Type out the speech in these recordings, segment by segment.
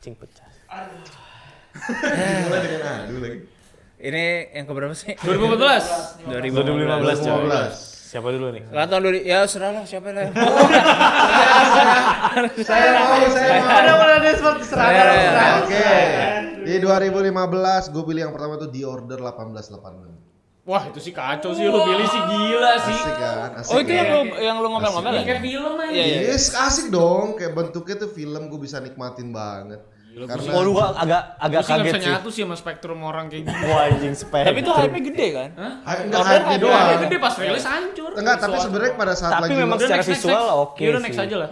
Cing pecah. Mulai dengan aduh lagi. Ini yang keberapa sih? 2014. 2015. 15. Siapa dulu nih? Lah tahun dulu ya serah lah siapa lah. Saya mau, saya Ada mau. mulai dari seperti seragam. Iya, iya, seragam. Oke. Di 2015 gue pilih yang pertama tuh The Order 1886. Wah itu sih kacau sih lu pilih sih gila sih. Asik kan? Asik. Oh itu yang kan? lu yang lu ngomel-ngomel Asik. ya? Kayak film aja. Iya, iya. Yes, asik dong. Kayak bentuknya tuh film gue bisa nikmatin banget. Karena Oh lu gua agak agak Gue sih nggak kaget bisa sih. nyatu sih sama spektrum orang kayak gitu. Wah anjing spek. Tapi itu hype-nya gede kan? Ah, enggak hype doang. Iya, gede pas rilis hancur. Enggak, tapi sebenarnya pada saat Tapi lagi memang Udah, secara next, next, visual next. oke Iya, udah sih. next aja lah.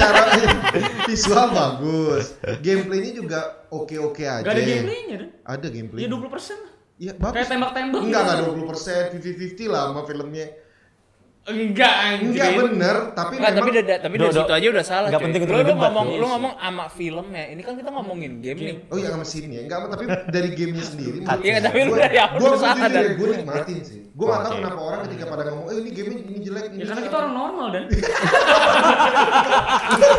cara visual bagus. Gameplaynya juga oke-oke aja. Gak ada Iya. gameplaynya deh. Ada gameplay. Ya 20 persen lah. Iya, Kayak bagus. tembak-tembak. Enggak, gitu. enggak 20 persen, 50-50 lah sama filmnya. Enggak anjir. Enggak bener, tapi Enggak, tapi memang... dari tapi dari Do- do- situ aja udah salah. nggak cuy. penting untuk lu, lu didebat, ngomong iya lu sih. ngomong ama film ya. Ini kan kita ngomongin game nih. Oh iya sama scene-nya, enggak tapi dari gamenya sendiri Iya, tapi lu dari awal Gue udah salah, jujur ya, Dan. gue nikmatin sih Gue gak tau Oke. kenapa orang ketika pada ngomong, eh ini gamenya ini jelek ini Ya karena jelek." kita orang normal dan.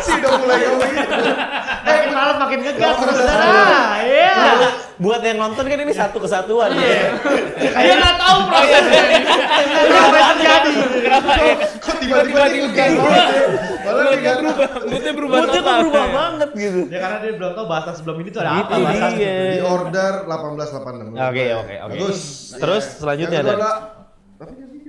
sih udah mulai ngomong gitu Makin Eh, malam makin ngegas Normal. saudara. Iya. Buat yang nonton kan ini satu kesatuan. ya. Dia nggak tahu prosesnya. Kenapa terjadi? Kenapa ya? Kok tiba-tiba dia ngegas banget ya? Malah dia nggak- Moodnya berubah Buatnya kok total. berubah banget gitu. Ya karena dia belum tahu bahasa sebelum ini tuh Gitu dia. di order 1886. Oke, oke, oke. Bagus. Terus Iya. selanjutnya, Yang kedua Dan? adalah- apa dia bikin?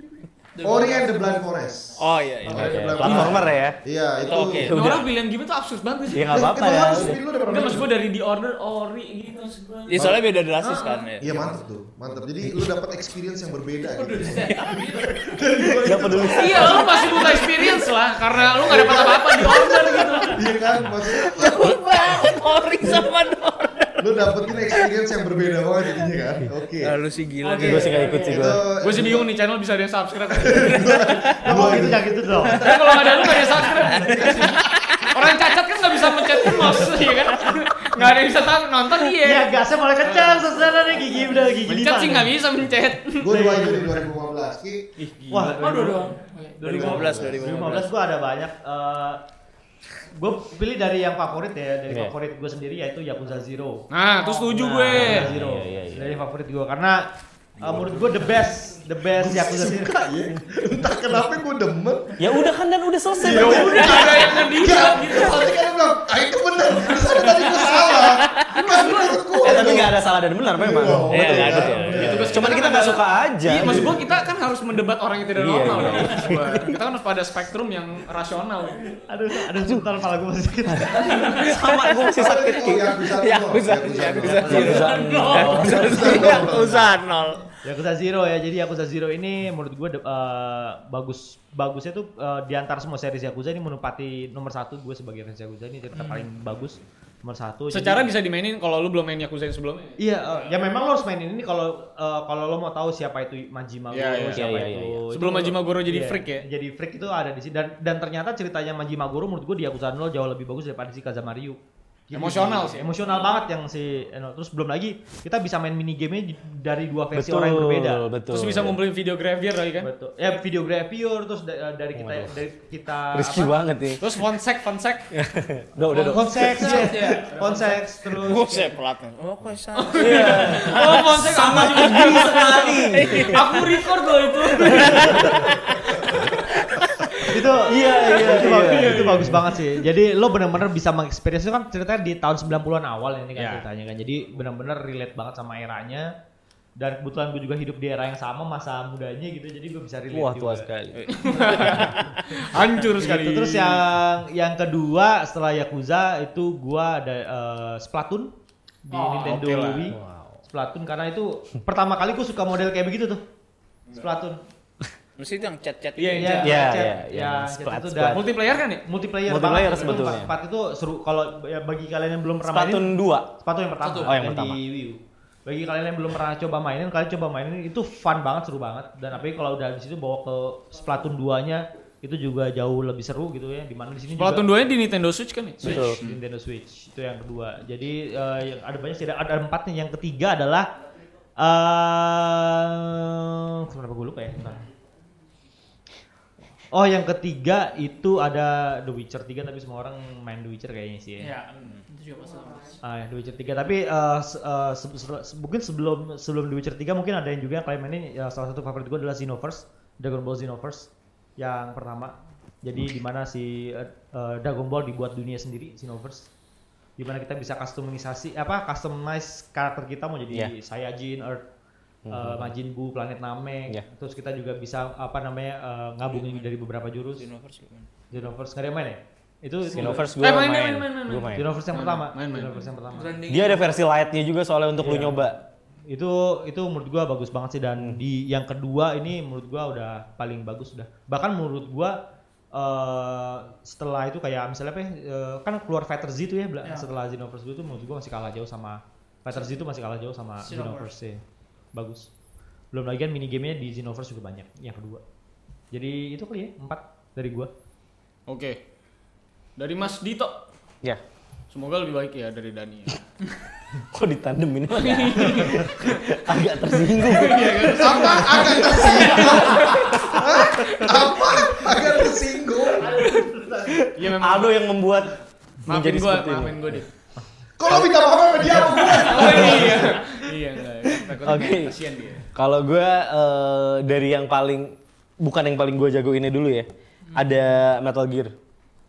Ori and the Blind Forest. Oh iya iya. Ori and the Blind Platformer ya. Forest. Iya, itu. Oke. Ini Orang pilihan game itu absurd banget Ya sih. enggak apa-apa Emang ya. harus pilih lu udah pernah Enggak main? maksud gue dari The Order Ori gitu maksud gue. Iya. Ya soalnya beda drastis kan ya. Iya mantap tuh, mantap. Jadi lu dapat experience yang berbeda gitu. Enggak peduli. Iya, lu pasti butuh experience lah karena lu gak dapat apa-apa di order gitu. Iya kan, maksudnya Jauh banget Ori sama Dora. lu dapetin experience yang berbeda banget jadinya kan. Oke. Lalu sih gila Oke. Gue sih enggak ikut sih Itu gue. Gue sih bingung nih channel bisa ada yang subscribe. Gua Oh, gitu ya, Jangan gitu dong. Tapi kalau nggak ada lu nggak ada yang subscribe. Orang cacat kan nggak bisa mencet mouse ya kan. Nggak ada yang bisa tahu nonton iya. dia. Ya gasnya mulai kencang saudara nih gigi udah gigi Mencet sih nggak lima. bisa mencet. Gua dua itu di 2015. Ki, Iya. Wah, Aduh doang. 2015 2015. 2015 gua ada banyak eh gue pilih dari yang favorit ya dari Iya. favorit gue sendiri yaitu Yakuza Zero. Nah, terus setuju gue. Yakuza Zero. Oh, Iya, iya, iya. Dari favorit gue karena eh, menurut gue the best, the best Yakuza Zero. suka ya. Entah kenapa gua demen. Ya udah kan dan udah selesai. Ya Bang. udah. Ada yang Iya. ngedilat Enggak, gitu. nanti kan dia bilang, ah itu bener, di sana tadi gue salah Kan menurut gue Eh tapi enggak ada salah dan benar memang. Iya, Iya, betul, enggak ada. iya. Itu kan Cuman kita enggak suka aja. Iya, maksud gue kita kan harus mendebat orang yang tidak Iya, Oh, normal. iya. maksud gua. Kita kan harus pada spektrum yang rasional. Aduh, aduh sebentar kepala gue masih sakit. sama gue masih sakit. Oh, Yakuza Ya doang, aku sadar. Yakuza Ya aku doang. sadar. Ya aku sadar. Yakuza Zero ya. Jadi Yakuza Zero ini menurut gue bagus bagusnya tuh eh, di antara semua series Yakuza ini menempati nomor satu gue sebagai fans Yakuza ini cerita paling bagus nomor satu. Jadi- Hmm. Secara bisa dimainin kalau lu belum main Yakuza yang sebelumnya. Iya, eh, ya memang lo harus mainin ini kalau eh, kalau lo mau tahu siapa itu Majima Goro, Iya, iya, siapa iya, iya, itu. iya. itu Sebelum lo- Majima Goro jadi iya, freak ya? Jadi freak itu ada di sini dan dan ternyata ceritanya Majima Goro menurut gue di Yakuza 0 jauh lebih bagus daripada si Kazamariu. Emosional sih. Emosional banget yang si Eno. Terus belum lagi kita bisa main minigame dari dua versi Betul, orang yang berbeda. betul. iya. Terus bisa ngumpulin video graveyard lagi kan. Betul. Ya video grafiur terus da- dari kita dari kita Risky banget nih. Terus fonsek, fonsek. Udah, udah, udah. Konseks, Iya. konseks terus. Gue pelatnya. Oh kok sadar. Oh, fonsek sama Tinggi sekali. Aku record loh itu. itu Iya, iya, itu, iya. bagus, itu bagus banget sih jadi lo benar-benar bisa mengeksperience itu kan ceritanya di tahun 90-an awal ini kan Iya. ceritanya kan jadi benar-benar relate banget sama eranya dan kebetulan gue juga hidup di era yang sama masa mudanya gitu jadi gue bisa relate Wah, juga. tua sekali. Hancur Gitu. sekali. terus yang yang kedua setelah Yakuza itu gue ada eh, Splatoon di Oh, Nintendo oke lah. Wii Wow. Splatoon karena itu pertama kali gue suka model kayak begitu tuh Splatoon Mesti itu yang chat-chat. Iya, itu. iya. Iya, chat, iya, iya. ya, chat Splat, itu splat. dan Multiplayer kan ya? multiplayer, Multiplayer banget. sebetulnya. Itu part itu seru kalau ya, bagi kalian yang belum pernah Spatun mainin 2. sepatu yang pertama Satu. Oh, yang pertama. di Wii U. Bagi kalian yang belum pernah coba mainin, kalian coba mainin itu fun banget, seru banget. Dan apalagi kalau udah di situ bawa ke Splatoon 2-nya itu juga jauh lebih seru gitu ya. Dimana di sini juga- Splatoon 2 nya di Nintendo Switch kan ya? Iya. Betul. Nintendo Switch itu yang kedua. Jadi eh, yang ada banyak sih ada, ada empat nih. Yang ketiga adalah eh kenapa gue lupa ya? Bentar. Oh yang ketiga itu ada The Witcher 3 tapi semua orang main The Witcher kayaknya sih ya. Ya, itu juga masalah. Ah, ya, The Witcher 3. Tapi eh, se- eh, se- se- se- mungkin sebelum sebelum The Witcher 3 mungkin ada yang juga yang kalian mainin ya, salah satu favorit gue adalah Xenoverse, Dragon Ball Xenoverse yang pertama. Jadi di mana si eh, eh, Dragon Ball dibuat dunia sendiri Xenoverse. Di mana kita bisa customisasi apa customize karakter kita mau Iya. jadi Saiyajin, Earth, eh, Majin Buu, planet Namek. Mhm. Iya. Terus kita juga bisa apa namanya eh, gabungin dari beberapa jurus. Universe gimana? Xenoverse nggak ada yang main ya? Itu Xenoverse gue Eh, main, main, main, main, main, Gua main. Xenoverse yang Main, pertama. main, main, Xenoverse yang pertama. Branding. Dia ada versi lightnya juga soalnya untuk lu nyoba. itu itu menurut gua bagus banget sih dan di yang kedua ini menurut gua udah paling bagus udah bahkan menurut gua eh setelah itu kayak misalnya apa ya, eh, kan keluar Fighter Z itu ya bela- Ya. setelah Xenoverse itu menurut gua masih kalah jauh sama Fighter Z itu masih kalah jauh sama Xenoverse ya. Xenoverse. bagus belum lagi kan mini gamenya di Xenoverse juga banyak yang kedua jadi itu kali ya empat dari gua Oke. Dari Mas Dito. Ya. Semoga lebih baik ya dari Dani. ya. Kok ditandem ini agak, agak tersinggung. Apa akan tersinggung? Hah? Apa akan tersinggung? Iya memang. Aldo yang membuat Maafin menjadi gua, seperti ini. maafin gua deh. Kalau minta maaf sama dia apa gue? Oh iya. Iya enggak. ya. Takutnya Oke. kasihan dia. Kalau gue eh, dari yang paling bukan yang paling gue jago ini dulu ya. Ada Metal Gear.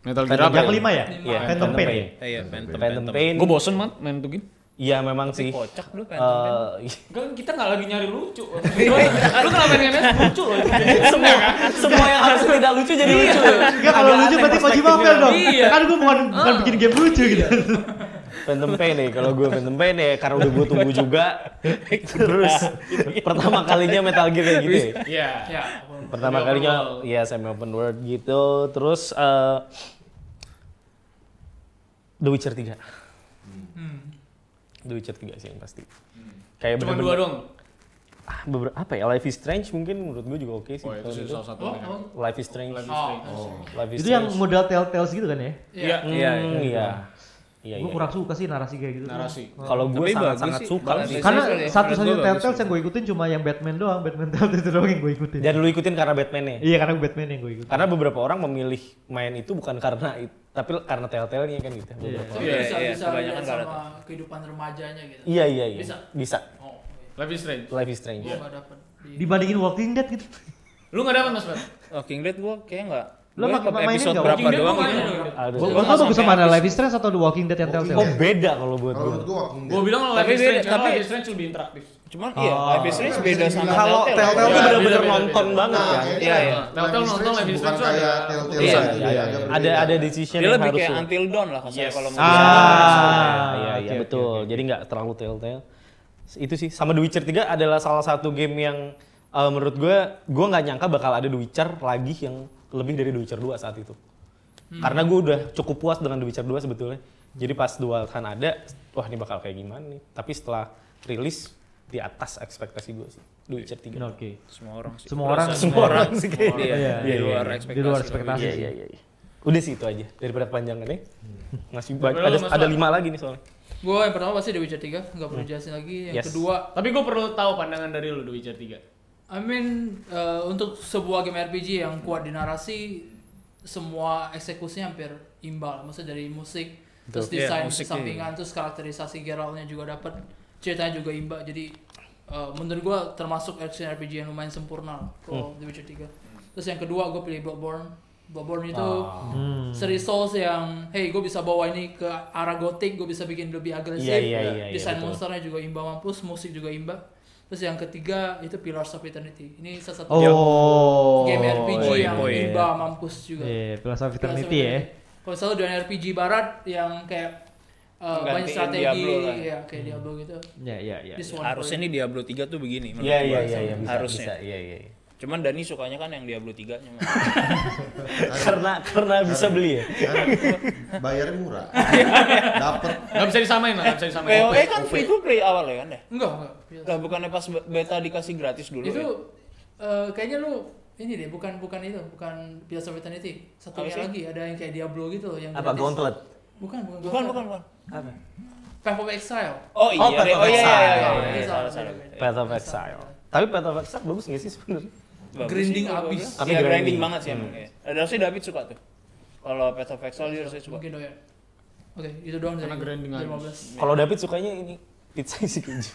Metal Gear apa yang kelima ya Iya, Phantom Pain ya? Iya, Phantom Phantom Pain. Gue bosen banget main tuh gini. Iya memang sih. Kocak lu Phantom Pain. Eh, Kan kita nggak lagi nyari lucu. Lu kenapa yang NS lucu loh? Semua kan? semua yang harus tidak lucu jadi lucu. Enggak Iya, kalau Agak lucu aneh berarti Kojima perspektifnya. fail dong. Iya. Kan gua bukan bukan bikin game lucu gitu. Phantom Pain nih, kalau gue Phantom Pain ya karena udah gue tunggu juga. Terus pertama kalinya Metal Gear kayak gitu. ya. Iya. Ya. Pertama kalinya ya semi open world gitu. Terus eh, The Witcher 3. The Witcher 3 sih yang pasti. Kayak Iya, Cuma bener-bener- dua dong. Ah, beberapa apa ya? Life is Strange mungkin menurut gue juga oke sih. Oh, itu kalau sih gitu. salah satu. Oh, oh. Life is Strange. Life is, Oh, Itu yang Strange. model Telltales gitu kan ya? Iya. Hmm, Iya, iya. iya. Iya. iya. Gue kurang suka sih narasi kayak gitu. Narasi. Kalau gue Tapi bagus sangat-sangat sih, suka bagus sih. sih. Karena Narasi satu-satunya menurut gua Telltales bagus. yang gue ikutin cuma yang Batman doang, Batman Telltales doang yang gue ikutin. Dan lu ikutin karena Batman-nya. Iya karena Batman yang gue ikutin. Karena beberapa orang memilih main itu bukan karena it- tapi karena telltale-nya kan gitu. beberapa orang. Iya, Iya, bisa, iya, bisa kebanyakan relate barat. sama kehidupan remajanya gitu. Iya iya iya. Bisa. Iya. Bisa. Oh, Life is Strange. Life is Strange. gue nggak dapet. di- Dibandingin Walking Dead gitu. Lu nggak dapat Mas Bat? Walking Dead Oh, gua kayak enggak. Lo Gua pakai- sampai mainin episode nggak berapa Walking Dead doang gitu. gua main dulu. Aduh. Gue Kok Gua- gua bagus sampai sama habis. Life is Strange atau The Walking Dead yang Walking Telltale. beda kalau buat Kalau gue. menurut gue Walking Dead. Gue bilang Life Tapi is Strange, beda, karena tapi- Life is Strange lebih interaktif. Cuman iya, Oh. Life is Strange beda sama Kalau telltale Iya, tuh beda, bener-bener beda, nonton beda. banget Nah, kan. akhirnya Iya, iya. Telltale nonton Life is Strange tuh bukan kayak ada- Telltale Iya, gitu Iya, ya, iya, agak iya. berbeda. Ada ada decision Dia yang lebih harus kayak lu- Until Dawn lah kasar Yes. kalau mau. Ah, iya Ah, oke, iya oke, betul. Jadi nggak terlalu telltale. Itu sih sama The Witcher 3 adalah salah satu game yang eh, menurut gue gue nggak nyangka bakal ada The Witcher lagi yang lebih dari The Witcher 2 saat itu. Karena gue udah cukup puas dengan The Witcher 2 sebetulnya. Jadi pas dua kan ada, wah ini bakal kayak gimana nih. Tapi setelah rilis di atas ekspektasi gue sih The Witcher 3. Oke. Semua orang sih. Semua orang- Semua orang sih kayaknya. Iya, Iya, di iya, luar iya. ekspektasi. Di luar tapi- ekspektasi. Iya iya iya. Udah sih itu aja daripada panjangannya. Hmm. Masih banyak Daripada ada lu, Mas ada Wan. lima lagi nih soalnya. Gue yang pertama pasti The Witcher 3, nggak perlu jelasin lagi. Yang Yes. kedua, Tapi gue perlu tahu pandangan dari lu The Witcher 3. I mean eh, untuk sebuah game RPG yang kuat di narasi, semua eksekusinya hampir imbal. Maksudnya dari musik, terus Iya, desain musiknya. sampingan, terus karakterisasi Geraltnya juga dapat, ceritanya juga imbal. Jadi eh, menurut gua termasuk action RPG yang lumayan sempurna kalau The Witcher 3. Terus yang kedua gue pilih Bloodborne. Bloodborne itu Ah. seri Souls yang, hey gue bisa bawa ini ke arah gotik, gue bisa bikin lebih agresif. Iya, iya, iya, iya, Desain betul. monsternya juga imba mampus, musik juga imba. Terus yang ketiga itu Pillars of Eternity. Ini salah satu Oh. game RPG Oh, iya, yang oh, iya. imba mampus juga. Iya, Pillars of Pillars of Eternity ya. Kalau selalu dengan RPG barat yang kayak uh, banyak Gantiin strategi, Diablo kan. lah. ya kayak Diablo gitu. Iya, iya, iya. This one Harusnya for ini Diablo 3 tuh begini menurut Iya gua. iya iya iya, bisa, Harusnya. bisa. Iya iya. iya. Cuman Dani sukanya kan yang Diablo 3-nya. Mas. Karena karena bisa beli ya. Kan Bayarnya murah. Dapat Gak bisa disamain lah, gak bisa disamain. PoE kan free to play awal ya kan deh. Enggak, enggak. Pillars. Lah bukannya pas beta dikasih gratis dulu Itu ya? uh, kayaknya lu ini deh, bukan bukan itu, bukan Pillars of Eternity. Satunya Apa sih? lagi ada yang kayak Diablo gitu loh yang Apa gratis. gauntlet? Bukan, bukan. Bukan, Gauntlet. bukan, bukan. Path of Exile. Oh iya, Path of oh iya, iya, iya, Exile. iya, iya, salah, salah. Path of Exile. Tapi Path of Exile bagus nggak sih sebenarnya? Bagus Grinding sih, abis. bagus. Tapi Iya, grinding, grinding. banget sih emang. iya. Ada sih David suka tuh. Kalau Path of Exile dia harusnya suka. Mungkin doyan. Oke, itu doang dari Karena grinding Eh. dari habis. 15. Kalau David sukanya ini pizza isi keju.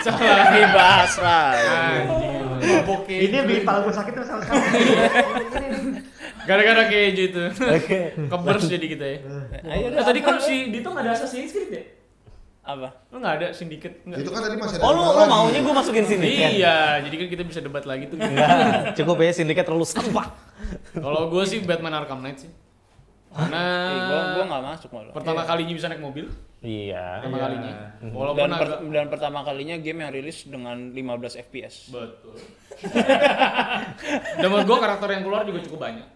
Salah. Dibahas lah. Boke. Ini bikin paling gue sakit terus sama sekali. Gara-gara keju itu. Oke. Kebers jadi kita ya. Ayo Eh, dah. tadi kan si Dito nggak ada Assassin's Creed ya? apa? Lu nggak ada Syndicate? Nggak. Itu kan tadi masih ada. Oh lu, dua lu lagi. maunya gue masukin sini Iya, jadi kan kita bisa debat lagi tuh. Enggak, cukup ya sindikat terlalu sampah. Kalau gue sih Batman Arkham Knight sih. Karena Eh, gua gua nggak masuk malah. pertama kalinya bisa naik mobil, Iya. pertama kalinya. Walaupun Dan, per- agak dan pertama kalinya game yang rilis dengan 15 FPS. betul. Dan menurut gue karakter yang keluar juga cukup banyak.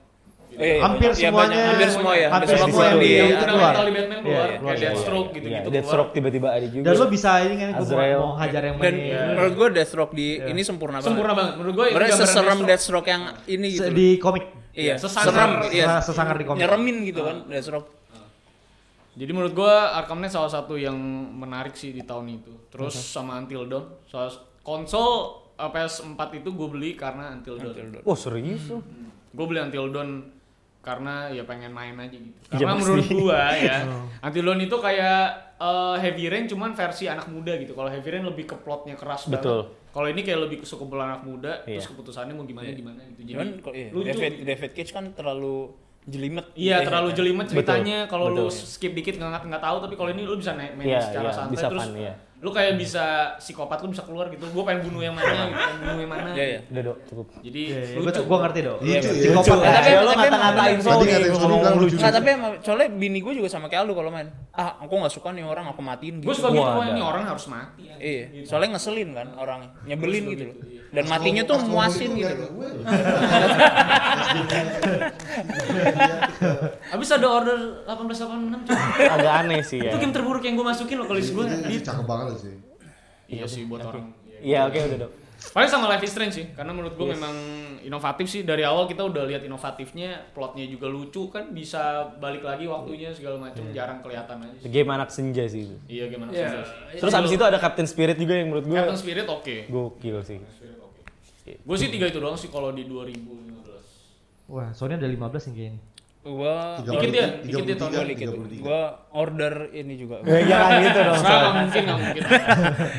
Oh, iya, iya, Hampir banyak. Iya, semuanya- banyak. hampir semua ya. Hampir hampir semua di keluar situ, di iya. Yang keluar. fundamental di Batman keluar, Iya, iya, kayak keluar. Deathstroke gitu-gitu. Death keluar. stroke tiba-tiba ada juga. Dan lo bisa ini kan gue Azrael. mau hajar yang Dan main. menurut gua Deathstroke di ini sempurna banget. Sempurna banget. Menurut gue Berarti seserem Deathstroke yang ini gitu. Se- loh. di komik. Iya, sesangar. serem, Sesangar. iya. Nah, sesangar di komik. Nyeremin gitu Ah. kan Deathstroke. Jadi menurut gua Arkham Knight salah satu yang menarik sih di tahun itu. Terus sama Until Dawn. Soal konsol eh, PS4 itu gue beli karena Until Dawn. Until Dawn. Wah serius lu? Gue beli Until Dawn karena ya pengen main aja gitu. Iya, Karena pasti. menurut gua ya Until Dawn itu kayak eh, Heavy Rain cuman versi anak muda gitu. Kalau Heavy Rain lebih ke plotnya keras Betul. banget. Kalau ini kayak lebih ke kesukupan anak muda, Iya. terus keputusannya mau gimana gimana gitu. Jadi Cuman kok iya, lucu. gitu. David David Cage kan terlalu jelimet. Iya Iya, terlalu kan? jelimet Betul, ceritanya kalau lu betul. skip dikit nggak nggak tahu tapi kalau ini lu bisa naik main Iya, iya, secara santai bisa terus fun, iya. lu kayak bisa psikopat lu bisa keluar gitu gue pengen bunuh yang mana gitu pengen bunuh yang mana Iya, iya. Udah dok, cukup. jadi iya. Gue lucu gue ngerti dong. Lucu ya. Psikopat. Nah, tapi- ya, lu tapi- ngata-ngatain Tadi Sony, ngatain gua Sony ngomong bilang lucu. lucu. Nah, tapi emang- soalnya bini gue juga sama kayak lu kalau main. Ah, aku nggak suka nih orang, aku matiin gitu. gue suka gitu Wah, wah, ini ada. orang harus mati ya. Iya, soalnya ngeselin kan orangnya, nyebelin gitu loh. Dan Pas matinya ngomong- tuh pas ngomong muasin gitu ngeliat loh. gue loh. abis ada order 1886 cuy. Agak aneh sih ya. itu game terburuk yang gue masukin loh kalau gue Ini cakep banget sih. iya sih buat orang Iya oke udah dok. paling sama Life is Strange sih karena menurut gue memang inovatif sih dari awal kita udah lihat inovatifnya plotnya juga lucu kan bisa balik lagi waktunya segala macam Iya. jarang kelihatan aja sih Game anak senja sih itu. iya gimana Iya. Terus abis itu ada Captain Spirit juga yang menurut gue Captain Spirit oke gokil sih. Gue sih tiga itu doang sih kalau di 2015. Wah, Sony ada 15 yang kayaknya. Gua Dikit dia, dikit dia tahun balik gitu. Gua order ini juga. Ya jangan gitu dong. Ah, Nggak, nggak mungkin, nggak mungkin.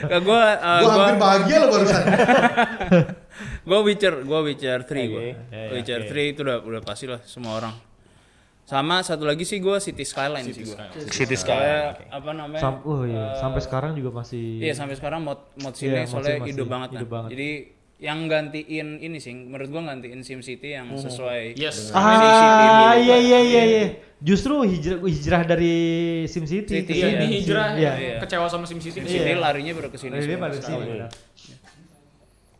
Gua gua eh, Gue gua hampir bahagia loh barusan. gua Witcher, gua Witcher 3 gua. Iya, Oke. Ya, ya, Witcher oke. 3 itu udah udah pasti lah semua orang. Sama satu lagi sih gua City Skyline sih gua. City Skyline apa namanya? Sam oh iya, sampai sekarang juga masih Iya sampai sekarang mod mod Iya, sini mod soalnya sini ide masih banget, ide nah. banget. Jadi yang gantiin ini sih, menurut gua gantiin Sim City yang sesuai. Yes. sama SimCity Oh. Ah, gitu. iya iya iya iya. Justru hijrah hijrah dari City, SimCity ke Iya, sini. ini hijrah Iya. kecewa sama Sim SimCity. City larinya baru ke sini. Iya. Dari dia semua. pada sini. benar.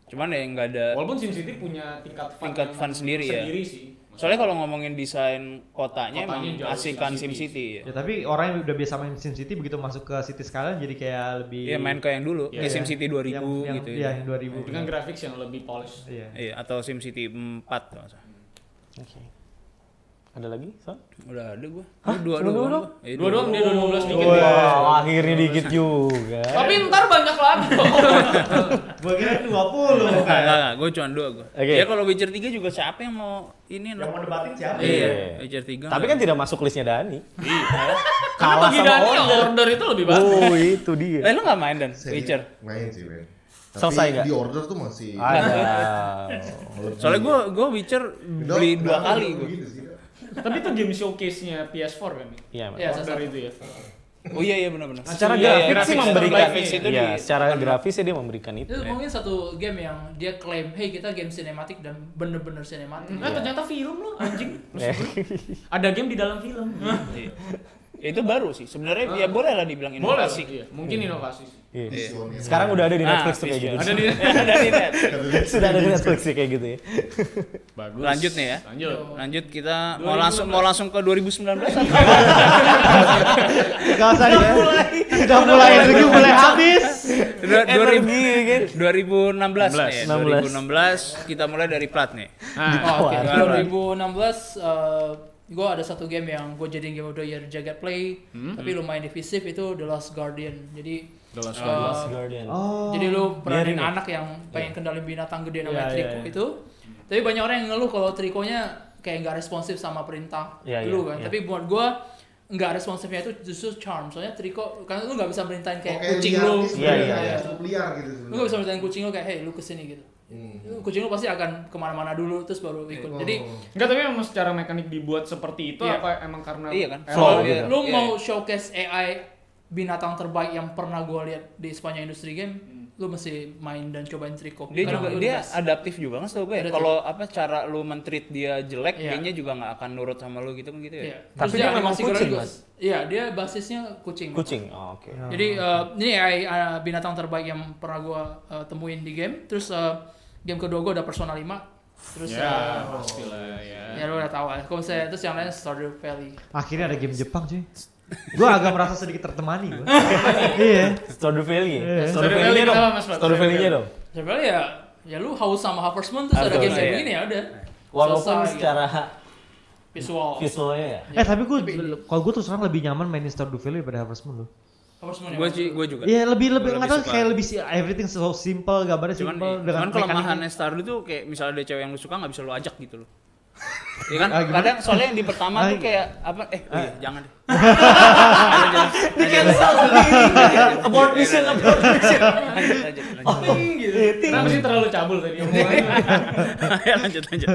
Cuman ya nggak ada. Walaupun SimCity punya tingkat fun, Tingkat yang fun sendiri ya. Sendiri sih. Soalnya kalau ngomongin desain kotanya, Kotanya jauh emang asikan dari Sim City. City ya. Ya tapi orang yang udah biasa main SimCity begitu masuk ke City sekarang jadi kayak lebih Iya main ke yang dulu, Iya, kayak Sim City 2000 yang, yang, gitu Iya, ya. yang 2000. Dengan grafik yang lebih polished. Iya. Iya, atau Sim City 4 kalau nggak salah. Oke. Ada lagi? Son? Udah ada gua. Hah? Dua dua Dua dua. doang? Iya, Dua doang dia 2015 dikit. Wah, akhirnya dikit juga. Tapi ntar banyak lagi. Gua kira 20. Enggak, enggak, enggak. Gue cuma dua gue. Oke. Ya kalau Witcher 3 juga siapa yang mau ini lah. debatin siapa? Iya, Iya. Witcher Iya. 3. Tapi kan tidak masuk listnya Dani. Karena Kalah bagi sama Dani order. order itu lebih bagus. Oh, itu dia. Eh, lu nggak main dan Serius, Witcher? Main sih, men. Tapi Selesai nggak? Di order tuh masih. Ada. Lebih- Soalnya gue gue Witcher Dok, beli dua kenapa kali lu gue. begitu gitu sih, Dok? Tapi itu game showcase-nya PS4 kan? ya? Iya, Mas. Iya, Order sasar. itu ya. Oh iya iya benar-benar. Secara Iya, iya, grafis sih grafis memberikan terbaik itu. itu Iya, di- secara grafis ya dia memberikan itu. Itu mungkin satu game yang dia klaim, hey kita game sinematik dan bener-bener sinematik. Eh, Nah, ternyata film lo anjing. Maksud gua, Ada game di dalam film. Iya. Itu baru sih. Sebenarnya ya boleh lah dibilang Boleh. inovasi. sih. Mungkin inovasi sih. Iya. Visioner. Sekarang udah ada di Nah, Netflix tuh kayak gitu. Ada di Ada di net. Sudah ada di Netflix sih kayak gitu ya. Bagus. Lanjut nih ya. Lanjut. Lanjut kita mau langsung mau langsung ke 2019 atau Enggak usah ya. Udah mulai energi mulai habis. Dua- dua ribu- Energi kan. 2016 nih. 16. 2016 kita mulai dari plat nih. Nah, Oh, oke. Ditawarin. 2016 eh, gue ada satu game yang gue jadiin game of the year jagat play tapi lumayan divisif itu The Last Guardian jadi Hmm. The Last eh, Last Guardian. Oh. jadi lu peranin remake. anak yang pengen kendali binatang Iya, gede namanya iya, triko iya. itu tapi banyak orang yang ngeluh kalau trikonya kayak nggak responsif sama perintah Iya, iya, dulu kan iya. tapi buat gue nggak responsifnya itu justru charm soalnya triko karena lu nggak bisa merintahin kayak Oke, kucing liar lu nih Iya, sebenarnya, iya, kayak iya. cukup liar gitu lu nggak sebenarnya. bisa merintahin kucing lu kayak hey lu kesini gitu Hmm. kucing lu pasti akan kemana-mana dulu terus baru ikut Oh. jadi Enggak, tapi emang secara mekanik dibuat seperti itu Iya. apa emang karena Iya kan? era Flow dia? gitu. lu Iya, mau showcase AI binatang terbaik yang pernah gue lihat di sepanjang industri game lu mesti main dan cobain triko Dia Karena juga lu dia udah- adaptif juga kan setahu gue. ya. Adaptif. Kalau apa cara lu mentreat dia jelek, Iya. kayaknya juga nggak akan nurut sama lu gitu kan gitu ya. Iya. Tapi Terus dia memang animasi gerak kucing, juga. Mas. Iya, dia basisnya kucing. Kucing. Oh, oke. Jadi eh, ini AI eh, binatang terbaik yang pernah gua eh, temuin di game. Terus eh, game kedua gua ada Persona 5. Terus Ya, Iya. eh, pastilah ya. ya lu udah tahu. lah. Kalau misalnya terus yang lain Stardew Valley. Akhirnya ada game Jepang cuy. Gue agak merasa sedikit tertemani gue. iya. Stardew Valley. Stardew Iya. Stardew Valley-nya Valley dong. kenapa, Mas, Pak? Stardew Valley-nya dong. Stardew Valley ya ya lu haus sama Harvest Moon terus ada Betul, game kayak iya. begini ya udah. Walaupun ya. Selesai, secara gitu. visual. visualnya ya. Eh tapi gue, kalau gue terus terang lebih nyaman mainin Stardew Valley daripada Harvest Moon loh. Harvest Moon. ya, Gue Mas. gue juga. Iya lebih lebih Gua lebih nggak tahu suka. kayak lebih si everything so simple gambarnya Cuman, simple cuman mekanik- kelemahannya Stardew tuh kayak misalnya ada cewek yang lu suka nggak bisa lu ajak gitu loh. Iya kan? Ah, gimana? Kadang soalnya yang di pertama Ah, tuh iya. Ah. kayak apa eh oh iya, jangan deh. About mission about Iya, Lanjut lanjut lanjut. Kenapa sih terlalu cabul tadi omongannya? Ayo, lanjut lanjut.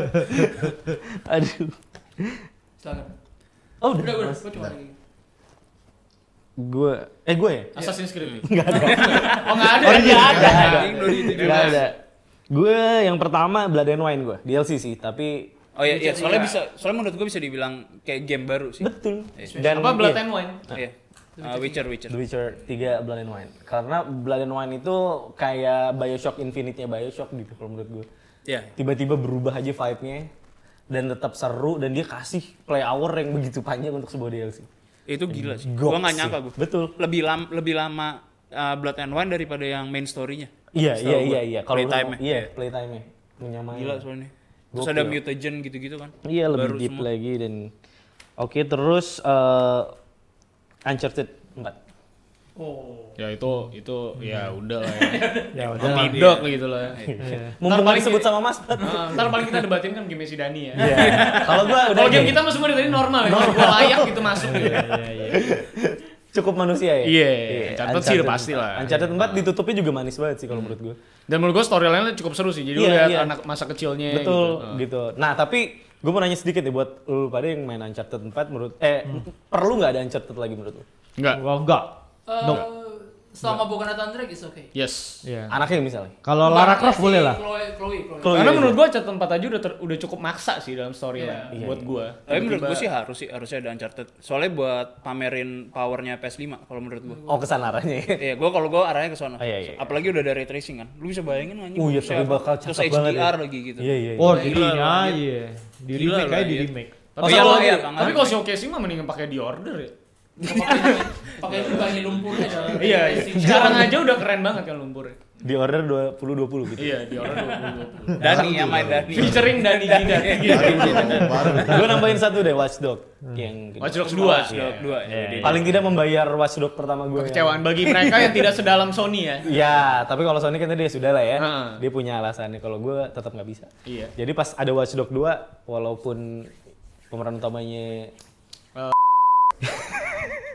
Aduh. Silakan. Oh, udah. Udah, udah, gua cuma lagi. Gue eh gue ya? Assassin's Creed. Enggak ada. Oh, Ah, enggak ada. Oh, iya, ada. Anjing, lu di- Enggak ada. Gue yang pertama Blood and Wine gue, DLC sih, tapi Oh iya, iya, soalnya bisa, soalnya menurut gue bisa dibilang kayak game baru sih. betul. Iya. Dan Apa Blood iya, and Wine? Iya. Ah, Witcher, Witcher. The Witcher 3 Blood and Wine. Karena Blood and Wine itu kayak BioShock Infinite-nya BioShock gitu kalau menurut gue. Iya. Tiba-tiba berubah aja vibe-nya dan tetap seru dan dia kasih play hour yang begitu panjang untuk sebuah DLC. Itu gila sih. Gok Gue nggak sih. nyangka gue. Betul. Lebih lama lebih lama ah, Blood and Wine daripada yang main story-nya. Iya, Setahu iya, gua. iya, iya. Kalau Playtime-nya. iya, playtime-nya menyamai. Gila soalnya. Terus ada mutagen gitu-gitu kan. Iya lebih Baru deep semua. lagi dan oke terus eh, Uncharted 4. Oh. Ya itu itu ya Hmm. udah lah ya. Ya udah. Midok gitu lah. Iya. Mumpung paling- disebut sama Mas. Nah, ntar paling kita debatin kan game si Dani ya. Iya. Kalau gua udah Kalau game gini, kita mah semua dari tadi normal ya. Gua layak gitu masuk gitu. cukup manusia ya. Iya, Uncharted sih pasti lah. Iya. Uncharted 4 ditutupnya juga manis banget sih kalau menurut gua. Dan menurut gua storyline-nya cukup seru sih. Jadi lu Iya, lihat iya. anak masa kecilnya Betul gitu. gitu. Nah, tapi gua mau nanya sedikit nih buat lu pada yang main Uncharted 4 menurut eh Hmm. perlu nggak ada Uncharted lagi menurut lu? Enggak. Gua enggak. Eh, selama bukan Nathan Drake is okay. Yes. Iya. Anaknya misalnya. Kalau Lara Croft boleh lah. Chloe, Chloe, Chloe. Chloe Karena aja. menurut gua catatan 4 aja udah ter- udah cukup maksa sih dalam storyline Iya. buat gua. Tapi menurut Tiba-tiba- gue sih harus sih harusnya ada Uncharted. Soalnya buat pamerin powernya PS5 kalau menurut gue. Oh, kesan arahnya. Iya, gue kalau gue arahnya ke sana. Oh, iya, iya. Apalagi udah ada ray tracing kan. Lu bisa bayangin anjing. Oh iya, bisa- tapi bakal terus cakep banget ya. HDR lagi gitu. Iya, iya. iya. Oh, Gila dirinya iya. Di Gila remake lah, aja di iya. remake. Oh, Tapi iya, kalau iya, iya, kangen. tapi kalau showcase mah mendingan pakai di order ya. Pakai dibangi lumpurnya. jalan. Iya, iya. Sekarang aja udah keren banget kan lumpurnya. Di order 20 20 gitu. Iya, di order 20 Dani yang main Dani. 20. Featuring Dani Gida. Baru dong, baru. Gue nambahin satu deh Watch Dog Hmm. yang Eh, Watch Dogs Dua, 2. dua, dua. paling tidak membayar Watch Dog pertama gue. Kecewaan bagi mereka yang tidak sedalam Sony ya. Ya, tapi kalau Sony kan tadi ya sudah lah ya. Heeh. Dia punya alasannya. Kalau gue tetap nggak bisa. Iya. Jadi pas ada Watch Dogs 2, walaupun pemeran utamanya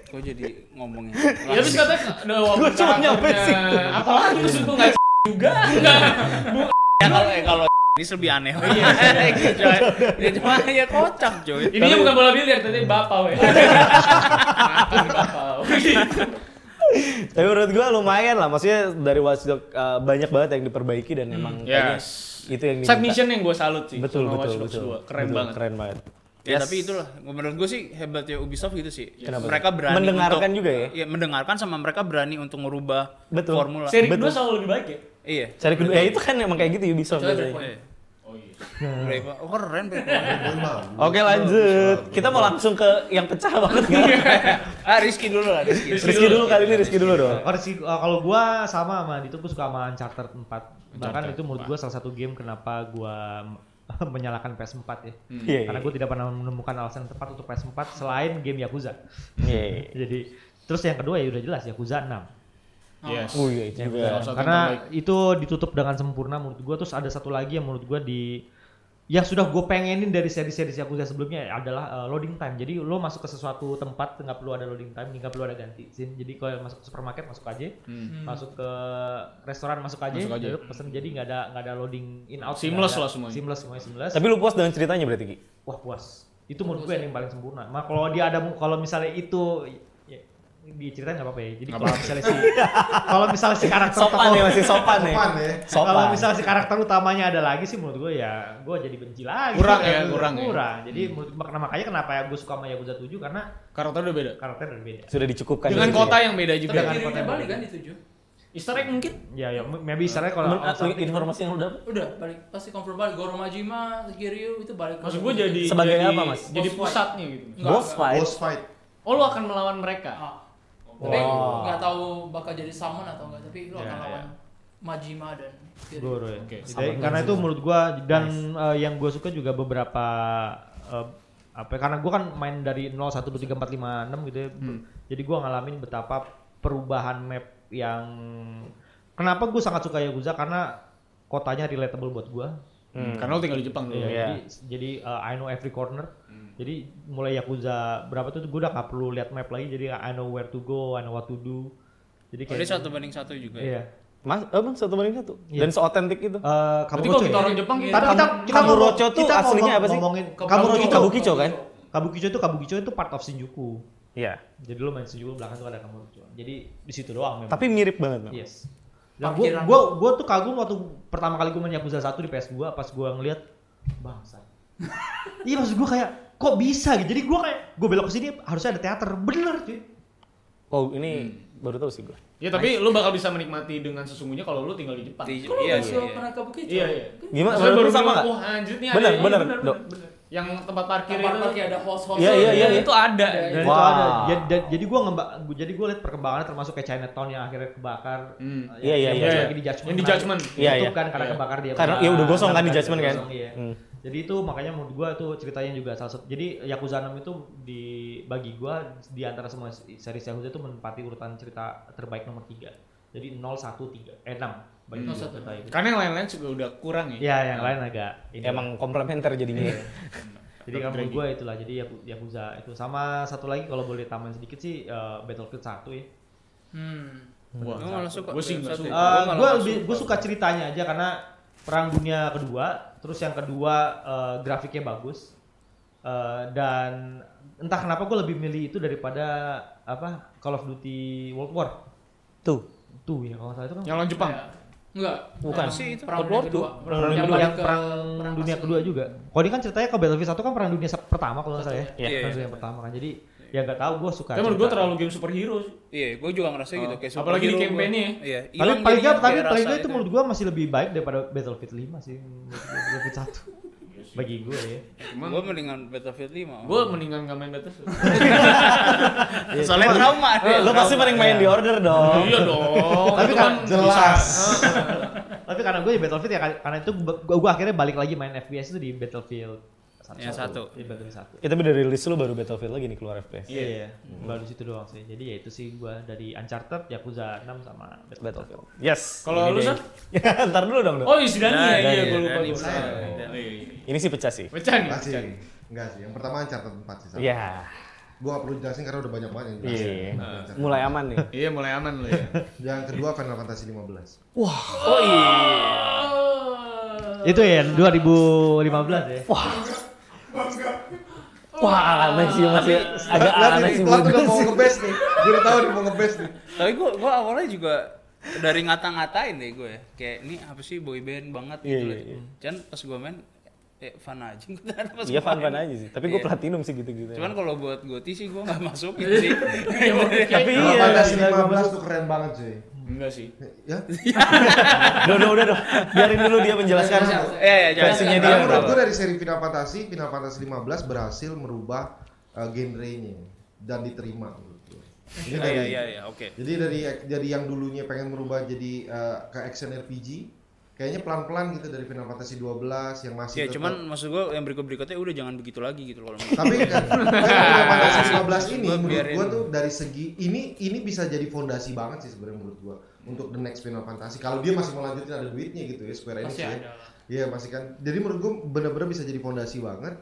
Kok jadi ngomongnya? Ya terus katanya ada walaupun cuma nyampe karakternya- sih. Apalagi terus gue nggak juga. Enggak. Ya, kalau eh, kalau ini lebih aneh. Iya. Dia cuma ya kocak, coy. Ini bukan bola biliar, tapi bapau ya. Makan bapau. Tapi menurut gue lumayan lah. Maksudnya dari Watch Dogs eh, banyak banget yang diperbaiki dan emang kayaknya Hmm. yes. itu yang diminta. Side mission yang gue salut sih. betul betul sama Watch betul, Dogs 2. Keren Betul, banget. Keren banget. Ya Yes. tapi itulah menurut gue sih hebatnya Ubisoft gitu sih. Kenapa? Mereka berani Mendengarkan untuk- juga ya? Iya, mendengarkan sama mereka berani untuk merubah Betul. formula. Seri Betul. 2 selalu lebih baik ya. Iya. Cari kedua, ya itu kan emang kayak gitu Ubisoft Coba biasanya. Breakpoint. Oh iya. Berapa? Oh, keren Breakpoint. Oke lanjut, kita mau langsung ke yang pecah banget kan? ah, Rizky dulu lah, Rizky. Rizky dulu kali ini, Rizky dulu dong. Oh, Rizky, uh, kalau gua sama sama itu gua suka sama Uncharted 4. Bahkan itu menurut gua salah satu game kenapa gua menyalakan PS4 ya. Hmm. Iya. Karena gue tidak pernah menemukan alasan yang tepat untuk PS4 selain game Yakuza. Iya. Jadi terus yang kedua ya udah jelas Yakuza 6. Yes. Oh iya itu juga. Salah satu yang terbaik. Karena itu ditutup dengan sempurna menurut gue. Terus ada satu lagi yang menurut gue di yang sudah gue pengenin dari seri-seri Yakuza sebelumnya adalah uh, loading time. Jadi lo masuk ke sesuatu tempat nggak perlu ada loading time, nggak perlu ada ganti scene. Jadi kalau masuk ke supermarket masuk aja, Hmm. masuk ke restoran masuk aja, Masuk aja. lo pesen. Jadi nggak ada nggak ada loading in out. nggak Seamless ada- lah semuanya. Seamless semuanya seamless. Tapi ya. lu puas dengan ceritanya berarti Ki? wah puas itu menurut gue yang paling sempurna mah kalau dia ada kalau misalnya itu ya, diceritain nggak apa-apa ya jadi Nggak kalau apa-apa. misalnya si kalau misalnya si karakter Sopan ya masih sopan ya. Sopan ya. Sopan. kalau misalnya si karakter utamanya ada lagi sih menurut gue ya gue jadi benci lagi Kurang ya, kurang ya. kurang jadi menurut makna makanya kenapa ya gue suka sama Yakuza 7 karena Karakter udah beda. karakter berbeda sudah dicukupkan Dengan dari kota situ yang beda juga. Tapi Jangan dirinya kota balik balik. kan di tujuh? Easter egg mungkin? ya ya maybe istilahnya ya. kalau Menurut aku, informasi yang lu dapat Udah balik, pasti confirm balik. Goromajima, Kiryu itu balik. Maksud gue jadi Sebagai jadi- apa, Mas? Jadi Boss fight. pusatnya gitu. Nggak, boss nggak. fight. Boss fight. Oh lu akan melawan mereka. Ah. Tapi nggak tahu bakal jadi summon atau enggak, tapi lo Ya, akan ya. lawan Majima dan Kiryu. Goro ya. Oke. Jadi, karena itu menurut gua dan eh, yang gua suka juga beberapa eh, apa ya, karena gua kan main dari 0 1 2 3 4 5 6 gitu ya. Hmm. Jadi gua ngalamin betapa perubahan map yang kenapa gua sangat suka Yakuza karena kotanya relatable buat gua. Hmm. Karena lu tinggal di Jepang dulu. Iya, Jadi, jadi uh, I know every corner. Jadi mulai Yakuza berapa tuh gue udah gak perlu lihat map lagi. Jadi I know where to go, I know what to do. Jadi Jadi kayak gitu. satu banding satu juga. ya? iya. Mas, abang satu banding satu. Iya. Dan seotentik itu. Eh, Berarti Kabukicho ya? kalau kita orang Jepang gitu? kita Tapi kita kita Kaburocho ngomong- tuh kita aslinya ngomong- apa sih? Ngomongin Kabukicho. Kaburocho. Kabukicho kan? Kabukicho itu Kabukicho itu part of Shinjuku. Iya. Jadi lo main Shinjuku belakang tuh ada Kabukicho. Jadi di situ doang memang. Tapi mirip banget. Bang. yes. Dan Nah, Parkiran. gua, gua, gua tuh kagum waktu pertama kali gua main Yakuza 1 di PS2 pas gua ngeliat bangsa. iya maksud gua kayak kok bisa gitu. Jadi gua kayak gua belok ke sini harusnya ada teater. Bener cuy. Oh ini baru tahu sih gue. Ya tapi lu bakal bisa menikmati dengan sesungguhnya kalau lu tinggal di Jepang. Di- Kok lo iya nggak sih, suka iya. pernah Kabukicho? Iya, iya. Gimana? Maksudnya Menurut lu sama bilang, nggak? Wah anjir nih Bener, ada. bener, bener, Dok. bener. Yang tempat parkir Tempat itu. parkir ada Iya, host-host. iya, Iya, iya, iya. itu ada. Wah. Dan itu ada. Jadi, dan- jadi gue ngembak, jadi gue lihat perkembangannya termasuk kayak Chinatown yang akhirnya kebakar. Hmm. Eh, Iya, iya, yang iya. muncul Iya, Lagi di iya. judgment. Yang di kemarin. judgment. Iya, Ditutup iya. kan karena Iya. kebakar dia. Karena- punya- iya, udah gosong kan di Iya, judgment kan? gosong, iya. Hmm. Jadi itu makanya menurut gue tuh ceritanya juga salah satu. Jadi Yakuza 6 itu di bagi gue di antara semua seri Yakuza itu menempati urutan cerita terbaik nomor 3. Jadi 0 1 3 eh 6 bagi Hmm. gua cerita itu. Karena yang lain-lain juga udah kurang Iya. ya. Ya, yang lain agak ini. Emang komplementer jadinya. Jadi kamu gue itulah. Jadi Yaku- Yakuza itu sama satu lagi kalau boleh tambahin sedikit sih eh, Battlefield 1 ya. Hmm. Wah. Gua malah suka. Gue sih nggak Satu. Gua suka. malah gue nggak Eh, lebih gue suka ceritanya aja karena perang dunia kedua terus yang kedua eh, grafiknya bagus Eh, dan entah kenapa gue lebih milih itu daripada apa Call of Duty World War Tuh. tuh ya kalau nggak salah itu kan Yang lawan Jepang. Enggak. Bukan. Perang- Sih, itu Perang World dunia War kedua. Two. perang, Yang yang balik ke perang perang dunia asli. kedua juga kalau ini kan ceritanya ke Battlefield satu kan perang dunia se- pertama kalau nggak salah ya Iya. perang dunia pertama kan jadi ya nggak tahu gue suka Tapi menurut gue cerita. terlalu game superhero sih. Iya, gue juga ngerasa gitu kayak Apalagi di superhero campaign-nya ya. gua- Iya, tapi hilang paling jadinya nggak kayak tapi paling rasa nggak itu menurut gue masih lebih baik daripada Battlefield 5 sih menurut gua, Battlefield 1 bagi gue ya Cuman Gue mendingan Battlefield 5. gue mendingan nggak main Battlefield. Iya soalnya trauma. Lo Iya, pasti paling main di order dong. Iya dong. Tapi itu kan jelas. bisa- Heeh. Tapi karena gue di Battlefield ya karena itu gue, gue akhirnya balik lagi main FPS itu di Battlefield Yang satu. Di Battlefield satu. Ya, tapi dari rilis lu baru Battlefield lagi nih keluar FPS. Iya, iya. Baru di situ doang sih. Jadi ya itu sih gue dari Uncharted, Yakuza 6 sama Battlefield. Iya, Battlefield. Yes. Kalau Ini lu dia. Sar? Ntar dulu dong. dong. Oh, isi Dani Nah, ya. Iya, Dani, gue lupa. Dani, gua. Dani. Oh, iya, iya. ya? Ini sih pecah sih. Pecah nih. Masih. pecah nih. Enggak sih. Yang pertama Uncharted 4 sih. Sam. Iya. Gua gak perlu jelasin karena udah banyak banget yang jelasin. Iya. Nah, Uncharted. Mulai aman nih. Iya, mulai aman lu ya. Yang kedua Final Fantasy 15. Oh iya. Oh. Itu ya 2015 ya. Wah, Wah, aneh sih masih agak Lihat aneh ini, sih Plat menurut udah gua mau sih. ngebes nih. Gue udah tahu dia mau ngebes nih. Tapi gue gua awalnya juga dari ngata-ngatain deh gue. Kayak ini apa sih boy band banget Iya, gitu. iya, loh. Cuman pas gue main eh fun aja gue pas Iya gua fan-fan main. aja sih. Tapi gue Iya. platinum sih gitu-gitu. Cuman kalau buat Goti sih gue gak masukin sih. tapi Final iya. Fantasy iya, gua 15 masuk. tuh keren banget cuy. Enggak sih. Ya. Udah, udah, udah, udah. Biarin dulu dia menjelaskan. Iya, Eh, ya, jangan Versinya jangan dia Iya, Karena Nah, menurut berapa? gue dari seri Final Fantasy, Final Fantasy 15 berhasil merubah uh, genre-nya dan diterima menurut gue. Ini Iya, dari- iya, iya, oke. eh, Jadi dari dari yang dulunya pengen merubah jadi uh, ke action RPG kayaknya pelan-pelan gitu dari Final Fantasy 12 yang masih Ya tetap- cuman maksud gua yang berikut-berikutnya udah jangan begitu lagi gitu kalau menurut tapi kan Final Fantasy 15 ini Gua menurut biarin. gua tuh dari segi ini ini bisa jadi fondasi banget sih sebenarnya menurut gua untuk the next Final Fantasy kalau dia masih mau lanjutin ada duitnya gitu ya Square Enix Pasti ya ada lah. Iya masih kan. Jadi menurut gue bener-bener bisa jadi fondasi banget.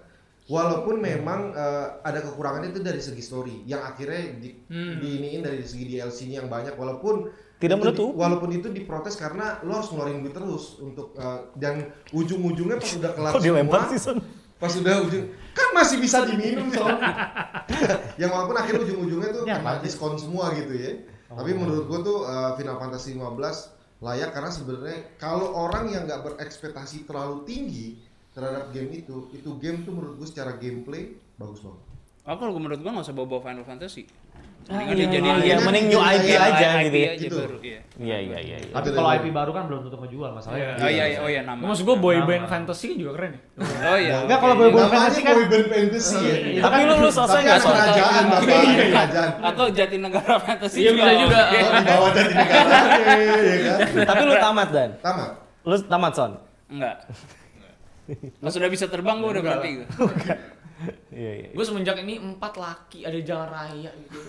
Walaupun memang eh, ada kekurangannya itu dari segi story, yang akhirnya di, Hmm. diiniin dari segi DLC-nya yang banyak. Walaupun Tidak itu menutup. di- walaupun itu diprotes karena lo harus ngeluarin duit terus untuk eh, dan ujung-ujungnya pas udah kelar Kok dilempar semua, sih Son? pas udah ujung kan masih bisa diminum soalnya. yang walaupun akhirnya ujung-ujungnya tuh Ini kena apa? diskon semua gitu ya. Tapi menurut gua tuh eh, Final Fantasy 15 layak karena sebenarnya kalau orang yang nggak berekspektasi terlalu tinggi terhadap game itu, itu game tuh menurut gua secara gameplay bagus banget. Aku kalau menurut gua nggak usah bawa-bawa Final Fantasy. Ah, Mendingan iya, dijadiin iya, game- mending new IP Iya, aja IP gitu ya. aja Gitu. baru, iya. Iya iya iya. iya. Tapi Tapi kalau dari- IP baru kan belum tentu ngejual masalahnya. Oh iya, iya, oh iya nama. Maksud gua boy Nama. band fantasy kan juga keren ya. Oh iya. Enggak oke, kalau iya. boy boy Namanya fantasy kan boyband fantasy ya. Iya. Tapi lu lu selesai Tapi nggak anak soal kerajaan bapak, anak kerajaan. atau Jatinegara Fantasy Iya, bisa juga. oke. Kalau dibawa dari negara, ya kan? Tapi lu tamat dan. Tamat. Lu tamat Son. Enggak. Lo sudah bisa terbang gua udah berarti gua. Iya iya. Gue semenjak ini empat laki ada jalan raya gitu.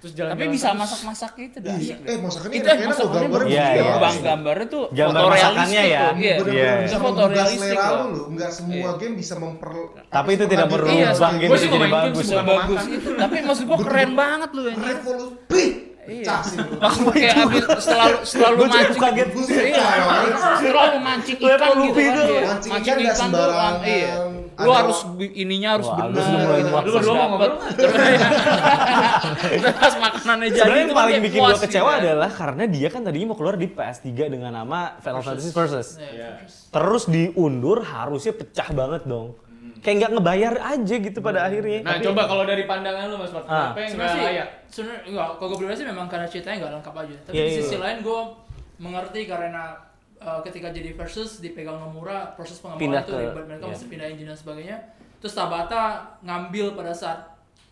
Terus jalan Tapi bisa masak-masak itu dah. Iya. Eh, masakannya Itu enak-enak loh, masakannya gambarnya bagus. Iya, bagus iya. banget. Bang gambarnya tuh Gambar masakannya ya. tuh, Iya. Iya. bener-bener bisa Itu menggugah fotorealistik selera loh. lu lu nggak Iya. semua game bisa memper Tapi itu tidak Iya, merubah game gua itu sih jadi mau main game bagus. sih, ya. bukan mau Bagus makan. itu. Tapi maksud gua Oh, Iya. keren banget lu anjir. revolusi pecah sih menurut gua. Kayak habis selalu selalu Gua cukup mancing. kaget. Gua sih, Iya. ya, orang. Selalu mancing Kelihatan ikan gitu Luffy kan. itu. iya. Mancing ikan nggak tuh, sembarangan. ah, Iya. Lu Ada- harus bi- ininya harus Wah, benar. lu semua mulai gitu. nuansa. Terus Lu berdua mau dapet. Terus makanannya jadi. Sebenarnya itu yang paling kayak bikin puas gue gitu kecewa kan. adalah karena dia kan tadinya mau keluar di PS3 dengan nama Final Fantasy Versus. Iya. Terus diundur harusnya pecah banget dong. Kayak nggak ngebayar aja gitu pada akhirnya. Nah, coba kalau dari pandangan lu Mas Martin, Ah. apa yang enggak sebenarnya sih layak? sebenarnya enggak kalau gue pribadi sih memang karena ceritanya nggak lengkap aja tapi Iya, di iya. sisi lain gue mengerti karena uh, ketika jadi versus dipegang Nomura proses Pindah pengembangan itu ke- ribet mereka iya. mesti pindah engine dan sebagainya terus Tabata ngambil pada saat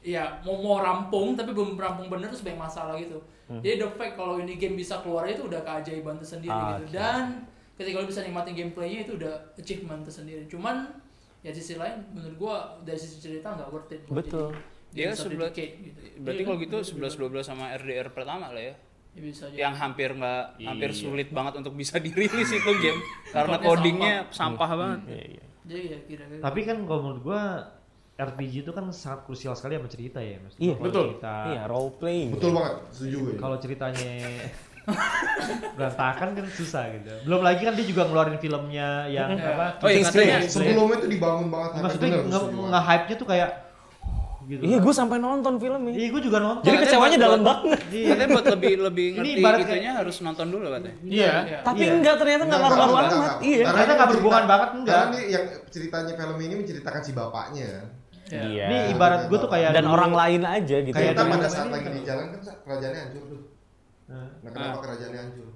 ya mau mau rampung tapi belum rampung bener terus banyak masalah gitu Hmm. jadi the fact kalau ini game bisa keluar itu udah keajaiban tersendiri Ah, gitu oke. dan ketika lo bisa nikmatin gameplaynya itu udah achievement tersendiri cuman ya di sisi lain menurut gua dari sisi cerita nggak worth it buat Betul. jadi- Dia kan bisa sebelas- dedicate gitu. Berarti Iya, kalau gitu iya, 11 12 sama RDR pertama lah ya. iya, bisa aja. Yang hampir nggak hampir Iya. sulit banget untuk bisa dirilis itu game karena Tempatnya codingnya sampah banget. Iya, iya. Jadi ya kira-kira. Tapi kan kalau menurut gua RPG itu kan sangat krusial sekali sama cerita ya, Mas. Iya, Kalau betul. Cerita, Iya, role playing. betul banget setuju gue Kalau ceritanya berantakan kan susah gitu. Belum lagi kan dia juga ngeluarin filmnya yang apa? Oh iya katanya sebelumnya tuh dibangun banget Maksudnya Iya, bener, setuju banget. nge-hype-nya tuh kayak gitu. Iya, gue sampai nonton filmnya. Iya, gua juga nonton. Jadi Soalnya kecewanya buat- dalam buat- banget. Iya. katanya buat lebih lebih Ini ngerti ibarat gitunya kayak- harus nonton dulu katanya. Iya. Tapi Iya. enggak ternyata enggak ngaruh-ngaruh enggak, amat. enggak. Iya. Ternyata nggak ini berhubungan cerita- banget, enggak. Karena nih yang ceritanya film ini menceritakan si bapaknya. Iya. Ini ibarat gua tuh kayak Dan dulu- orang lain aja gitu. Kayak Kayak kita dulu- pada saat lagi di jalan kan Sa, kerajaannya hancur tuh. Nah. Nah kenapa kerajaannya hancur?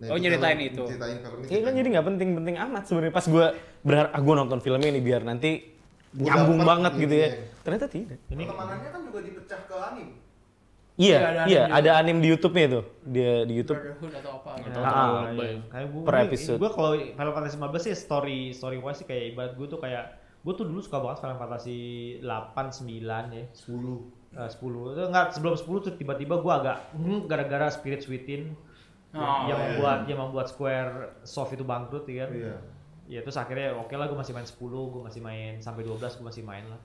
Nah, Oh, itu nyeritain film- itu. Ceritain film ini. Iya kan jadi nggak penting-penting amat sebenarnya. Pas gue berharap ah gue nonton filmnya ini biar nanti Gua nyambung dapet banget gitu gitu ya. ya. Ternyata tidak. Ah, Pertemanannya kan juga dipecah ke anime. Iya, Iya, ada iya anime ada anime di YouTube-nya tuh. Dia di YouTube. Brotherhood atau apa gitu. Atau Ah, terlalu iya. lebay. Kayak gue, Per episode. Gue kalau Final Fantasy 15 sih story story wise sih kayak ibarat gue tuh kayak gue tuh dulu suka banget Final Fantasy 8, 9 ya. Sepuluh. eh, 10 itu enggak sebelum 10 tuh tiba-tiba gue agak hmm, gara-gara Spirit Sweetin Oh, yang iya. membuat yang membuat Square Soft itu bangkrut ya kan. Iya. Ya terus akhirnya oke lah gue masih main 10, gue masih main sampai 12 gue masih main lah.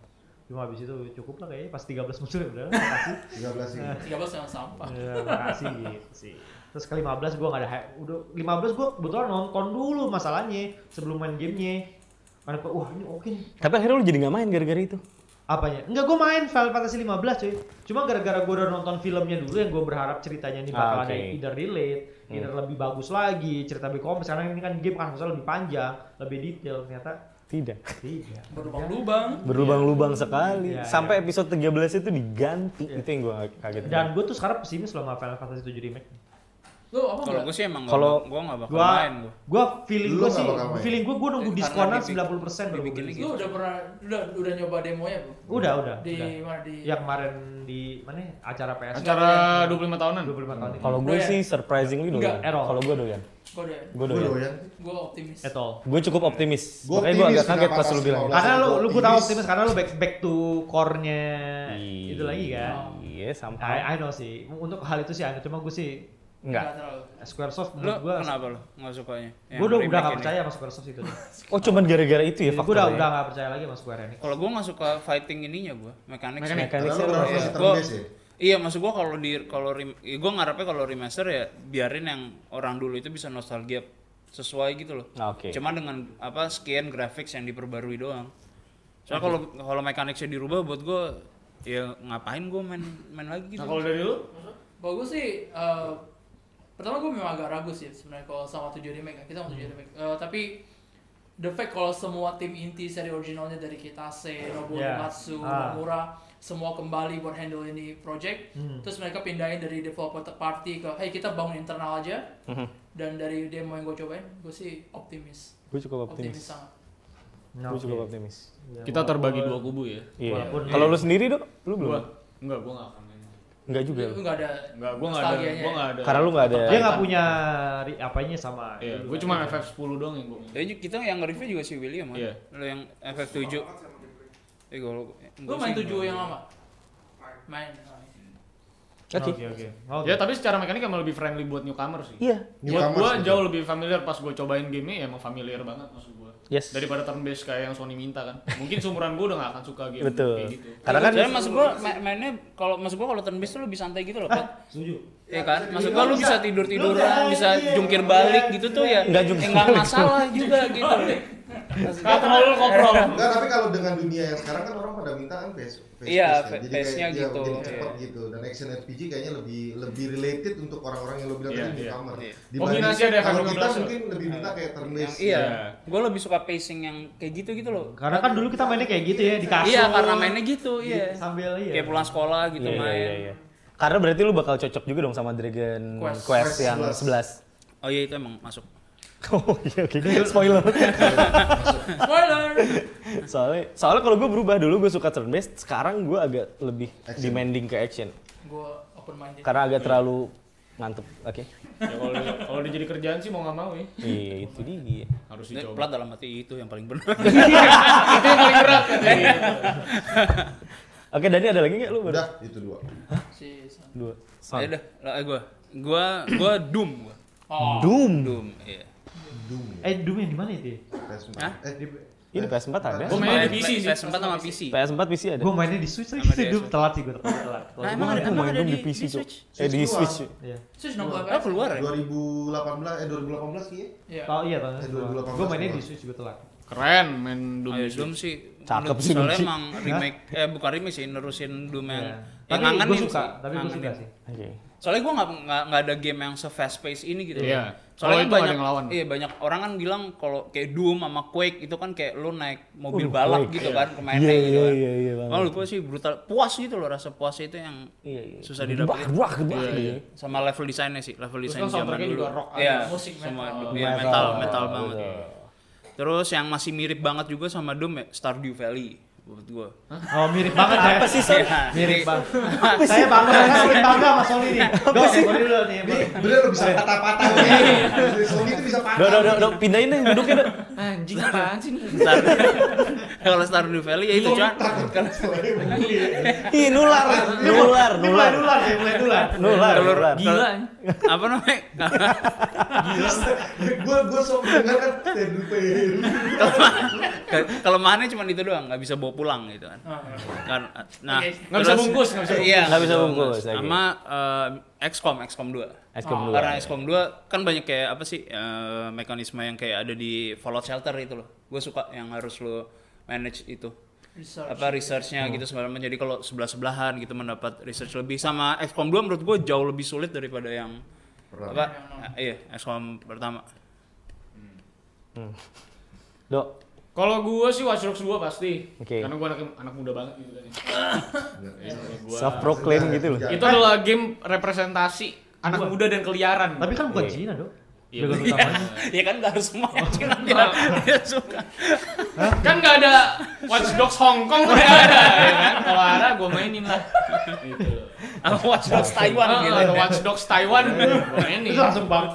Cuma habis itu cukup lah kayaknya pas 13 muncul ya udah makasih. Tiga belas ini. 13 yang sampah. Iya. Ya, makasih gitu sih. Terus ke 15 gue gak ada hype. Udah 15 gue kebetulan nonton dulu masalahnya sebelum main gamenya. Karena gua, wah ini oke nih. Tapi akhirnya lu jadi nggak main gara-gara itu. Apanya? Enggak gue main Final Fantasy 15 cuy. Cuma gara-gara gue udah nonton filmnya dulu yang gue berharap ceritanya ini Ah, oke. Hmm. bakal ada yang either relate, either lebih bagus lagi, cerita lebih kompleks. Karena ini kan game kan harusnya lebih panjang, lebih detail. Ternyata Tidak. Iya. tidak. Berlubang-lubang. Berlubang-lubang sekali. Iya, iya. Sampai episode 13 itu diganti. Itu yang gue kaget. Dan gue tuh sekarang pesimis loh sama Final Fantasy 7 Remake. Lu Kalau apa Oh, enggak? gue sih emang Kalau- gue nggak bakal Gua main gue. gua feeling Lu gua nggak sih, bakal main. feeling gua gua nunggu Karena diskonan dibikin- 90% baru dibikin beli. lagi. Lu udah pernah udah udah nyoba demonya, Bro? Udah, udah. Di udah. Ya. mana di Yang kemarin di mana ya? acara kan, PS Iya. Acara 25 tahunan. 25 tahun Kalau gue Doyan. sih surprisingly doyan. Enggak, Iya. at all. Kalau gue doyan. Gua udah. Gue Gue doyan. ya? doyan. Gua optimis. Etol. Gue cukup optimis. Gua Makanya gue optimis agak kaget kenapa pas lu pas bilang. lima Karena lu lu gua tahu Optimis. optimis karena lu back back to core-nya itu lagi kan. Iya, sampai. I, I know sih. Untuk hal itu sih I know. cuma gue sih Enggak. terlalu. Squaresoft Lu menurut gue kenapa lu nggak sukanya? Yang gue udah remake udah gak ini. percaya sama Squaresoft itu. Oh, cuman gara-gara itu ya Gue udah udah faktornya. gak percaya lagi sama Square Enix. Kalau gue nggak suka fighting ininya gue, mekanik. Mekanik. Mekanik. Karena lu Teknisnya kenapa lumayan. masih Gua- terbiasa ya? Iya, maksud gua kalau di kalau rem, gue ngarepnya kalau remaster ya biarin yang orang dulu itu bisa nostalgia sesuai gitu loh. Nah, Oke. Cuma dengan apa scan graphics yang diperbarui doang. Soalnya kalau kalau mekaniknya dirubah buat gue ya ngapain gue main main lagi gitu. Nah kalau dari lu? Kalau gue sih eh, pertama gue memang agak ragu sih sebenarnya kalau sama tujuh remake ya. kita sama Hmm. tujuh remake. Eh, tapi the fact kalau semua tim inti seri originalnya dari Kitase, Nobuo Hmm. Yeah. Uematsu, Ah. Nomura semua kembali buat handle ini project. Hmm. Terus mereka pindahin dari developer third party ke hey kita bangun internal aja. Dan dari demo yang gue cobain, gue sih optimis. Gue cukup Optimis, optimis. sangat. Nah, Gue oke. cukup optimis. Ya, Kita walaupun- terbagi dua kubu ya. Iya. Walaupun- Kalau lu sendiri dok, lu belum? Gua enggak, gua enggak akan main. Enggak juga. Itu lu. nggak ada. Enggak, gua enggak ada. nostalgianya Gua ya. enggak ada. Karena lu nggak ada. Dia nggak punya ri- apanya sama. Iya, itu gua kan. cuma FF10 doang yang gua Iya. main. Ya, kita yang nge-review juga si William kan. Iya. Lo yang FF7. Eh gue Lu main tujuh yang lama? Main. Oh, iya. Oke. Oke oke. Oke. Ya tapi secara mekanik emang lebih friendly buat newcomer sih. Iya. Buat Newcomers gua gitu. jauh lebih familiar pas gua cobain game ya emang familiar banget maksud gua. Yes. Daripada turn based kayak yang Sony minta kan. Mungkin seumuran gua udah gak akan suka game Betul. kayak gitu. Karena kan Soalnya maksud gue mainnya kalau maksud gue kalau turn based tuh lebih santai gitu loh. Pat. Setuju. Iya kan? Maksud gua lu bisa tidur-tiduran, Lu bisa jangan, jungkir iya. balik gitu tuh ya. Nggak jungkir eh, nggak masalah juga gitu. Kaprol koprol. Enggak, tapi kalau dengan dunia yang sekarang kan orang pada minta kan PS, PS Iya, kan. Jadi PS-nya kayak dia gitu, makin cepet iya. gitu. Dan action RPG kayaknya lebih lebih related untuk orang-orang yang lo bilang Iya, tadi iya. newcomer. Iya. Dibanding Kombinasi ada kalau FF15 kita loh. mungkin lebih minta kayak turn Yang, based. iya. Iya. Gue lebih suka pacing yang kayak gitu gitu loh. Karena kan dulu kita mainnya kayak gitu ya di kasur. Iya, karena mainnya gitu, di- iya. Sambil iya. Kayak pulang sekolah gitu Iya, main. iya, iya. Karena berarti lu bakal cocok juga dong sama Dragon Quest. Quest, yang 11. Oh iya itu emang masuk. Oh iya oke. Spoiler. Spoiler. soalnya soalnya kalau gue berubah dulu gue suka turn based, sekarang gue agak lebih demanding ke action. gue open minded. Karena agak terlalu mantep. Oke. Ya kalau di- kalau dia jadi kerjaan sih mau nggak mau ya Iya, itu dia. harus Dan dicoba. Plat dalam hati itu yang paling benar. Itu yang paling berat kan. Oke, Dani ada lagi nggak lu? baru? Udah, itu dua. Si Son. Dua. Son. Ya udah, lah gue. Gue gue doom gue. Oh. Doom. Doom, iya. Doom. Eh Doom yang di mana itu? ya? PS4. Hah? Eh, Di- Ini PS4 ada. Gua mainnya Main di PC sih. PS4 sama PC. PS4 PC ada. Gue mainnya di Switch lagi Sama sih DS. Doom telat sih gue telat telat. Telat. Nah, Gua emang nggak ada, main emang ada Doom di, di PC di tuh. Switch. Eh di Switch Switch. doang. Iya. Switch nomor Oh berapa? keluar ya? 2018 eh 2018 sih ya? Iya. Tahu iya tahu. Eh, 2018 Gue mainnya di gua. Switch gue telat. Keren main Doom. Ayo di Doom Switch. sih. Cakep menurut- sih Doom Soalnya sih. emang remake eh bukan remake sih nerusin Doom yang Iya. yang Tapi gue ngangenin suka, sih, tapi gue suka ngangenin. sih. Oke. Soalnya gue nggak nggak nggak ada game yang se fast pace ini gitu. loh. Iya. Soalnya kan Kalau itu nggak ada banyak yang ngelawan. Iya banyak orang kan bilang kalau kayak Doom sama Quake itu kan kayak lo naik mobil balap Quake, gitu iya. kan kemana Iya, gitu iya, kan. iya, iya, banget. Kalau gue sih brutal puas gitu loh rasa puasnya itu yang Iya, iya. susah Wah, didapat wah, wah. Iya, iya. sama level desainnya sih level Terus desain kan zaman soundtracknya dulu. juga rock Iya, aja. Musik semua metal. iya, Metal, metal, metal banget. betul. Terus yang masih mirip banget juga sama Doom ya Stardew Valley buat gue. Oh mirip banget ya. Apa sih, Son? Iya. Mirip banget. Saya bangga, saya paling bangga sama Sony nih. Dok, sorry dulu nih. Bang. Ini bener lo bisa patah-patah ya. Sony itu bisa patah. Dok, dok, dok, dok, pindahin deh duduknya, Dok. Anjing apaan sih? Star kalau Stardew Valley ya itu Iya. cuman Ih, nular, nular, Ini mulai nular. dulan ya, mulai dulan. Nular, Telur nular. Gila. apa namanya Gue gue sok dengar kan TDP. Ke- kelemahannya cuma itu doang nggak bisa bawa pulang gitu kan Kan- nah Oke. Nggak bisa terus- bungkus, nggak bisa bungkus. iya Nggak bisa bungkus, oke. sama eh, XCOM XCOM 2 Eskom dulu. Ah, Karena XCOM 2 kan banyak kayak apa sih eh, mekanisme yang kayak ada di Fallout Shelter itu loh. Gue suka yang harus lo manage itu. Research. Apa researchnya Hmm. gitu segala macam. Jadi kalau sebelah sebelahan gitu mendapat research lebih sama XCOM 2 menurut gue jauh lebih sulit daripada yang apa? eh, iya XCOM pertama. Dok, Kalau gua sih Watch Dogs 2 pasti. Oke. Karena gua anak, anak muda banget gitu kan. ya. Gua- Iya, self proclaim gitu loh. Itu adalah game representasi anak muda dan keliaran. Tapi kan bukan Iya. Cina, Dok. Iya, Dragon bener. utamanya. ya kan nggak harus main kan dia, dia suka kan nggak ada Watch Dogs Hong Kong nggak ada ya kan kalau ada gue mainin lah gitu sama Watch Dogs Taiwan Ah, gitu ada Watch Dogs Taiwan gue mainin Itu langsung bang.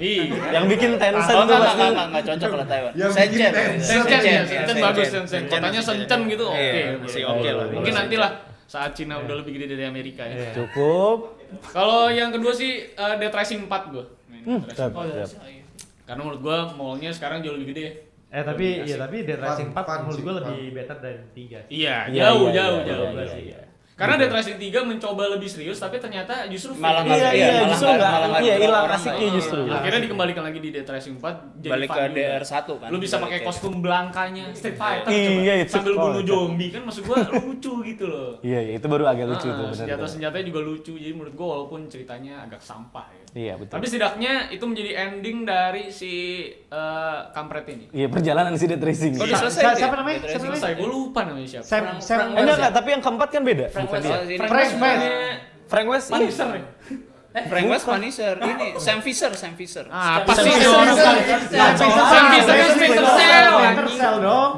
iya Yang bikin Tencent tuh Oh, enggak, enggak, pasti. enggak, enggak, enggak cocok kalau Taiwan. Yang bikin Shenzhen. Tencent. Shenzhen ya, iya, Shenzhen bagus Shenzhen. Shenzhen, Kotanya Shenzhen gitu oke. Iya, boleh. masih oke Iya. lah. Mungkin nantilah saat Cina udah lebih gede dari Amerika ya. Cukup. Kalau yang kedua sih eh, Dead Rising 4 gue. Hmm, siap, Oh, ya, siap. iya. Karena menurut gue mallnya sekarang jauh lebih gede. Eh tapi ya tapi Dead Rising 4 Fun menurut sih, gue fun. lebih better dari 3. Iya, Iya, jauh, iya, jauh, iya, jauh. iya, iya, iya. Karena Dead Rising 3 mencoba lebih serius tapi ternyata justru Malah nggak- fake. Iya, iya, iya, malah justru nggak- enggak. malah nggak Iya, dulu hilang orang asiknya nggak- justru. Akhirnya dikembalikan lagi di Dead Rising 4 jadi Balik fun ke juga. DR1 kan. Lu bisa balik pakai ke- kostum belangkanya Street Fighter Iya, coba. it's sambil fun. bunuh zombie kan maksud gua lucu gitu loh. Iya, iya, itu baru agak lucu Ah, tuh benar. Senjata-senjatanya juga lucu jadi menurut gua walaupun ceritanya agak sampah ya. Iya, betul. Tapi setidaknya itu menjadi ending dari si eh, kampret ini. Iya, perjalanan si Dead Racing. Oh, udah Eh, selesai. Siapa- itu siapa ya? namanya? Dead Siapa Rising. Selesai, gue lupa namanya siapa. Sam Frank- Sam Frank Enggak, West. enggak, tapi yang keempat kan beda. Frank Bukan dia. West. Oh, sini. Frank West. Namanya Frank West. iya. Punisher ya? Frank West Punisher. Ini Sam Fisher, Sam Fisher. Ah, apa sih Sam dia Fisher. orang? Sam Sam Fisher kan Splinter Cell, Splinter anjing. Cell dong.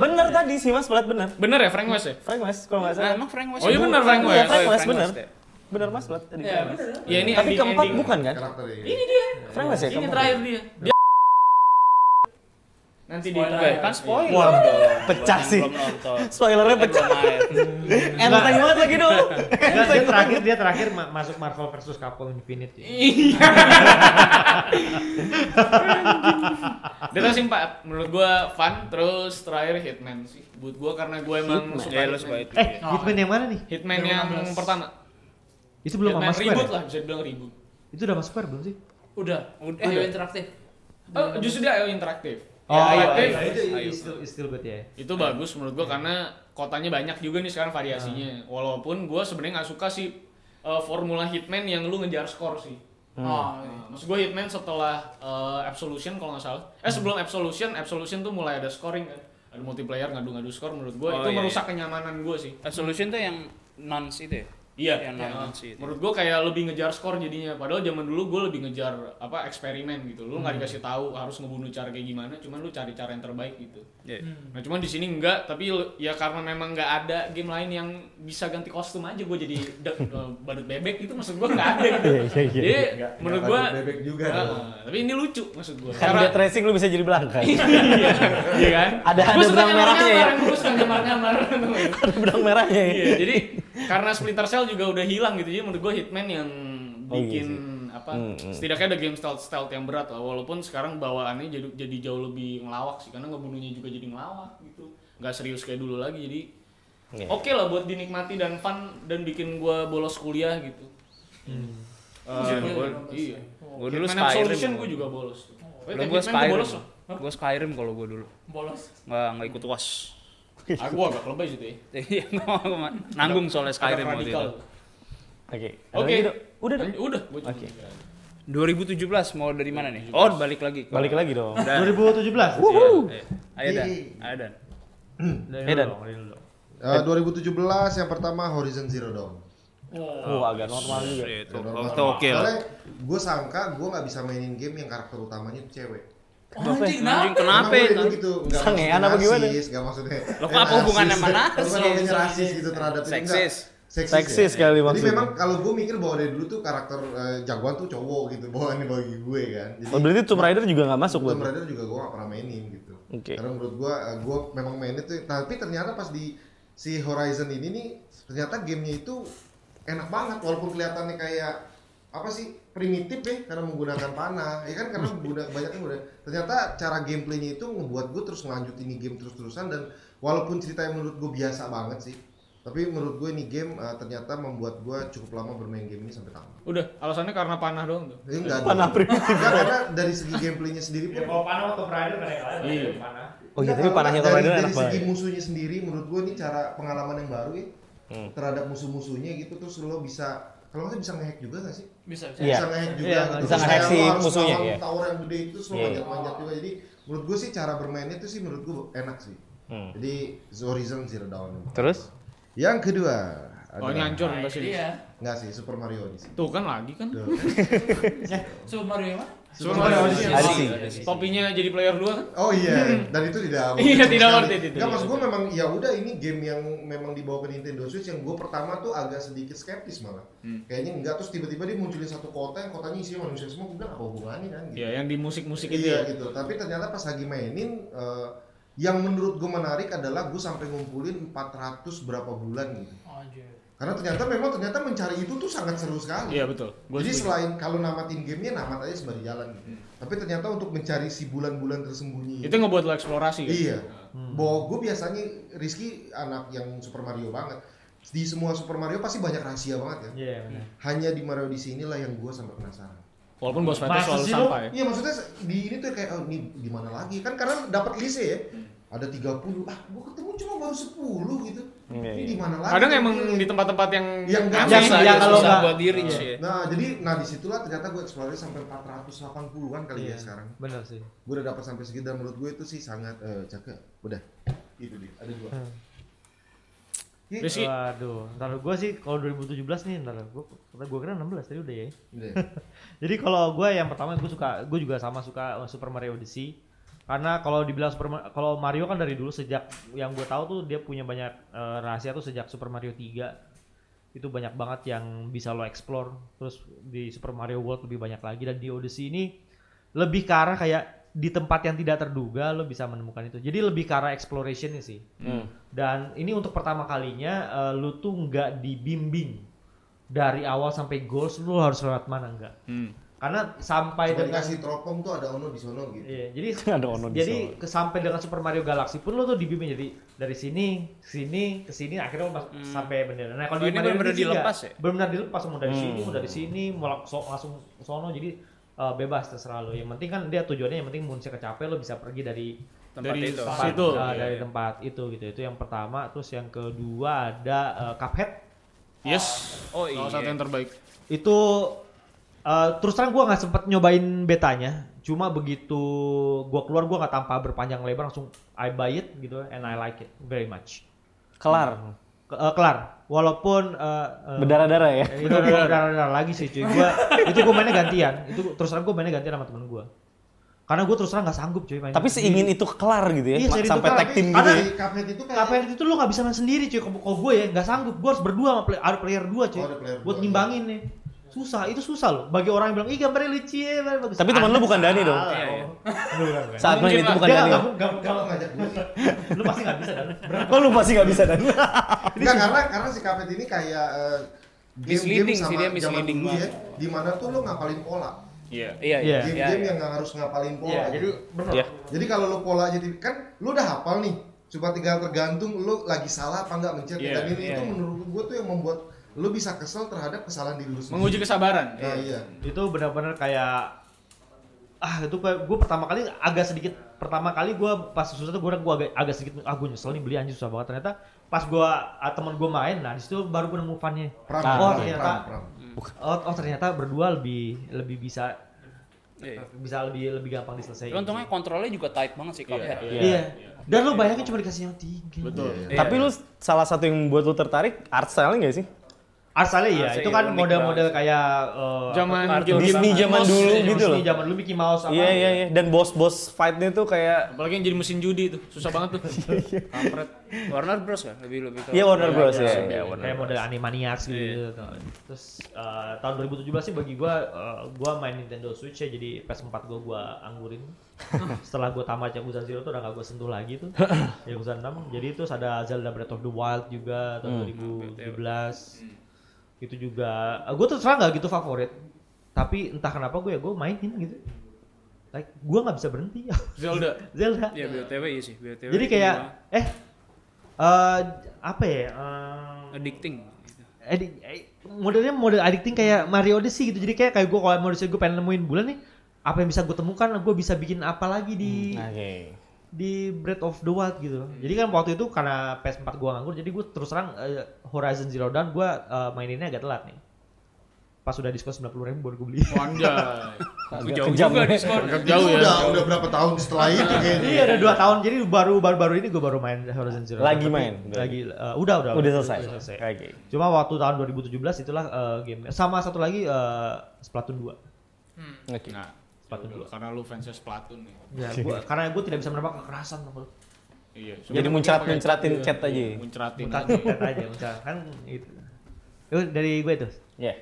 Bener tadi sih Mas, pelat bener. Bener ya Frank West ya? Frank West kalau nggak Ah, salah. emang Frank West. Oh, iya ya? benar, Frank Iya, West. Frank Oh, iya, West bener. ya. Bener Mas, pelat tadi. Iya, Frank West. bener. Ya ini Tapi ending- keempat ending. bukan kan? Karakter ini. Iya. Ini dia. Frank West ya Ini keempat. terakhir dia. Dia nanti di Spoiler. Oke, kan spoiler. Wah, dong. pecah Belum- sih. Belum nonton. Spoilernya Eh, pecah. belum main. Enteng banget lagi dong. Dia dia terakhir dia terakhir ma- masuk Marvel versus Capcom Infinite. ya. Iya. Dead Rising 4 menurut gua fun terus terakhir Hitman sih. Buat gua karena gua emang Hitman. suka Ya, lu suka Hitman. itu. Eh, ya. Hitman yang mana nih? Hitman yang 2016. pertama. Itu belum sama Hitman Square. reboot ya? lah bisa dibilang reboot. Itu udah masuk Square belum sih? Udah. Udah. Eh, interaktif. Oh, justru dia ayo interaktif. Oh, Ya, iya, iya, Interaktif itu Ayo. it's still, it's still good ya. itu bagus menurut gua karena kotanya banyak juga nih sekarang variasinya. Walaupun gua sebenarnya nggak suka sih eh, formula Hitman yang lu ngejar skor sih. Hmm. Oh, iya. Nah, Maksud gue Hitman setelah eh, Absolution kalau nggak salah. Eh sebelum Absolution, Absolution tuh mulai ada scoring kan. Ada multiplayer ngadu-ngadu skor menurut gue Oh, itu iya, merusak kenyamanan gue sih. Absolution tuh yang nuns itu ya? Yang Iya. nuns itu. Menurut gue kayak lebih ngejar skor jadinya. Padahal zaman dulu gue lebih ngejar apa eksperimen gitu. Lu nggak dikasih tahu harus ngebunuh cara kayak gimana, cuman lu cari cara yang terbaik gitu. Iya. Nah cuman di sini enggak, tapi l- ya karena memang nggak ada game lain yang bisa ganti kostum aja gue jadi de- de- badut bebek gitu maksud gue nggak ada gitu. Iya, iya, iya. Jadi Nggak- menurut nggak gue takut bebek juga Ah. dong. tapi ini lucu maksud gue. Kan Dead Racing lu bisa jadi belangka. Iya kan? Ada- Gua ada suka benang merahnya nyamar-nyamar, ya? emang Gua suka nyamar-nyamar. Benang merahnya ya. Iya, jadi karena Splinter Cell juga udah hilang gitu. Jadi menurut gua Hitman yang Oh, iya bikin sih. apa Hmm, hmm. setidaknya ada game stealth stealth yang berat lah walaupun sekarang bawaannya jadi jadi jauh lebih ngelawak sih karena ngebunuhnya juga jadi ngelawak gitu nggak serius kayak dulu lagi jadi Iya. oke lah buat dinikmati dan fun dan bikin gua bolos kuliah gitu Eh, Iya, gua- bolos. iya Gua dulu Hitman Skyrim. Absolution gua juga bolos Lu Wait, gua Hitman gua Skyrim. bolos loh Gua Skyrim kalau gua dulu. Bolos. Nggak nggak ikut was. ah gua agak lebay sih tuh ya Iya, nggak mau, nggak mau. nanggung soalnya Agak Skyrim waktu radikal itu. Oke. ada Oke. lagi, Dok? Udah dong. Lanjut, Udah, gua cuma Oke. tiga. 2017 mau dari mana nih? Oh, balik lagi. Balik lagi dong. Udah. 2017. Iya. Ayo dan, Yeay. ayo dan. Dari Edan. dulu dong, dari dulu dong. Eh, 2017 yang pertama Horizon Zero Dawn. Oh, agak normal juga. Iya, Itu Yang oh, normal. itu oke lah. Soalnya gue sangka gue nggak bisa mainin game yang karakter utamanya itu cewek. Oh, anjing, Anjing kenapa? kenapa? Emang gua Tan? itu gitu, nggak Sangean maksudnya apa gimana? rasis, nggak maksudnya. Loh, kok apa hubungannya sama Bukan rasis? namanya rasis gitu terhadap itu, enggak. Seksis. Seksis, Seksis ya? kali Jadi maksudnya. memang kalau gue mikir bahwa dari dulu tuh karakter eh, jagoan tuh cowok gitu, bawaannya bagi gue kan. Jadi Oh, berarti Tomb Raider juga nggak masuk buat. Tomb lu? Raider juga gue gak pernah mainin gitu. Oke. Karena menurut gue, gue memang mainnya tuh, tapi ternyata pas di si Horizon ini nih, ternyata gamenya itu enak banget walaupun kelihatannya kayak apa sih primitif ya karena menggunakan panah ya kan karena menggunakan banyak yang udah ternyata cara gameplaynya itu ngebuat gue terus ngelanjutin ini game terus-terusan dan walaupun ceritanya menurut gue biasa banget sih tapi menurut gue ini game eh, ternyata membuat gue cukup lama bermain game ini sampai tamat Udah, alasannya karena panah doang tuh. Ini enggak ada. Panah primitif. Enggak, karena dari segi gameplaynya sendiri pun kalau panah atau rider kan kalah. Iya. panah. Oh iya, tapi Enggak, Nah, kalau panahnya dari- Tomb Raider dari enak segi banget. musuhnya sendiri menurut gue ini cara pengalaman yang baru ya Hmm. terhadap musuh-musuhnya gitu terus lo bisa kalau nggak bisa ngehack juga nggak sih Bisa, bisa. Iya. bisa ngehack juga Iya, gitu. bisa Terus ngehack kayak si lo harus musuhnya, lawan iya. tower yang gede itu terus lo Iya, iya. manjat-manjat juga jadi menurut gue sih cara bermainnya itu sih menurut gue enak sih Hmm. jadi Horizon Zero Dawn Terus? yang kedua Oh ini hancur Nah, ntar sini. jadi ya. Enggak sih, Super Mario Odyssey. Tuh kan lagi kan. Tuh. Super Mario mah? Super Mario Odyssey. Ada sih. Topinya jadi player 2 kan? Oh iya, dan itu tidak Iya, tidak worth it itu. Enggak maksud gue memang ya udah ini game yang memang dibawa ke Nintendo Switch yang gue pertama tuh agak sedikit skeptis malah. Hmm. Kayaknya enggak terus tiba-tiba dia munculin satu kota yang kotanya isinya manusia semua, gue bilang apa hubungannya kan gitu. Iya yang di musik-musik itu Iya ya. gitu. Tapi ternyata pas lagi mainin eh, yang menurut gue menarik adalah gue sampai ngumpulin 400 berapa bulan gitu. Anjir. Karena ternyata memang ternyata mencari itu tuh sangat seru sekali. Iya betul. Gua Jadi setuju. Hmm. selain kalau namatin gamenya namat aja sembari jalan gitu. Tapi ternyata untuk mencari si bulan-bulan tersembunyi itu ngebuat lo eksplorasi kan? Iya. Bahwa gue biasanya Rizky anak yang Super Mario banget. Di semua Super Mario pasti banyak rahasia banget ya. Iya, benar. Hanya di Mario di sini lah yang gue sampai penasaran. Walaupun boss fight Masa selalu sih lo? sampah ya. Iya maksudnya di ini tuh kayak oh, ini di mana lagi kan karena dapat lise ya. Hmm. Ada 30. Ah, gue ketemu cuma baru 10 gitu. Iya, iya. ini di mana lagi? Kadang emang Iya. di tempat-tempat yang Yang aneh gampang, lah, yang ya, kalau susah. nggak- Iya. buat diri sih. ya. Nah, jadi nah disitulah ternyata gue eksplorasi sampai 480-an kali ya Iya. sekarang. Benar sih. Gue udah dapat sampai segitu dan menurut gue itu sih sangat eh jaga. Udah. Itu dia. Ada dua. Iya, eh, Ih, Rizky, Waduh, ntar gue sih kalau 2017 nih, ntar gue gue kira 16 tadi udah ya. udah. Jadi kalau gue yang pertama gue suka, gue juga sama suka uh, Super Mario Odyssey. Karena kalau dibilang Super Ma- kalau Mario kan dari dulu sejak yang gue tahu tuh dia punya banyak uh, rahasia tuh sejak Super Mario 3 itu banyak banget yang bisa lo explore. Terus di Super Mario World lebih banyak lagi dan di Odyssey ini lebih ke arah kayak di tempat yang tidak terduga lo bisa menemukan itu. Jadi lebih ke arah exploration sih. Dan ini untuk pertama kalinya eh, lu tuh nggak dibimbing dari awal sampai goals lu harus lewat mana enggak. Hmm. Karena sampai Cuma dengan dikasih teropong tuh ada ono di sono gitu. Iya, jadi Ada ono di jadi ke- sampai dengan Super Mario Galaxy pun lu tuh dibimbing jadi dari sini, sini, ke sini akhirnya lu mas- sampai bendera. Nah, kalau Hmm. Oh, di ini Mario benar-benar Odyssey nggak. dilepas ya? Hmm. Benar-benar dilepas mau dari sini, mau dari sini, mau lang- so- langsung ke sono jadi eh, bebas terserah lo. Yang penting kan dia tujuannya yang penting munculnya kecapean lo bisa pergi dari Tempat Dari itu. tempat tempat situ. Ah, eh, Iya, dari iya. tempat itu gitu itu yang pertama terus yang kedua ada eh, Cuphead Yes. Oh iya. Salah satu yang terbaik. itu eh, terus terang gua nggak sempet nyobain betanya cuma begitu gua keluar gua nggak tanpa berpanjang lebar langsung I buy it gitu and I like it very much Kelar. Ke- eh, kelar walaupun eh, eh, Berdarah-darah ya. Eh, itu gue darah lagi sih cuy gua itu gue mainnya gantian itu gua- terus terang gue mainnya gantian sama temen gue karena gue terus terang nggak sanggup cuy main Tapi seingin itu kelar gitu ya. Iya, seingin itu sampai kelar, tag tapi team gitu. ada- ya. Di kafe itu kayak Kapan Nah, itu lu gak bisa main sendiri cuy, kalau gue ya gak sanggup, gue harus berdua sama play- ada player dua cuy Oh, ada player Buat dua, ngimbangin nih Susah, itu susah loh Bagi orang yang bilang, ih gambarnya lucu ya gambarnya bagus." Tapi teman lu Anda bukan Dani dong? salah. Iya, iya. Lu bukan, bukan. Saat main Mungkin itu lah. bukan Dia Dani. gak- gak- gak- kalau ngajak gue sih. Lu pasti gak bisa Dan Kok lu pasti nggak bisa Dani? Enggak karena karena si kafe ini kayak eh, game-game Misleading sih, dia zaman misleading dulu ya, banget. Di mana tuh lo ngapalin pola. Iya. Iya, iya. Iya. iya, Game-game iya. yang nggak harus ngapalin pola. Iya, jadi gitu. bener Iya. Jadi kalau lo pola jadi kan lo udah hafal nih. Cuma tinggal tergantung lo lagi salah apa nggak mencet. Iya, Dan ini iya. tuh menurut gue tuh yang membuat lo bisa kesel terhadap kesalahan diri lo sendiri. Menguji kesabaran. Nah, iya. Itu benar-benar kayak Ah itu gue pertama kali agak sedikit Pertama kali gue pas susah tuh gue gue agak, agak sedikit Ah gue nyesel nih beli anjir susah banget Ternyata pas gue, teman gue main, nah disitu baru gue nemu funnya Nah, Pram, Ah, pram, ternyata. pram, pram. Oh, oh ternyata berdua lebih lebih bisa Iya. bisa lebih lebih gampang Iya. diselesaikan. Tapi untungnya kontrolnya juga tight banget sih kalau Iya. iya. Dan lu bayangin cuma dikasih yang tiga. Betul. Iya, Tapi lu salah satu yang buat lu tertarik art style nggak sih? Asalnya iya, Asalnya itu iya, kan unik model-model banget. kayak eh, Zaman apa, Disney Disney zaman dulu Disney gitu loh. Zaman dulu Mickey Mouse apa? Iya iya iya. Dan bos-bos fightnya tuh kayak Apalagi yang jadi mesin judi tuh. Susah banget tuh. Kampret. Warner Bros kan lebih lebih. ke- Iya Warner Bros ya. Iya, Iya, Warner kayak Bros. model Animaniacs gitu. Iya. Terus eh, tahun 2017 sih bagi gua eh, gua main Nintendo Switch ya jadi PS4 gua gua anggurin. Setelah gua tamat Yakuza Zero tuh udah gak gua sentuh lagi tuh. Yakuza 6. Jadi terus ada Zelda Breath of the Wild juga Hmm. tahun 2017. Itu juga eh, gua terus terang gak gitu favorit. Tapi entah kenapa gue ya gua mainin gitu. Like gua nggak bisa berhenti Zelda. Zelda. Iya BOTW iya sih BOTW. Jadi itu kayak juga eh eh, apa ya? eh, addicting. Iya. gitu. Edi- eh, modelnya model addicting kayak Mario Odyssey gitu jadi kayak kayak gue kalau Mario Odyssey gue pengen nemuin bulan nih apa yang bisa gue temukan gue bisa bikin apa lagi di Oke. di Breath of the Wild gitu jadi kan waktu itu karena PS4 gue nganggur jadi gue terus terang eh, Horizon Zero Dawn gue eh, maininnya agak telat nih pas udah diskon 90 ribu baru gue beli Wanjay. Agak Jauh kejam juga ya. diskon. Jauh ya, udah, jauh. udah berapa tahun setelah itu kayaknya. Iya udah 2 tahun jadi baru baru baru ini gue baru main Horizon Zero. Dawn. Lagi Tapi main? Lagi eh, udah udah. Udah selesai. Oke. Cuma waktu tahun 2017 itulah eh, game sama satu lagi eh, Splatoon 2. Oke. Nah, Splatoon dulu, karena lu fansnya Splatoon nih. Ya, gua, karena gue tidak bisa menembak kekerasan tuh. Iya. Jadi muncrat-muncratin chat aja ya? Muncratin. Muntah aja. muntah aja muntah kan gitu. Itu dari gue tuh. Ya.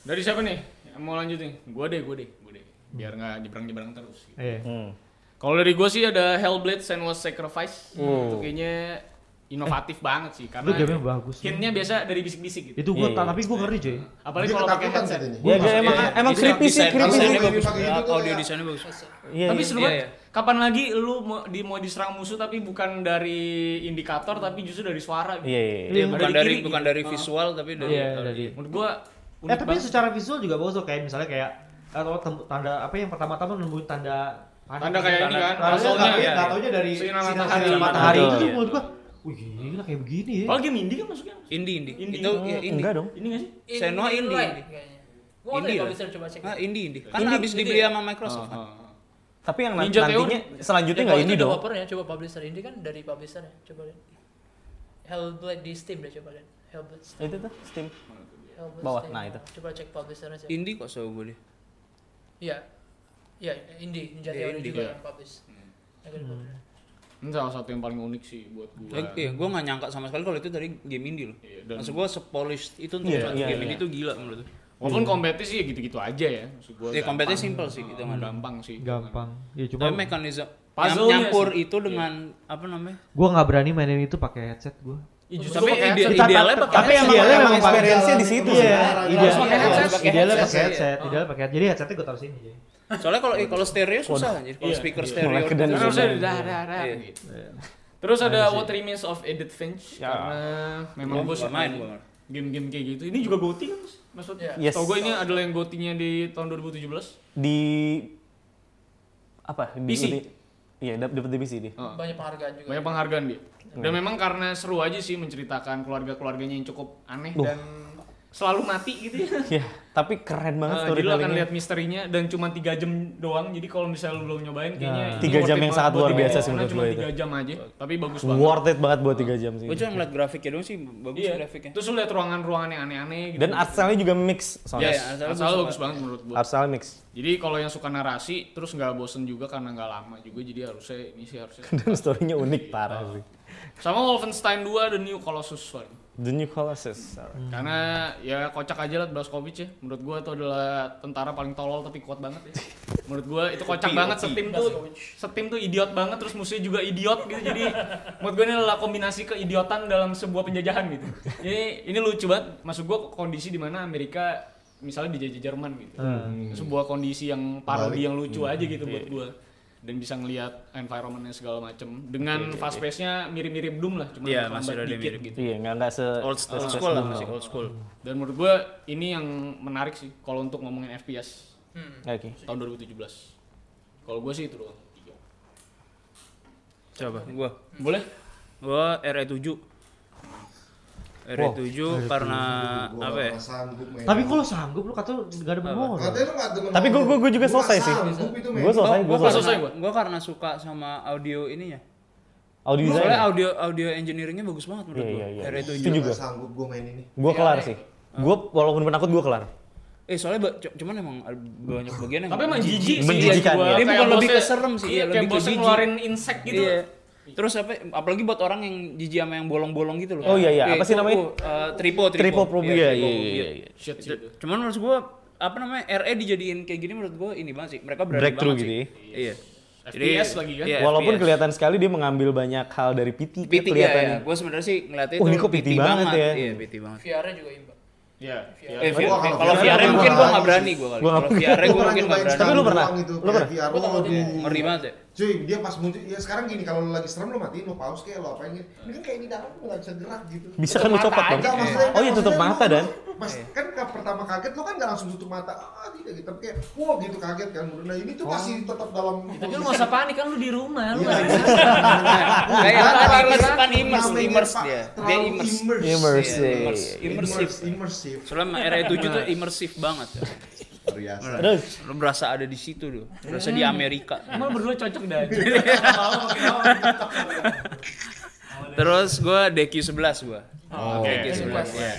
Dari siapa nih? Yang Mau lanjut nih? Gue deh, gue deh, gue deh. Biar nggak jebrang-jebrang terus. gitu. Iya. Hmm. Kalau dari gue sih ada Hellblade Senua's Sacrifice. Oh. Itu kayaknya inovatif banget sih Itu karena gamenya bagus. hintnya biasa dari bisik-bisik gitu. Itu Iya, gue iya. ta- tapi gue ngeri cuy. Apalagi Dia kalau pakai ketakutan headset. katanya. Ya, Iya, emang iya. emang Desain- creepy sih, desain- creepy desain- sih. Desainnya Kalau bagus. pakai itu tuh Audio ya. desainnya bagus. Iya, tapi iya. seru Iya, banget. iya. Kapan lagi lu mau, di, mau diserang musuh tapi bukan dari indikator tapi justru dari suara. gitu. Iya, iya, iya. Iya, bukan Dari dari kiri, bukan gitu. dari Ah. visual tapi dari Iya dari. Menurut gue Eh tapi secara visual juga bagus tuh kayak misalnya kayak atau tem- tanda apa yang pertama-tama nemuin tanda gitu, Tanda kayak ini kan, Tanda- puzzle-nya. tapi Iya, nggak iya. taunya dari Sinar sinar- matahari. sinar matahari itu Betul. tuh menurut gua wih gila kayak begini ya Oh, game indie kan masuknya? indie indie. Indie. Itu ya indie. Oh, Hmm, Enggak dong. Ini nggak sih? Senua indie. Light kayaknya. Gua nggak tahu Indie ya, kalau lah. bisa coba cek. Ah, indie indie. Kan Indie, habis indie dibeli ya? sama Ah, Microsoft. kan? Tapi yang Ninja Theory. nantinya selanjutnya Ya, nggak kalau ini itu dong. developernya, coba publisher indie kan dari publisher ya, coba lihat. Hellblade di Steam deh coba lihat. Hellblade. Steam. Itu tuh Steam. Hellblade Bawah, Steam. nah itu. Coba cek publishernya ah. sih. Indie kok setahu gue deh. Iya. Iya, indie, Ninja Iya, Theory indie, juga iya. yang publish. Yang kedua. Ini salah satu yang paling unik sih buat gue. Eh, Iya, gue nggak nyangka sama sekali kalau itu dari game indie loh. Iya, dan- Maksud gue sepolished itu untuk Iya, satu iya, game iya. indie itu gila menurut gue. Walaupun combatnya sih ya gitu-gitu aja ya. Maksud gua Iya, Ya, combatnya gampang. simple sih, gitu kan. Gampang sih. gampang ya cuma Tapi mekanisme Puzzle-nya nyampur sih. itu dengan apa namanya? gua nggak berani mainin itu pakai headset gua Ih, justru Tapi pakai ide, headset. idealnya pakai Tapi emang Idealnya Iya, emang memang pakai experience-nya di jalan situ terus. sih. Iya. ideal pakai headset. Pakai idealnya pakai headset, headset idealnya pakai headset jadi headsetnya gua taruh sini jadi. Iya. Soalnya kalau eh, kalau stereo susah anjir. Kalau speaker stereo. Mulai kedengeran. Karena Iya. harusnya dah dah dah Iya. gitu. Terus ada What Remains of Edith Finch Ya. karena memang Gua gue nggak suka main, main gua nggak game-game kayak gitu. Ini juga goti kan Mas? maksudnya? Iya. Yes. Tau gue ini adalah yang gotinya di tahun 2017. Di apa? Di PC. di- Iya, dap- dapat di PC dia. Heeh. Banyak penghargaan juga. Banyak penghargaan dia. Iya. Dan memang karena seru aja sih menceritakan keluarga-keluarganya yang cukup aneh dan selalu mati gitu ya. Iya, tapi keren banget Eh, jadi lo akan storytellingnya. lihat misterinya dan cuma 3 jam doang. Jadi kalau misalnya lo belum nyobain kayaknya Nah. ini Tiga worth jam it yang banget sangat buat luar dibawa. biasa sih Karena menurut cuma gue itu. 3 jam aja, tapi bagus banget. Worth it banget buat 3 jam sih. Gue cuma ngeliat grafiknya doang sih bagus Iya. grafiknya. Terus lu lihat ruangan-ruangan yang aneh-aneh gitu. Dan art style-nya juga mix soalnya. Yes, Iya, art art style style bagus banget menurut gua. Art style mix. Jadi kalau yang suka narasi terus nggak bosen juga karena nggak lama juga jadi harusnya ini sih harusnya. Dan story-nya unik parah sih. Sama Wolfenstein 2 The New Colossus sorry. The New Colossus. Karena ya kocak aja lah Blazkowicz ya. Menurut gua itu adalah tentara paling tolol tapi kuat banget ya. Menurut gua itu kocak banget setim tuh setim tuh idiot banget terus musuhnya juga idiot gitu. Jadi menurut gua ini adalah kombinasi keidiotan dalam sebuah penjajahan gitu. Ini ini lucu banget. Maksud gua kondisi di mana Amerika misalnya dijajah Jerman gitu. Sebuah kondisi yang parodi yang lucu aja gitu buat gua dan bisa ngelihat environmentnya segala macem dengan fast pace-nya mirip-mirip Doom lah cuma Iya, combat masih rada dikit mirip. gitu. Iya, nggak nggak se Old, old school lah masih old school. Dan menurut gue ini yang menarik sih kalau untuk ngomongin FPS Hmm. Oke. tahun 2017. Kalau gue sih itu doang. tiga. Coba gua. Boleh? Gua E RE7. RE7 E karena Gua apa ya? nggak sanggup main. tapi kalau sanggup lu kata nggak ada memori Katanya lu nggak demen Tapi gua- horror. gua- gua juga nggak selesai sih. sanggup itu, men. Gue selesai, gue Gua- selesai. selesai gua. karena, gua karena suka sama audio ininya. Audio design. ya? Soalnya audio audio engineeringnya bagus banget menurut Iya, gua. E iya, iya. RE7. Setuju Nggak gue. sanggup gua main ini. Gue kelar Iya, sih. Gue Ah. walaupun penakut gue kelar. Eh soalnya ba- c- cuman emang ada banyak bagian yang Tapi emang jijik sih. Menjijikan gua. ya. Ini Kayak bukan lebih bosnya- ke serem sih, Iya, ya, kayak lebih ke bosnya jijik. ngeluarin insect gitu. Iya. Terus apa apalagi buat orang yang jijik sama yang bolong-bolong gitu Oh, loh. iya, iya. Apa itu, sih namanya? oh, eh, tripo, tripo. Tripophobia, Iya, iya, iya, tripophobia. iya, iya. Shit gitu. sih. itu. Cuman menurut gua apa namanya RE dijadiin kayak gini menurut gua ini banget sih. Mereka berani Breakthrough banget gitu sih. ya. Iya. FPS lagi kan? Iya, Walaupun FPS. kelihatan sekali dia mengambil banyak hal dari PT, PT ya, kelihatan. ya. Gue sebenarnya sih ngeliatnya Oh, itu ini kok PT banget ya. Iya, PT banget. VR-nya juga imba. Iya. Eh, iya. VR, kalau kalau VR VR gua mungkin gue nggak nggak berani berani gue kali. Gua Kalau VR Gua gue pernah mungkin nggak nyobain berani. Tapi lu sekali pernah? doang itu, Lu kayak pernah? VR, Gua takut waduh. Ngeri banget ya. Cuy, dia pas muncul, ya sekarang gini, kalau lu lagi serem lu matiin, lu pause kayak lu apain gitu. Ini kan kayak di dalam lu nggak bisa gerak gitu. Bisa kan lu copot dong? Enggak, maksudnya, Oh iya maksudnya tutup lu- mata dan. Mas, kan ke pertama kaget lo kan nggak langsung tutup mata. Ah, tidak gitu. Tapi kayak wow gitu kaget kan. Nah, ini tuh masih tetap dalam Tapi lu nggak usah panik kan lu di rumah Iya. lu. nggak bisa. Nah, Kayak apa? tapi Immerse kan kan immerse, namanya, immerse Pak, dia. Dia terlalu immerse. immerse. Immerse. Iya, immerse. Immerse, Immersive. immersive. Iya. Soalnya RE7 tuh immersif banget. ya. biasa. Terus Lu berasa ada di situ lu. Berasa di Amerika. Emang berdua cocok dah. Terus gue DQ11 gue. Oh, Oke, DQ11. request. iya.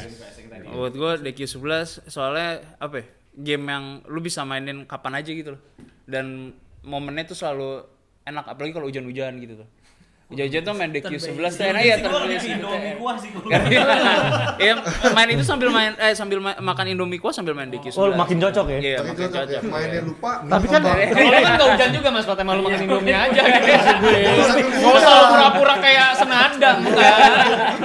Buat gue DQ11 soalnya apa ya? Game yang lu bisa mainin kapan aja gitu loh. Dan momennya tuh selalu enak apalagi kalau hujan-hujan gitu tuh. Hujan-hujan tuh main DQ11 tuh enak ya terus Indomie kuah sih kalau Iya, main itu sambil main eh sambil ma- makan Indomie kuah sambil main DQ11. oh makin cocok ya. Iya, Tapi cocok makin ya. cocok. Iya. Mainnya lupa. Iya. Tapi kan- Iya. Kalau lu kan nggak hujan juga Mas Fatema lu makan Indomie aja gitu. Iya. Iya. Nggak Enggak usah lu Iya. pura-pura kayak senandang Iya. kan.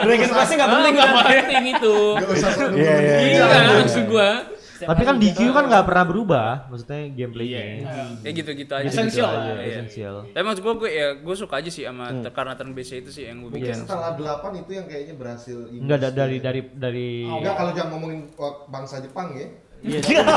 Dragon Quest nggak Penting penting nggak penting itu. Enggak usah selalu Iya, iya, menunggu. iya. Iya maksud gua. Tapi kan DQ kan nggak pernah berubah, maksudnya gameplaynya. Ya gitu-gitu aja. Esensial aja, Iya. esensial. Tapi maksud gue, gue ya gue suka aja sih sama Hmm. ter- karena turn base itu sih yang gue Mungkin bikin. Iya. setelah delapan itu yang kayaknya berhasil. Enggak da- dari dari dari Enggak kalau jangan ngomongin uh, bangsa Jepang ya. Keseluruhan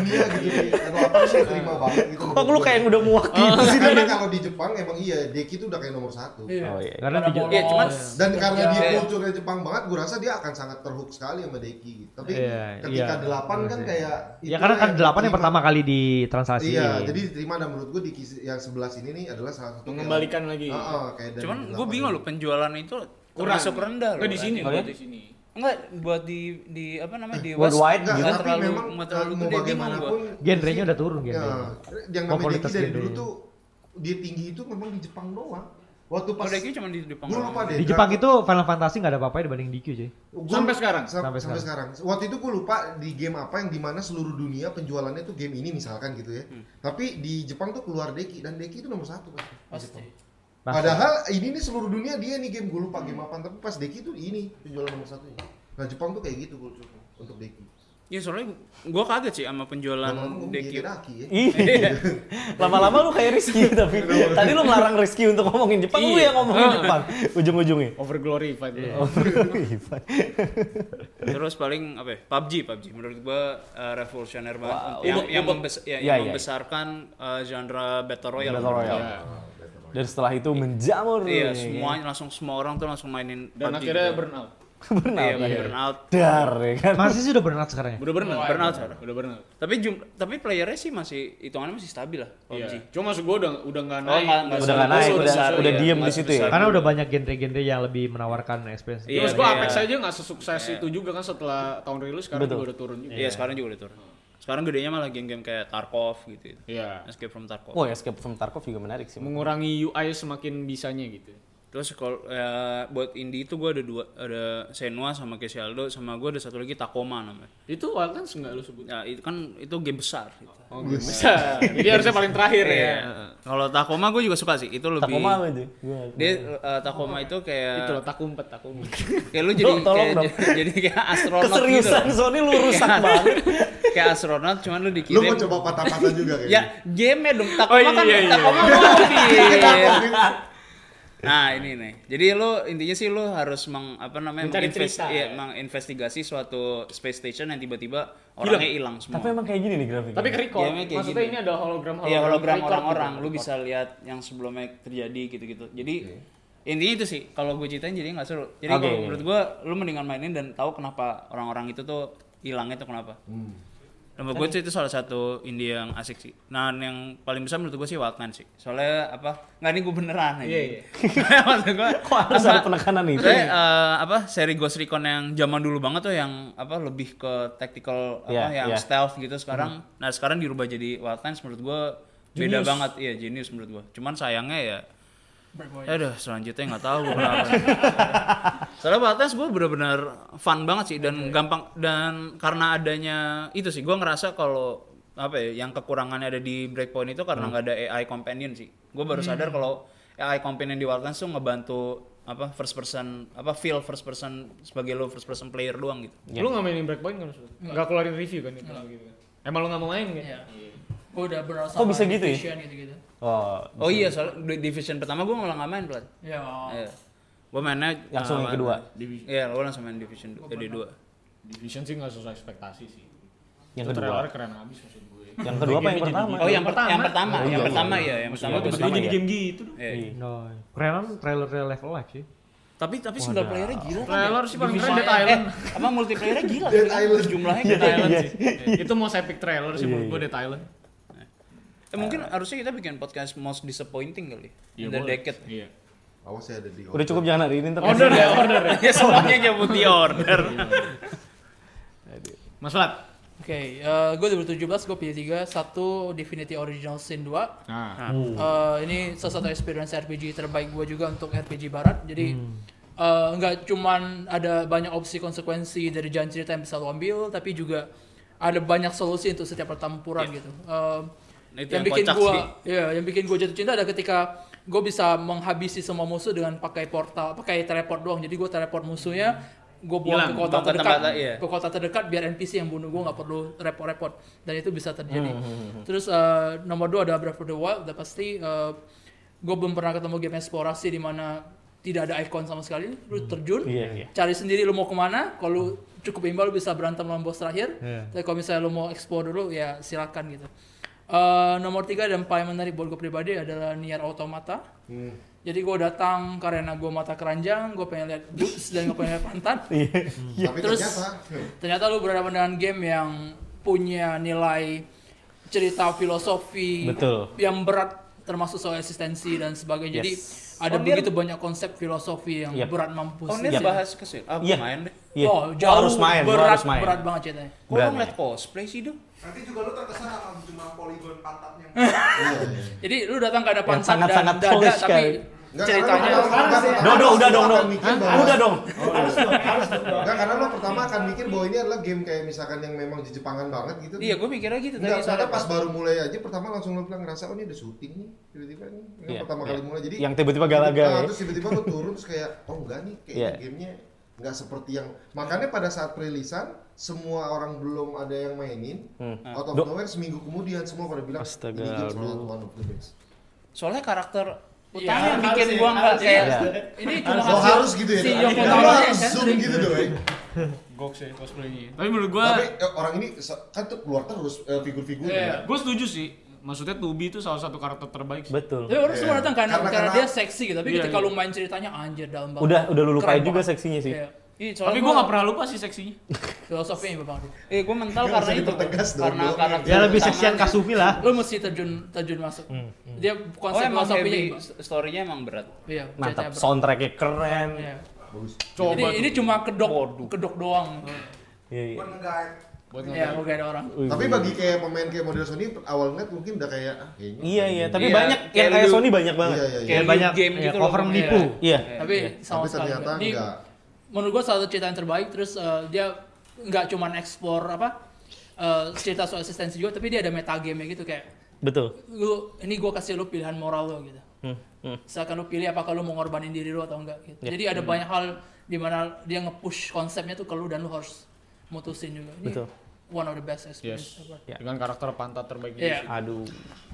dunia gitu. Kalau apa sih terima banget gitu. Oh, Kok lu kayak yang udah muak gitu sih? Karena kalau di Jepang emang iya, Deki itu udah kayak nomor satu. Oh iya. karena di Iya, Oh, cuman Dan karena dia Iya. kulturnya Jepang banget, gue rasa dia akan sangat terhook sekali sama Deki. gitu. Tapi Iya, ketika iya. delapan kan Iya. kayak Ya itu karena kan kayak delapan yang diterima. pertama kali ditranslasiin. Iya, jadi diterima dan menurut gue di kis- yang sebelas ini nih adalah salah satu kayak- Mengembalikan lagi. Ah, ah, kayak dari Cuman gue delapan bingung ini. loh penjualan itu termasuk rendah loh. Nggak di sini, Oh, buat iya? di sini. Enggak buat di di apa namanya di Worldwide Enggak, Enggak tapi terlalu memang nggak eh, terlalu mau gede game gua. bagaimanapun genrenya udah turun Ya, genrenya. yang Oh, namanya kualitas Deki dari dulu genrenya. tuh dia tinggi itu memang di Jepang doang. Waktu pas Kalau DQ cuma di Jepang. gue lupa deh. Di Jepang itu Final Fantasy nggak ada apa-apa dibanding DQ sih. Gua- Sampai sekarang. Sam- Sampai sampai, sekarang. Waktu itu gue lupa di game apa yang dimana seluruh dunia penjualannya tuh game ini misalkan gitu ya. Tapi di Jepang tuh keluar Deki dan Deki itu nomor satu pasti. di Pasti. Jepang. Pasti. Padahal ini nih seluruh dunia dia nih game gue lupa game apa tapi pas Deki tuh ini penjualan nomor satunya. Nah Jepang tuh kayak gitu kulturnya untuk Deki. Ya soalnya gue kaget sih sama penjualan Lama-lama DQ. gede Daki ya. Iya. Lama-lama lu kayak Rizky tapi Iya. tadi lu melarang Rizky untuk ngomongin Jepang, lu yang ngomongin Jepang ujung-ujungnya. Over glorified. Oh, Terus paling apa ya? PUBG, PUBG menurut gue revolusioner banget Wah, yang ubek- yang, ubek. membes- Iya, ya, yang iya. membesarkan eh, genre battle royale. Battle Royale. Iya. Dan setelah itu menjamur. Iya, nih. semua langsung semua orang tuh langsung mainin Dan PUBG akhirnya gitu. burnout. Burnout. Iya, banyak burnout. Dar ya kan. Masih sih udah burnout sekarang ya. Udah burnout. Burnout, Udah- Udah Iya, burnout. Tapi jum, tapi playernya sih masih hitungannya masih stabil lah PUBG. Iya. Cuma maksud gua udah udah nggak Oh, naik. nggak- nggak Udah nggak naik, Udah udah besar, udah iya. diem di Masih situ ya. besar. Karena udah banyak genre-genre yang lebih menawarkan experience. Iya, Terus gua iya. Apex aja nggak sesukses Iya. itu juga kan setelah tahun rilis sekarang juga udah turun juga. Iya, sekarang juga udah turun. Sekarang gedenya malah game-game kayak Tarkov gitu. Iya. Escape from Tarkov. Oh, Escape from Tarkov juga menarik sih. Mengurangi UI semakin bisanya gitu. Terus kalau ya, buat indie itu gue ada dua, ada Senwa sama Kesaldo sama gue ada satu lagi Takoma namanya. Itu Wildlands nggak lu sebut? Ya itu kan itu game besar. Gitu. Oh, nggak bisa. Jadi harusnya paling terakhir ya. Iya. Kalau Takoma gue juga suka sih. Itu lebih. Takoma apa itu? Gua- Dia eh, Takoma itu kayak Itu loh takumpet takumpet. kayak lu jadi Dok, tolong kayak, jadi kayak astronot Keseriusan gitu. loh. Sony lu rusak banget. kayak astronot cuman lu dikirim. Lu mau coba patah-patah juga kayaknya. Ya, game dong. Takoma Oh, iya, kan iya, iya. Takoma mobil. Tapi- Nah ini nih, jadi lo intinya sih lo harus meng apa namanya Mencari menginvest- cerita. iya, menginvestigasi suatu space station yang tiba-tiba orangnya hilang semua. Tapi emang kayak gini nih grafiknya. Tapi ke record. Gamenya kayak Maksudnya gini. ini ada hologram Iya hologram record orang-orang, gitu. lo bisa lihat yang sebelumnya terjadi gitu-gitu. Jadi intinya itu sih, kalau gue ceritain jadi nggak seru. Jadi Oke, kalau oke. menurut gue lo mendingan mainin dan tahu kenapa orang-orang itu tuh hilangnya tuh kenapa. Hmm. Menurut gue sih itu salah satu indie yang asik sih. Nah yang paling besar menurut gue sih Wildlands sih. Soalnya apa? Nggak nih gue beneran aja. Iya, iya. Maksud gue. Kok harus ada apa- penekanan itu? Saya eh, apa seri Ghost Recon yang zaman dulu banget tuh yang apa lebih ke tactical apa Iya, yang iya. stealth gitu sekarang. Nah, sekarang dirubah jadi Wildlands menurut gua beda banget. Iya, genius menurut gua. Cuman sayangnya ya Aduh, selanjutnya nggak tahu gua kenapa. Soalnya Wildlands gua bener-bener fun banget sih dan gampang dan karena adanya itu sih gua ngerasa kalau apa ya yang kekurangannya ada di Breakpoint itu Hmm. karena nggak ada AI companion sih. Gua baru sadar kalau AI companion di Wildlands tuh ngebantu apa first person apa feel first person sebagai lo first person player doang gitu. Lu nggak mainin breakpoint kan? maksudnya? Nggak keluarin review kan itu gitu kan? Emang lu nggak mau main kan? Iya. Gue udah berasa. Kok bisa gitu ya? gitu-gitu. Oh, Oh iya, soalnya di division pertama gua malah nggak main, Plat. Ya. Iya. Gua mainnya Langsung yang kedua? Division. Iya, gua langsung main division 2. Eh, 2. Division sih nggak sesuai ekspektasi sih. yang Itu kedua. trailer keren abis maksud gue. Yang kedua apa yang pertama? Oh, yang pertama, yang pertama, yang pertama ya, iya. yang Maksudnya pertama. gua tiba-tiba suka. jadi game gitu Iya. No. Kerenan trailer-trailer level life sih. Tapi tapi single player-nya gila kan. Trailer sih paling keren Division- Dead Island. Eh, apa multiplayer-nya gila Dead kan? Island. Jumlahnya Dead Dead Island Island sih. sih. Itu mau epic trailer sih Iya, menurut gue iya. Dead Island. Eh, mungkin harusnya kita bikin podcast most disappointing kali. ya, Iya, In the boleh. decade. Iya. Awas ya ada di Udah cukup jangan hari ini ntar. Order ya, order ya. Ya semuanya nyebut di order. Mas Flat. Oke, eh, gue 2017 gue pilih tiga, satu Divinity Original Sin 2. Nah, Hmm. Eh, ini salah satu experience RPG terbaik gue juga untuk RPG Barat. Jadi Hmm. eh, nggak cuman ada banyak opsi konsekuensi dari jalan cerita yang bisa lo ambil, tapi juga ada banyak solusi untuk setiap pertempuran gitu. Eh, Iya. Nah, itu yang, yang bikin kocak gue, sih. ya, yang bikin gue jatuh cinta ada ketika gue bisa menghabisi semua musuh dengan pakai portal, pakai teleport doang. Jadi gue teleport musuhnya, gue Hilang, buang ke buang kota ke terdekat, tempat, iya. ke kota terdekat biar NPC yang bunuh gue nggak perlu repot-repot dan itu bisa terjadi Hmm, terus eh, nomor dua ada Breath of the Wild udah pasti gue belum pernah ketemu game eksplorasi di mana tidak ada icon sama sekali lu terjun Iya, iya. cari sendiri lu mau kemana kalau lu cukup imbal lu bisa berantem lawan bos terakhir Iya. tapi kalau misalnya lu mau explore dulu ya silakan gitu Eh, nomor tiga dan paling menarik buat gue pribadi adalah Nier Automata Hmm. jadi gue datang karena gue mata keranjang, gue pengen lihat boobs dan gue pengen lihat pantat. Iya. Tapi Terus- ternyata Ternyata lu berhadapan dengan game yang punya nilai cerita filosofi Betul. yang berat termasuk soal eksistensi dan sebagainya. Jadi ada Oh, dia- begitu banyak konsep filosofi yang Yep. berat mampus. Oh, ini Iya. bahas kesil. Ah, Iya. main deh. Iya. Lu Oh, jauh harus main, lu berat, harus main. berat banget ceritanya. Kok Berani. lo ngeliat cosplay sih, Dong? Nanti juga lu terkesan sama jumlah poligon pantatnya. Jadi lu datang ke depan Yang pantat dan sangat-sangat dada polis tapi sekali. ceritanya Dong, dong, udah dong, dong. Udah dong. Enggak, karena lo pertama akan mikir bahwa ini adalah game kayak misalkan yang memang di Jepangan banget gitu. Iya, gue mikirnya gitu Enggak, tadi. karena soalnya pas baru mulai aja pertama langsung lo bilang ngerasa oh ini ada syuting nih tiba-tiba nih. Ini Iya, pertama iya. kali mulai jadi Yang tiba-tiba galaga Nah, ya. terus tiba-tiba lo turun terus kayak oh enggak nih kayaknya Iya. gamenya enggak seperti yang makanya pada saat perilisan semua orang belum ada yang mainin Hmm. out of Dok. nowhere seminggu kemudian semua pada bilang Astaga, ini lu. game salah satu one of the best Soalnya karakter Iya, utama yang bikin gua nggak kayak Iya. ini cuma lo hasil harus gitu ya si Dok? Yoko Lo Taro harus ya, zoom gitu doy gok sih cosplaynya. Tapi menurut gue, tapi eh, orang ini se- kan tuh keluar terus eh, Iya. figur-figurnya gue setuju sih. Maksudnya Tubi itu salah satu karakter terbaik sih. Betul. Tapi orang semua datang gitu. karena, Iya. Karena- karena, karena- dia seksi gitu, tapi Iya, ketika iya. lu main ceritanya anjir dalam banget. Udah udah lu lupain Keren juga banget. seksinya sih. Iya. Ih, soalnya Tapi gue gua- gak pernah lupa sih seksinya. filosofinya hebat banget. eh gue mental Nggak karena usah itu dipertegas dong, karena Dong. karakter Ya lebih utama- seksian Kasumi lah. Lu mesti terjun terjun masuk. Hmm, Dia Oh, konsep emang filosofinya heavy. hebat. Story-nya emang berat. Iya, ceritanya Mantap. berat. Soundtracknya keren. Iya. bagus Coba Ini, tuh. ini cuma kedok kedok doang. Iya iya. Buat Iya, ngegaet. oke ada orang. Wih, tapi wih. bagi kayak pemain kayak model Sony awal ngeliat mungkin udah kayak ah, kayaknya Iya iya, tapi Iya, banyak yang kayak kayak lu- Sony banyak banget. iya iya iya Kayak Dan banyak game ya, gitu cover loh. menipu. Iya. Tapi sama tapi sekali ternyata enggak. Ini enggak menurut gua salah satu cerita yang terbaik terus eh, dia nggak cuman eksplor apa eh, cerita soal eksistensi juga tapi dia ada metagame gitu kayak Betul. lu ini gua kasih lu pilihan moral lu gitu Hmm, hmm. Misalkan lu pilih apakah lu mau ngorbanin diri lu atau enggak Ya. gitu. Jadi ada banyak hal di mana dia nge-push konsepnya tuh ke lu dan lu harus mutusin juga. Ini Betul. one of the best experience Yes. ever. Iya. Dengan karakter pantat terbaik Iya. dia. sih. Aduh.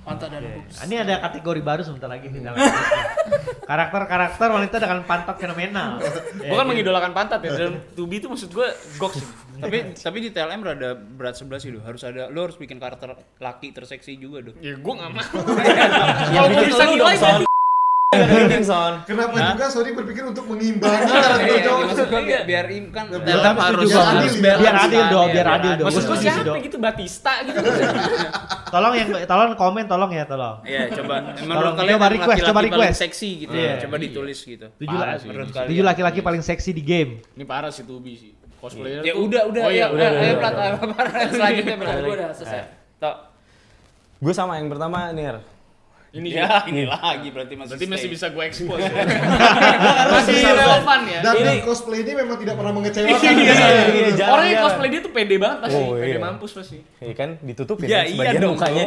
Mantap dan boobs. Nah, Ini ada kategori baru sebentar lagi nih dalam karakter-karakter wanita dengan pantat fenomenal. Iya, Gue kan mengidolakan pantat ya. Dan Tubi itu maksud gue gok sih. tapi tapi di TLM rada berat sebelah sih lo harus ada lo harus bikin karakter laki terseksi juga dong Ya gue gak mau. Yang Kalau Iya, gue bikin bisa lu dong nilai Son. Yang bikin Son. Kenapa juga Sony berpikir untuk mengimbangi karakter Iya, cowok? maksud gua biar, biar im kan Biar TLM adil, harus biar adil, harus balance biar adil kan, dong, ya, biar adil Iya, dong. Maksud Gua gue setuju siapa dong. gitu Batista gitu. Tolong yang tolong komen tolong ya tolong. Iya, coba menurut Tolong, kalian coba yang request, laki-laki coba paling request. seksi gitu Iya. ya coba ditulis gitu Tujuh, Parah la- sih. menurut Tujuh tujuh kalian laki-laki paling seksi di game. Ini parah sih Tubi sih. Cosplayer ya tuh- udah udah Oh iya, ayo, udah. ayo, udah, ayo udah. plat apa apa- selanjutnya plat Gue udah Iya. selesai. Tok. Gue sama yang pertama Nir. Ini ya sih. ini lagi berarti masih Berarti masih stay. bisa gue expose ya. Masih relevan ya. Dan Ini- dan cosplay ini memang tidak pernah mengecewakan. Iya, iya, jarang, Orang yang jarang. cosplay dia tuh pede banget pasti, Oh, pede iya. mampus pasti. Ya kan ditutupin ya kan iya sebagian dong mukanya.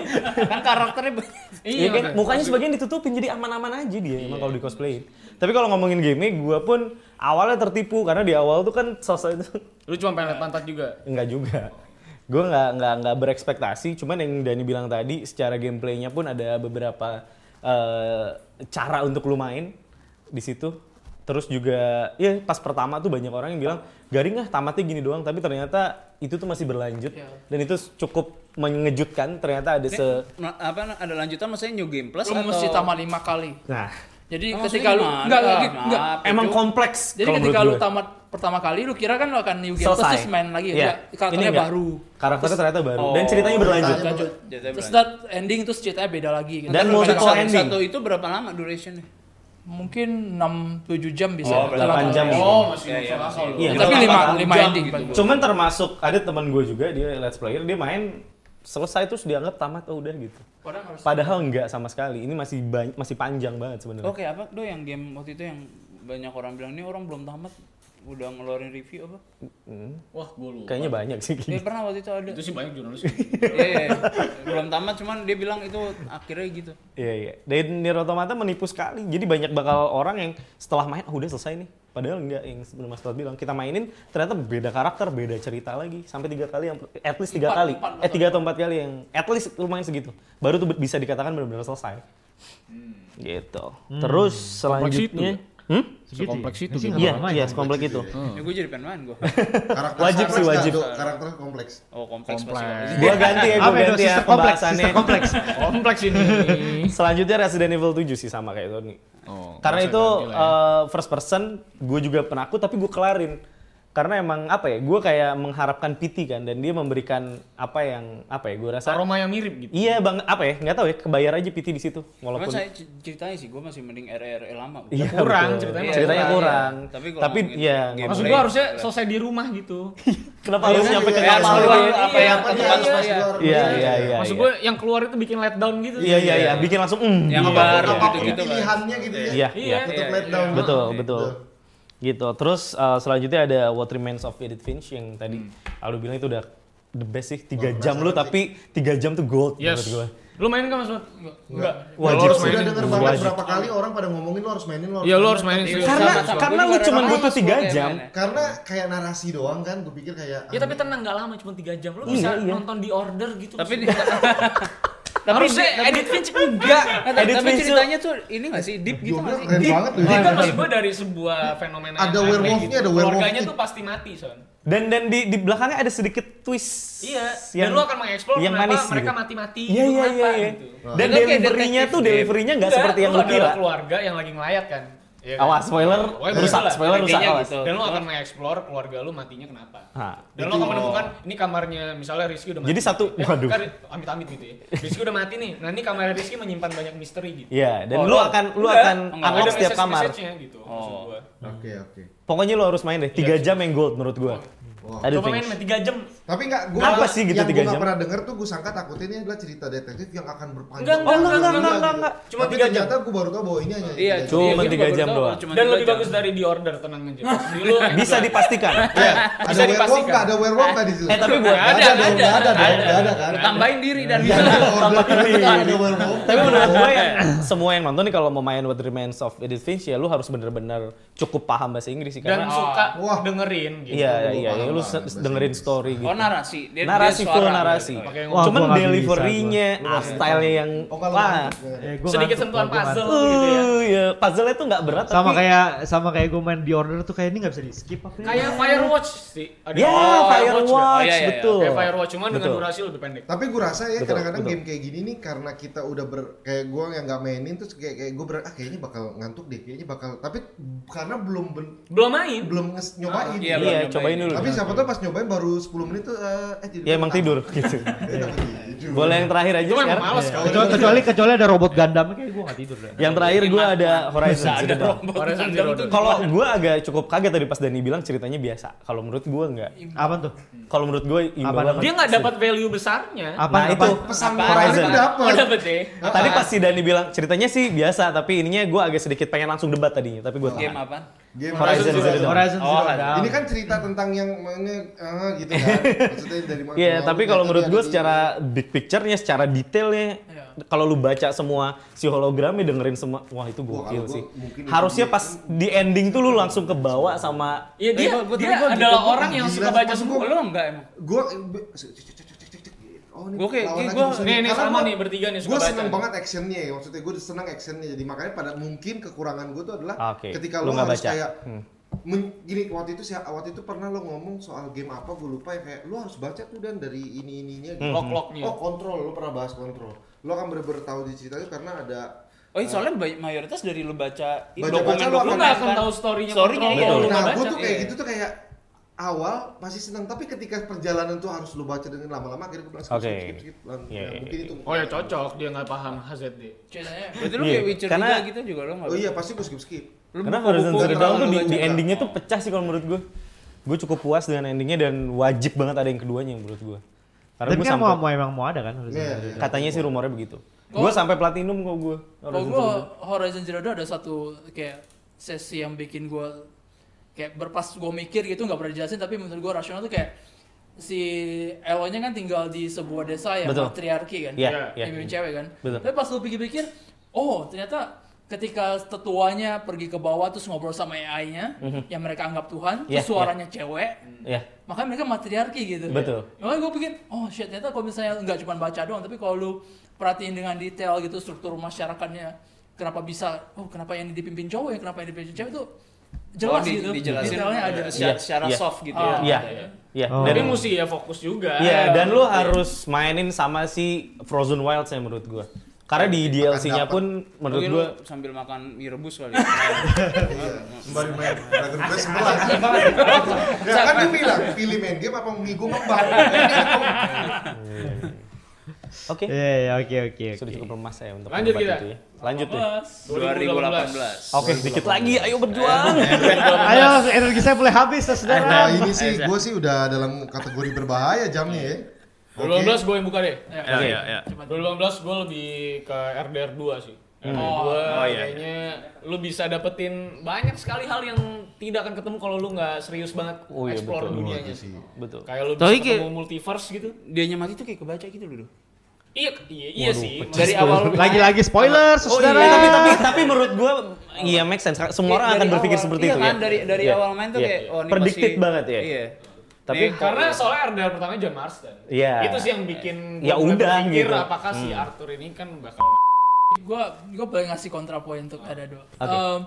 kan karakternya banyak. Iya kan, makanya. mukanya sebagian ditutupin jadi aman-aman aja dia emang kalau di cosplayin. Tapi kalau ngomongin game gue pun awalnya tertipu karena di awal tuh kan sosok itu Lu cuma pengen liat pantat juga. enggak juga. Gue nggak nggak nggak berekspektasi, cuman yang Dani bilang tadi secara gameplaynya pun ada beberapa eh, cara untuk lu main di situ. Terus juga ya pas pertama tuh banyak orang yang bilang garing ah tamatnya gini doang, tapi ternyata itu tuh masih berlanjut Iya. dan itu cukup mengejutkan ternyata ada se Nah, apa ada lanjutan maksudnya new game plus Lu atau mesti tamat 5 kali. nah Jadi Ah, ketika maksudnya lu gimana? enggak lagi Kenapa? enggak. Emang kompleks. Jadi kalau ketika menurut lu gue. tamat pertama kali lu kira kan lu akan new game selesai terus main lagi Iya. enggak karakternya Ini enggak. baru. Karakternya ternyata baru Oh. dan ceritanya berlanjut. Iya, Ceritanya Lanjut. Jadi Terus berlanjut. that ending terus ceritanya beda lagi gitu. Dan Tapi multiple satu- ending. Satu itu berapa lama durationnya? mungkin 6 7 jam bisa. Oh, berarti Jalan. 8 jam. Oh, masih Iya, iya, masuk akal. masih. Iya, Gua Tapi Jalan. lima Jalan. lima Jam ending gitu. Bang. Cuman termasuk ada teman gue juga dia let's player dia main selesai terus dianggap tamat oh udah gitu. Padahal harus- Padahal enggak sama sekali. Ini masih banyak, masih panjang banget sebenarnya. Oh, Oke, apa do yang game waktu itu yang banyak orang bilang ini orang belum tamat udah ngeluarin review apa? Hmm, Wah, gue lupa. kayaknya Gitu ya? banyak sih. Iya. Dia pernah waktu itu ada. Itu sih banyak jurnalis. Iya, iya. belum tamat cuman dia bilang itu akhirnya gitu. Iya iya. Dan Nier Automata menipu sekali. Jadi banyak bakal orang yang setelah main, oh udah selesai nih. Padahal enggak yang sebelum Mas Todd bilang kita mainin ternyata beda karakter, beda cerita lagi sampai tiga kali yang at least tiga Empat, kali, empat, eh tiga atau empat kali yang at least lumayan segitu. Baru tuh bisa dikatakan benar-benar selesai. Hmm. Gitu. Terus selanjutnya, hmm? Sekompleks itu. Sih, gitu. nggak Iya, apa-apa, iya, ya. sekomplek itu. Ya gue jadi pengen main gue. Karakter Wajib sih, kompleks nggak, wajib. Dok? Karakter kompleks. Oh, kompleks, Kompleks. pasti. Gua ganti ya, Apa gua ya, ganti ya sister kompleks, pembahasannya. sister kompleks. Kompleks ini. Selanjutnya Resident Evil 7 sih sama kayak Tony. Oh, Karena nggak itu usah ganti lah ya. eh, first person, gue juga penakut tapi gue kelarin. Karena emang apa ya, gue kayak mengharapkan PT kan dan dia memberikan apa yang apa ya, gue rasa. aroma yang mirip gitu. Iya bang, apa ya, nggak tahu ya, kebayar aja PT di situ Cuman walaupun. saya c- ceritanya sih gue masih mending RRE lama. Iya, kurang, betul. ceritanya ceritanya, masih kurang. kurang, iya. Tapi, Tapi kalau tapi ngomongin ya, game- Maksud gue harusnya selesai di rumah gitu. Iya, kenapa harus nyampe ke Iya, kamar iya, lu? iya, apa yang Apa tempat dia? iya. Keluar, Iya, keluar. iya, iya. Maksud gue yang keluar itu bikin letdown gitu. Iya, iya, iya, bikin langsung mm. Yang gitu. ngebar Apapun gitu-gitu kan. pilihannya gitu ya. Iya, Iya. iya. Tetap Iya, let iya, down. betul betul gitu terus eh, selanjutnya ada What Remains of Edith Finch yang tadi Aldo bilang itu udah the best Hmm. sih tiga Wah, jam lu penasaran tapi tiga jam tuh gold Yes. menurut gua. Lu main kan Mas Mat? Enggak. Wajib. Lu harus Sudah mainin. dengar banget Wajib. berapa kali orang pada ngomongin lo harus mainin lo Iya, lu harus mainin sih. karena Sama, sama. karena Gua lu juga cuma rada butuh males tiga gua kayak jam mainnya. Karena kayak narasi doang kan, gue pikir kayak Ya tapi tenang nggak lama cuma 3 jam. Lu bisa Iya, iya. nonton di order gitu. Tapi Maksud di- gua, harusnya edit Finch enggak. Nah, tapi Edit tapi Vinci- ceritanya tuh ini gak sih deep gitu Jodoh gak sih? keren banget tuh. Enggak maksud gue dari sebuah fenomena Ada yang aneh gitu. werewolf-nya, ada Keluarganya werewolf-nya. tuh pasti mati, Son. dan dan di di belakangnya ada sedikit twist Iya, dan yang- lu akan mengeksplor yang kenapa manis mereka gitu. mati-mati iya gitu, iya iya kenapa iya. dan gitu. Itu kayak deliverynya detektif tuh game. deliverynya nggak seperti yang lu ada kira keluarga yang lagi ngelayat kan. Iya kan? awas spoiler Pokoknya rusak begitulah, spoiler rusak intinya awas gitu. Dan lu akan mengeksplor keluarga lu matinya kenapa. Hah. Dan lo akan menemukan ini kamarnya misalnya Rizky udah mati. Jadi satu- Eh, waduh. Kan amit-amit gitu ya. Rizky udah mati nih. Nah, ini kamarnya Rizky menyimpan banyak misteri gitu. Iya, dan Oh, lu lo- akan lu enggak, akan enggak. unlock Ada setiap kamar. message-message-nya gitu maksud Oh. gua. Oke oke. Pokoknya lu harus main deh, 3 jam yang gold menurut gua. Wah. Ada Coba main Finch. 3 jam. Tapi nggak gue Apa sih gitu yang tiga gua nggak jam? pernah denger tuh gue sangka takutnya ini adalah cerita detektif yang akan berpanjang. Enggak, enggak, banget, enggak, enggak, gitu. enggak, enggak. Cuma Tapi tiga jam. ternyata gue baru tau bahwa ini hanya Iya, tiga jam. Cuma iya, gua tiga baru jam tahu doang. kalau cuma Dan tiga lebih jam. bagus dari di order, tenang aja. Jadi lu Bisa dipastikan. Iya, Ada Bisa werewolf dipastikan. nggak? Ada werewolf nggak di situ? Eh, tapi buat- Nggak ada, ada, dong, nggak ada, ada. dong, nggak ada kan? Lu Tambahin diri dan Iya, ada order, ternyata ada werewolf. Tapi menurut gue yang semua yang nonton nih kalau mau main What Remains of Edith Finch ya lu harus bener-bener cukup paham bahasa Inggris sih dan karena suka Wah. dengerin gitu. iya iya Gua paham iya, lu banget se- bahasa dengerin Inggris. story gitu. Oh narasi, dia, narasi dia full suara. gitu Oh, ya. iya. narasi. Pakai yang Wah, Cuman gua nggak bisa, deliverynya, gua. style-nya yang Oh, kalau wah. Eh, gua sedikit ngantuk, sentuhan gua ngantuk. puzzle gitu ya. Uh, ya, puzzle-nya tuh nggak berat Sama tapi kayak sama kayak gue main di order tuh kayak ini nggak bisa di skip apa ya? Kayak Firewatch sih. Ada ya Firewatch nggak? Oh, Firewatch iya, iya, iya. betul. Kayak Firewatch cuman dengan Betul. durasi lebih pendek. Tapi gue rasa ya Betul, kadang-kadang betul. game kayak gini nih karena kita udah ber kayak gue yang nggak mainin terus kayak kayak gue ber ah kayaknya bakal ngantuk deh kayaknya bakal tapi karena belum ben- Belum main. belum nges- nyobain. Iya, Iya, belum cobain nyobain. dulu. Tapi siapa tau pas nyobain baru 10 menit tuh eh, eh tidur. Ya emang tidur gitu. Eh, takut tidur. Boleh yang terakhir aja Itu memang sekarang. males kalau Kecuali, kecuali kecuali ada robot Gundam kayak gue nggak tidur deh. Yang Iya, terakhir gue ada Horizon Ada Zero Dawn. rombongan. Horizon Zero Dawn. Kalau gue agak cukup kaget tadi pas Dani bilang ceritanya biasa. Kalau menurut gue nggak. Apa tuh? Kalau menurut gue Apa imbang. dia nggak dapat value besarnya. Apa Nah apa? itu pesan Horizon. moral itu Oh, dapat. dapet ya. Tadi pas si Dani bilang ceritanya sih biasa, tapi ininya gue agak sedikit pengen langsung debat tadinya, tapi gue Game tahan. apa? Game Horizon Zero Dawn. Horizon Oh, Zero ada. Dawn. Ini kan cerita tentang yang mana eh, gitu kan. Maksudnya dari mana? Iya, awal tapi ternyata kalau menurut dia gue ada di- secara big picture-nya, secara detailnya, Iya. kalau lu baca semua si hologramnya dengerin semua, wah itu Wah, gokil kalau sih. gua mungkin itu Harusnya mungkin- pas di ending tuh lu langsung kebawa sama Iya dia, Tapi gua- dia tapi gua gitu, adalah gua orang yang gila, suka baca maksud semua. gua- Lo enggak emang? gue Oh, ini Gua kayak- lawan kayak lagi gua- musuhnya. Nih nih Karena sama gua- nih bertiga nih gue suka seneng baca. banget actionnya ya maksudnya gue seneng actionnya jadi makanya pada mungkin kekurangan gue tuh adalah Oke, ketika lu lo nggak harus baca. kayak Hmm. men- gini waktu itu sih waktu itu pernah lo ngomong soal game apa gue lupa ya kayak lo harus baca tuh dan dari ini Hmm. ininya gitu. Log-lognya. oh kontrol lo pernah bahas kontrol lo akan bener-bener tahu di ceritanya karena ada Oh, iya, soalnya banyak- mayoritas dari lu baca Baca-baca Lu dokumen-dokumen nggak akan kan. tahu story-nya Story-nya Control iya, kalau lu lu nggak nah baca. gue tuh kayak iya. gitu tuh kayak awal pasti senang tapi ketika perjalanan tuh harus lu baca dan lama-lama akhirnya gue bilang skip Oke. skip skip, skip Lan- Iya, ya, iya, mungkin itu Oh ya cocok dia nggak paham HZD. Ceritanya Berarti lu Iya, kayak Witcher karena- 3 gitu juga lu enggak. oh iya pasti gue skip skip Karena Horizon Zero Dawn tuh di, di Baca. endingnya tuh pecah sih kalau menurut gue. Gue cukup puas dengan endingnya dan wajib banget ada yang keduanya menurut gue. Karena Dan gue kan sampai mau, mau emang mau ada kan Horizon Iya, Zero iya. Dawn. katanya sih rumornya begitu. Oh. Gue sampai platinum kok gue. kalau gue Horizon Zero Dawn ada satu kayak sesi yang bikin gue kayak berpas gue mikir gitu nggak pernah dijelasin tapi menurut gue rasional tuh kayak si Elonya kan tinggal di sebuah desa yang Betul. patriarki kan Iya, iya. yang mimpin cewek kan Betul. tapi pas lu pikir-pikir oh ternyata ketika tetuanya pergi ke bawah terus ngobrol sama AI-nya yang mereka anggap Tuhan Mhm. Iya, terus suaranya cewek Ya, makanya mereka matriarki gitu. Betul. Makanya gue pikir, oh shit ternyata kalau misalnya nggak cuma baca doang, tapi kalau lu perhatiin dengan detail gitu struktur masyarakatnya, kenapa bisa, oh kenapa yang dipimpin cowok, yang kenapa yang dipimpin cewek itu jelas Oh, di- gitu. dijelasin Detailnya ada. secara, Iya, secara iya. soft gitu iya, Ah, ya. iya. Oh. Tapi Dan- mesti ya fokus juga. Iya, dan lu Iya. harus mainin sama si Frozen Wilds ya menurut gue. Karena di DLC-nya dapat. pun menurut Mungkin lu gue sambil makan mie rebus kali. ya. kembali Iya, main Dragon Quest 11 ya kan gue bilang pilih main game apa mie gue ngembang oke. Iya, iya, oke, oke, Sudah oke. cukup lemas ya untuk Lanjut membuat kita. itu ya. Lanjut ya. 2018. 2018. Oke, sedikit lagi ya. ayo berjuang. Ayo, energi saya mulai habis, nah saudara. ini sih gue sih udah dalam kategori berbahaya jamnya ya Oke. 2018 gue yang buka deh. Ya, ya, ya. 2018 gue lebih ke RDR 2 sih. RDR 2 Oh, iya. kayaknya lu bisa dapetin banyak sekali hal yang tidak akan ketemu kalau lu nggak serius banget Oh, iya, explore betul. dunianya sih. Betul. Kayak lu bisa Tapi kayak- ketemu multiverse gitu. Dianya mati tuh kayak kebaca gitu dulu. Iya, iya, iya Waduh, sih. pecah Dari awal lu- Lagi-lagi spoiler, Eh, saudara. tapi tapi tapi menurut gue iya make sense. Semua orang akan berpikir seperti itu ya. kan, Dari dari Iya. awal main tuh Iya. kayak oh ini predicted pasti- banget ya. Iya. Tapi Nih, Karena soalnya RDR pertamanya John Marston. Iya. Itu sih yang bikin Ya gua mulai udah, berpikir gitu. apakah si Arthur ini kan bakal Gue gue boleh ngasih kontrapoin untuk ada dua. Oke. Em,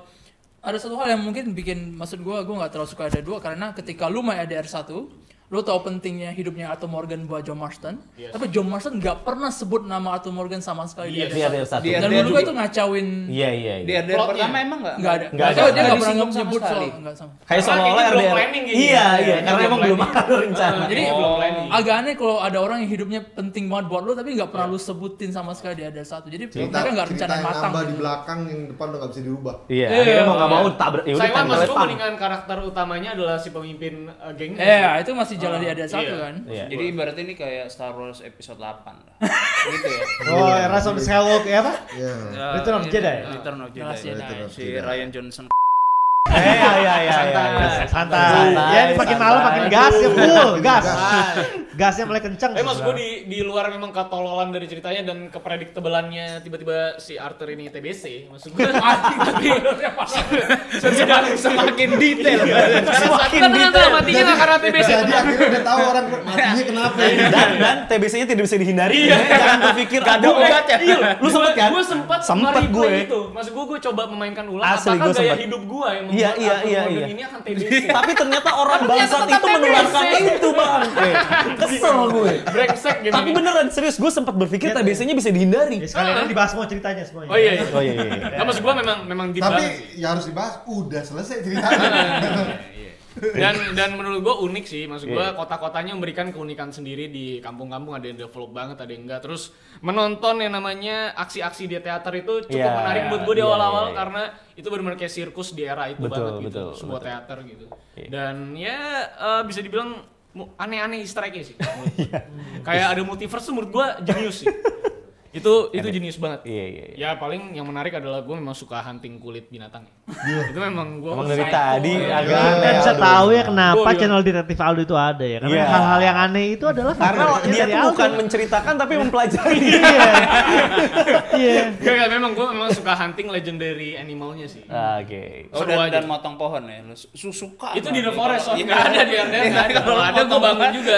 ada satu hal yang mungkin bikin maksud gue gue nggak terlalu suka ada dua karena ketika lu main ADR 1 lu tahu pentingnya hidupnya Arthur Morgan buat John Marston Yes. tapi John Marston nggak pernah sebut nama Arthur Morgan sama sekali Yes. di Dia ADR ada satu. Dia- Iya. dan ada menurut gue juga. itu ngacauin Iya iya. di iya. RDR Plotnya. pertama emang Iya. enggak? nggak ada Nggak nggak ada. ada dia Nggak nggak pernah disinggung sama nyebut soal sekali. nggak sama Kayak Karena seolah-olah kita belum RDR. planning kayak Iya gitu. iya. Kita Karena belum emang belum planning. ada rencana. Iya. Jadi Oh. belum planning. agak aneh kalau ada orang yang hidupnya penting banget buat lo tapi nggak pernah lu sebutin sama sekali di ada satu jadi cerita mereka kan nggak cerita rencana yang matang nambah di gitu. belakang yang depan udah gak bisa dirubah Iya. Akhirnya mau nggak mau tabrak. Ya udah Saya tabrak maksud gue pam. mendingan karakter utamanya adalah si pemimpin uh, geng. eh itu masih jalan Ah, di ada satu iya. kan Iya. Jadi ibaratnya ini kayak Star Wars episode 8 lah. gitu ya. Oh, Rise of the Skywalker, ya apa? Iya. Return of Jedi. Return of Jelas Jedi. Jedi. Si Ryan Johnson. Eh iya iya iya. iya. Santai. Santai, Ya, ini makin santai. malam makin gas ya, full gas. Ah. Gasnya mulai kencang. Eh maksud gue di, di luar memang ketololan dari ceritanya dan keprediktebelannya tiba-tiba si Arthur ini TBC maksud gue tapi semakin semakin detail Iya. semakin detail matinya nggak karena TBC jadi akhirnya udah tahu orang matinya kenapa ya. ini dan dan TBC-nya tidak bisa dihindari. Iya. Jangan berpikir Gak ada aduh, obat ya?" Iya, lu sempet kan? gue sempet Sempet nge-replay gue. itu maksud gue gue coba memainkan ulang Asli, apakah gue gaya sempet. hidup gue yang Iya, membuat iya, Arthur iya, Morgan iya. ini akan TBC Tapi ternyata orang Tapi ternyata bangsat tetap itu menularkan TBC. itu, Bang. Eh, Kesel gue. brengsek gitu Tapi beneran serius gue sempat berpikir Iya, TBC-nya bisa dihindari. Ya, sekalian nanti dibahas semua ceritanya semuanya. oh iya iya Oh iya iya. iya. Nah, maksud gue memang memang di tapi ya harus dibahas udah selesai ceritanya dan dan menurut gua unik sih maksud Iya. gua kota-kotanya memberikan keunikan sendiri di kampung-kampung ada yang develop banget ada yang enggak terus menonton yang namanya aksi-aksi di teater itu cukup Iya, menarik buat gua di iya, awal-awal iya, iya. karena itu benar-benar kayak sirkus di era itu Betul, banget gitu betul, sebuah betul. teater gitu Iya. dan ya eh, bisa dibilang mu- aneh-aneh easter egg sih menurut gua. Iya. kayak ada multiverse tuh menurut gua jenius sih itu itu jenius banget Iya iya. iya. Ya paling yang menarik adalah gue memang suka hunting kulit binatang. itu memang gue Emang dari tadi agak Iya. aneh. Kita bisa Aldo. tahu ya kenapa Gua bilang. channel detektif Aldo itu ada ya. Karena Iya. hal-hal yang aneh itu adalah Karena favoritnya dia dari tuh Aldo. bukan menceritakan tapi mempelajari. Iya. Iya. Gak, gak, memang gue memang suka hunting legendary animalnya sih. Oke. Oh, Seru dan, aja. dan motong pohon ya. Lu su- su- suka. itu banget di The ya. Forest, Iya. soalnya nggak ada di RDR. nggak ada. Kalau ada gue bangun juga.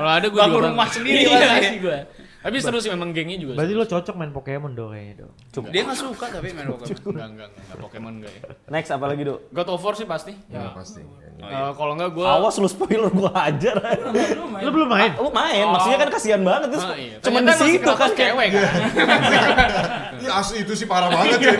Kalau ada gue Bangun rumah sendiri Iya pasti. sih gue. Tapi seru sih memang gengnya juga. Berarti lo cocok main Pokemon dong kayaknya dong. Dia nggak suka tapi main Pokemon. enggak enggak enggak Pokemon enggak ya. Next apa lagi, Dok? God of War sih pasti. Ya, pasti. Oh, iya. Eh, kalau enggak gua Awas lu spoiler gua hajar. Lo belum main? Lu main, maksudnya kan kasihan banget terus Ah, iya. cuman di Ternyata masih situ kan kerapas cewek kan. Iya, asli itu sih parah banget ya.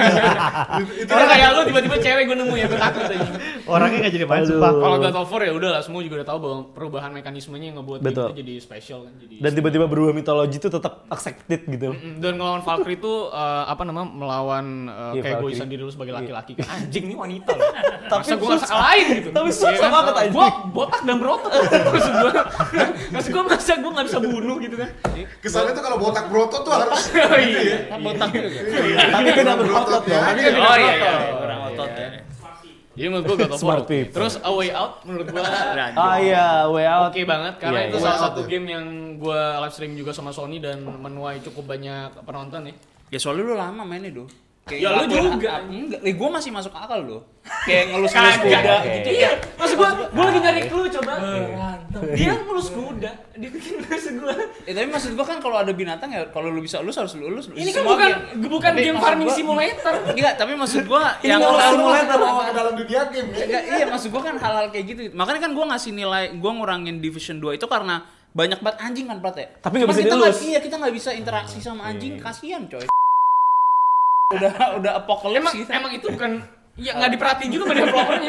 Itu- itu Orang kayak lu tiba-tiba cewek gue nemu ya gue takut aja. Orangnya nggak jadi main Aduh. sumpah. Kalau God of War ya udahlah semua juga udah tahu bahwa perubahan mekanismenya yang ngebuat game Betul. itu jadi special kan jadi. dan tiba-tiba berubah mitologi itu tetap accepted gitu. Mm, Dan ngelawan Valkyrie itu eh, apa nama melawan eh, Iya, kayak gue Valkyrie. sendiri lu sebagai laki-laki kan anjing nih wanita loh. Tapi Masa gue ngerasa susah. lain gitu. Tapi susah Iya kan? banget, anjing. Gua botak dan berotot. maksud gue. maksud gue masa gue nggak bisa bunuh gitu kan. kesannya tuh kalau botak broto tuh harus Oh iya. Botak juga. Tapi kena berotot Iya, ya. Tapi kan Oh iya, iya. berotot. Kurang otot ya. Jadi menurut gue God of War. Smart people. Terus A Way Out menurut gue Ah iya, way out. oke banget karena Iya, itu iya. salah Way Out satu ya. game yang gue live stream juga sama Sony dan menuai cukup banyak penonton ya. Ya soalnya lu lama mainnya do. Ya, lu juga. Enggak, eh, gua masih masuk akal loh. Kayak ngelus-ngelus Kagak. kuda Oke. gitu. Iya, maksud gue gue lagi nyari clue coba. Eh, Iya. Berantem. Dia ngelus kuda, dia bikin maksud gue. Eh tapi maksud gua kan kalau ada binatang ya kalau lu bisa lulus harus lu lulus. Ini kan Semua bukan game. bukan Tapi game maksud farming gua- simulator. Enggak, tapi maksud gua yang nggak halal- simulator. mau ke dalam dunia game ya. Enggak, iya maksud gua kan halal kayak gitu. Makanya kan gua ngasih nilai gua ngurangin division 2 itu karena banyak banget anjing kan Prat ya. Tapi nggak Cuman bisa kita nggak- dilus. Iya, kita nggak bisa interaksi sama anjing, kasihan coy. Udah udah apokalips Emang gitu. emang itu bukan ya nggak diperhatiin juga sama developernya.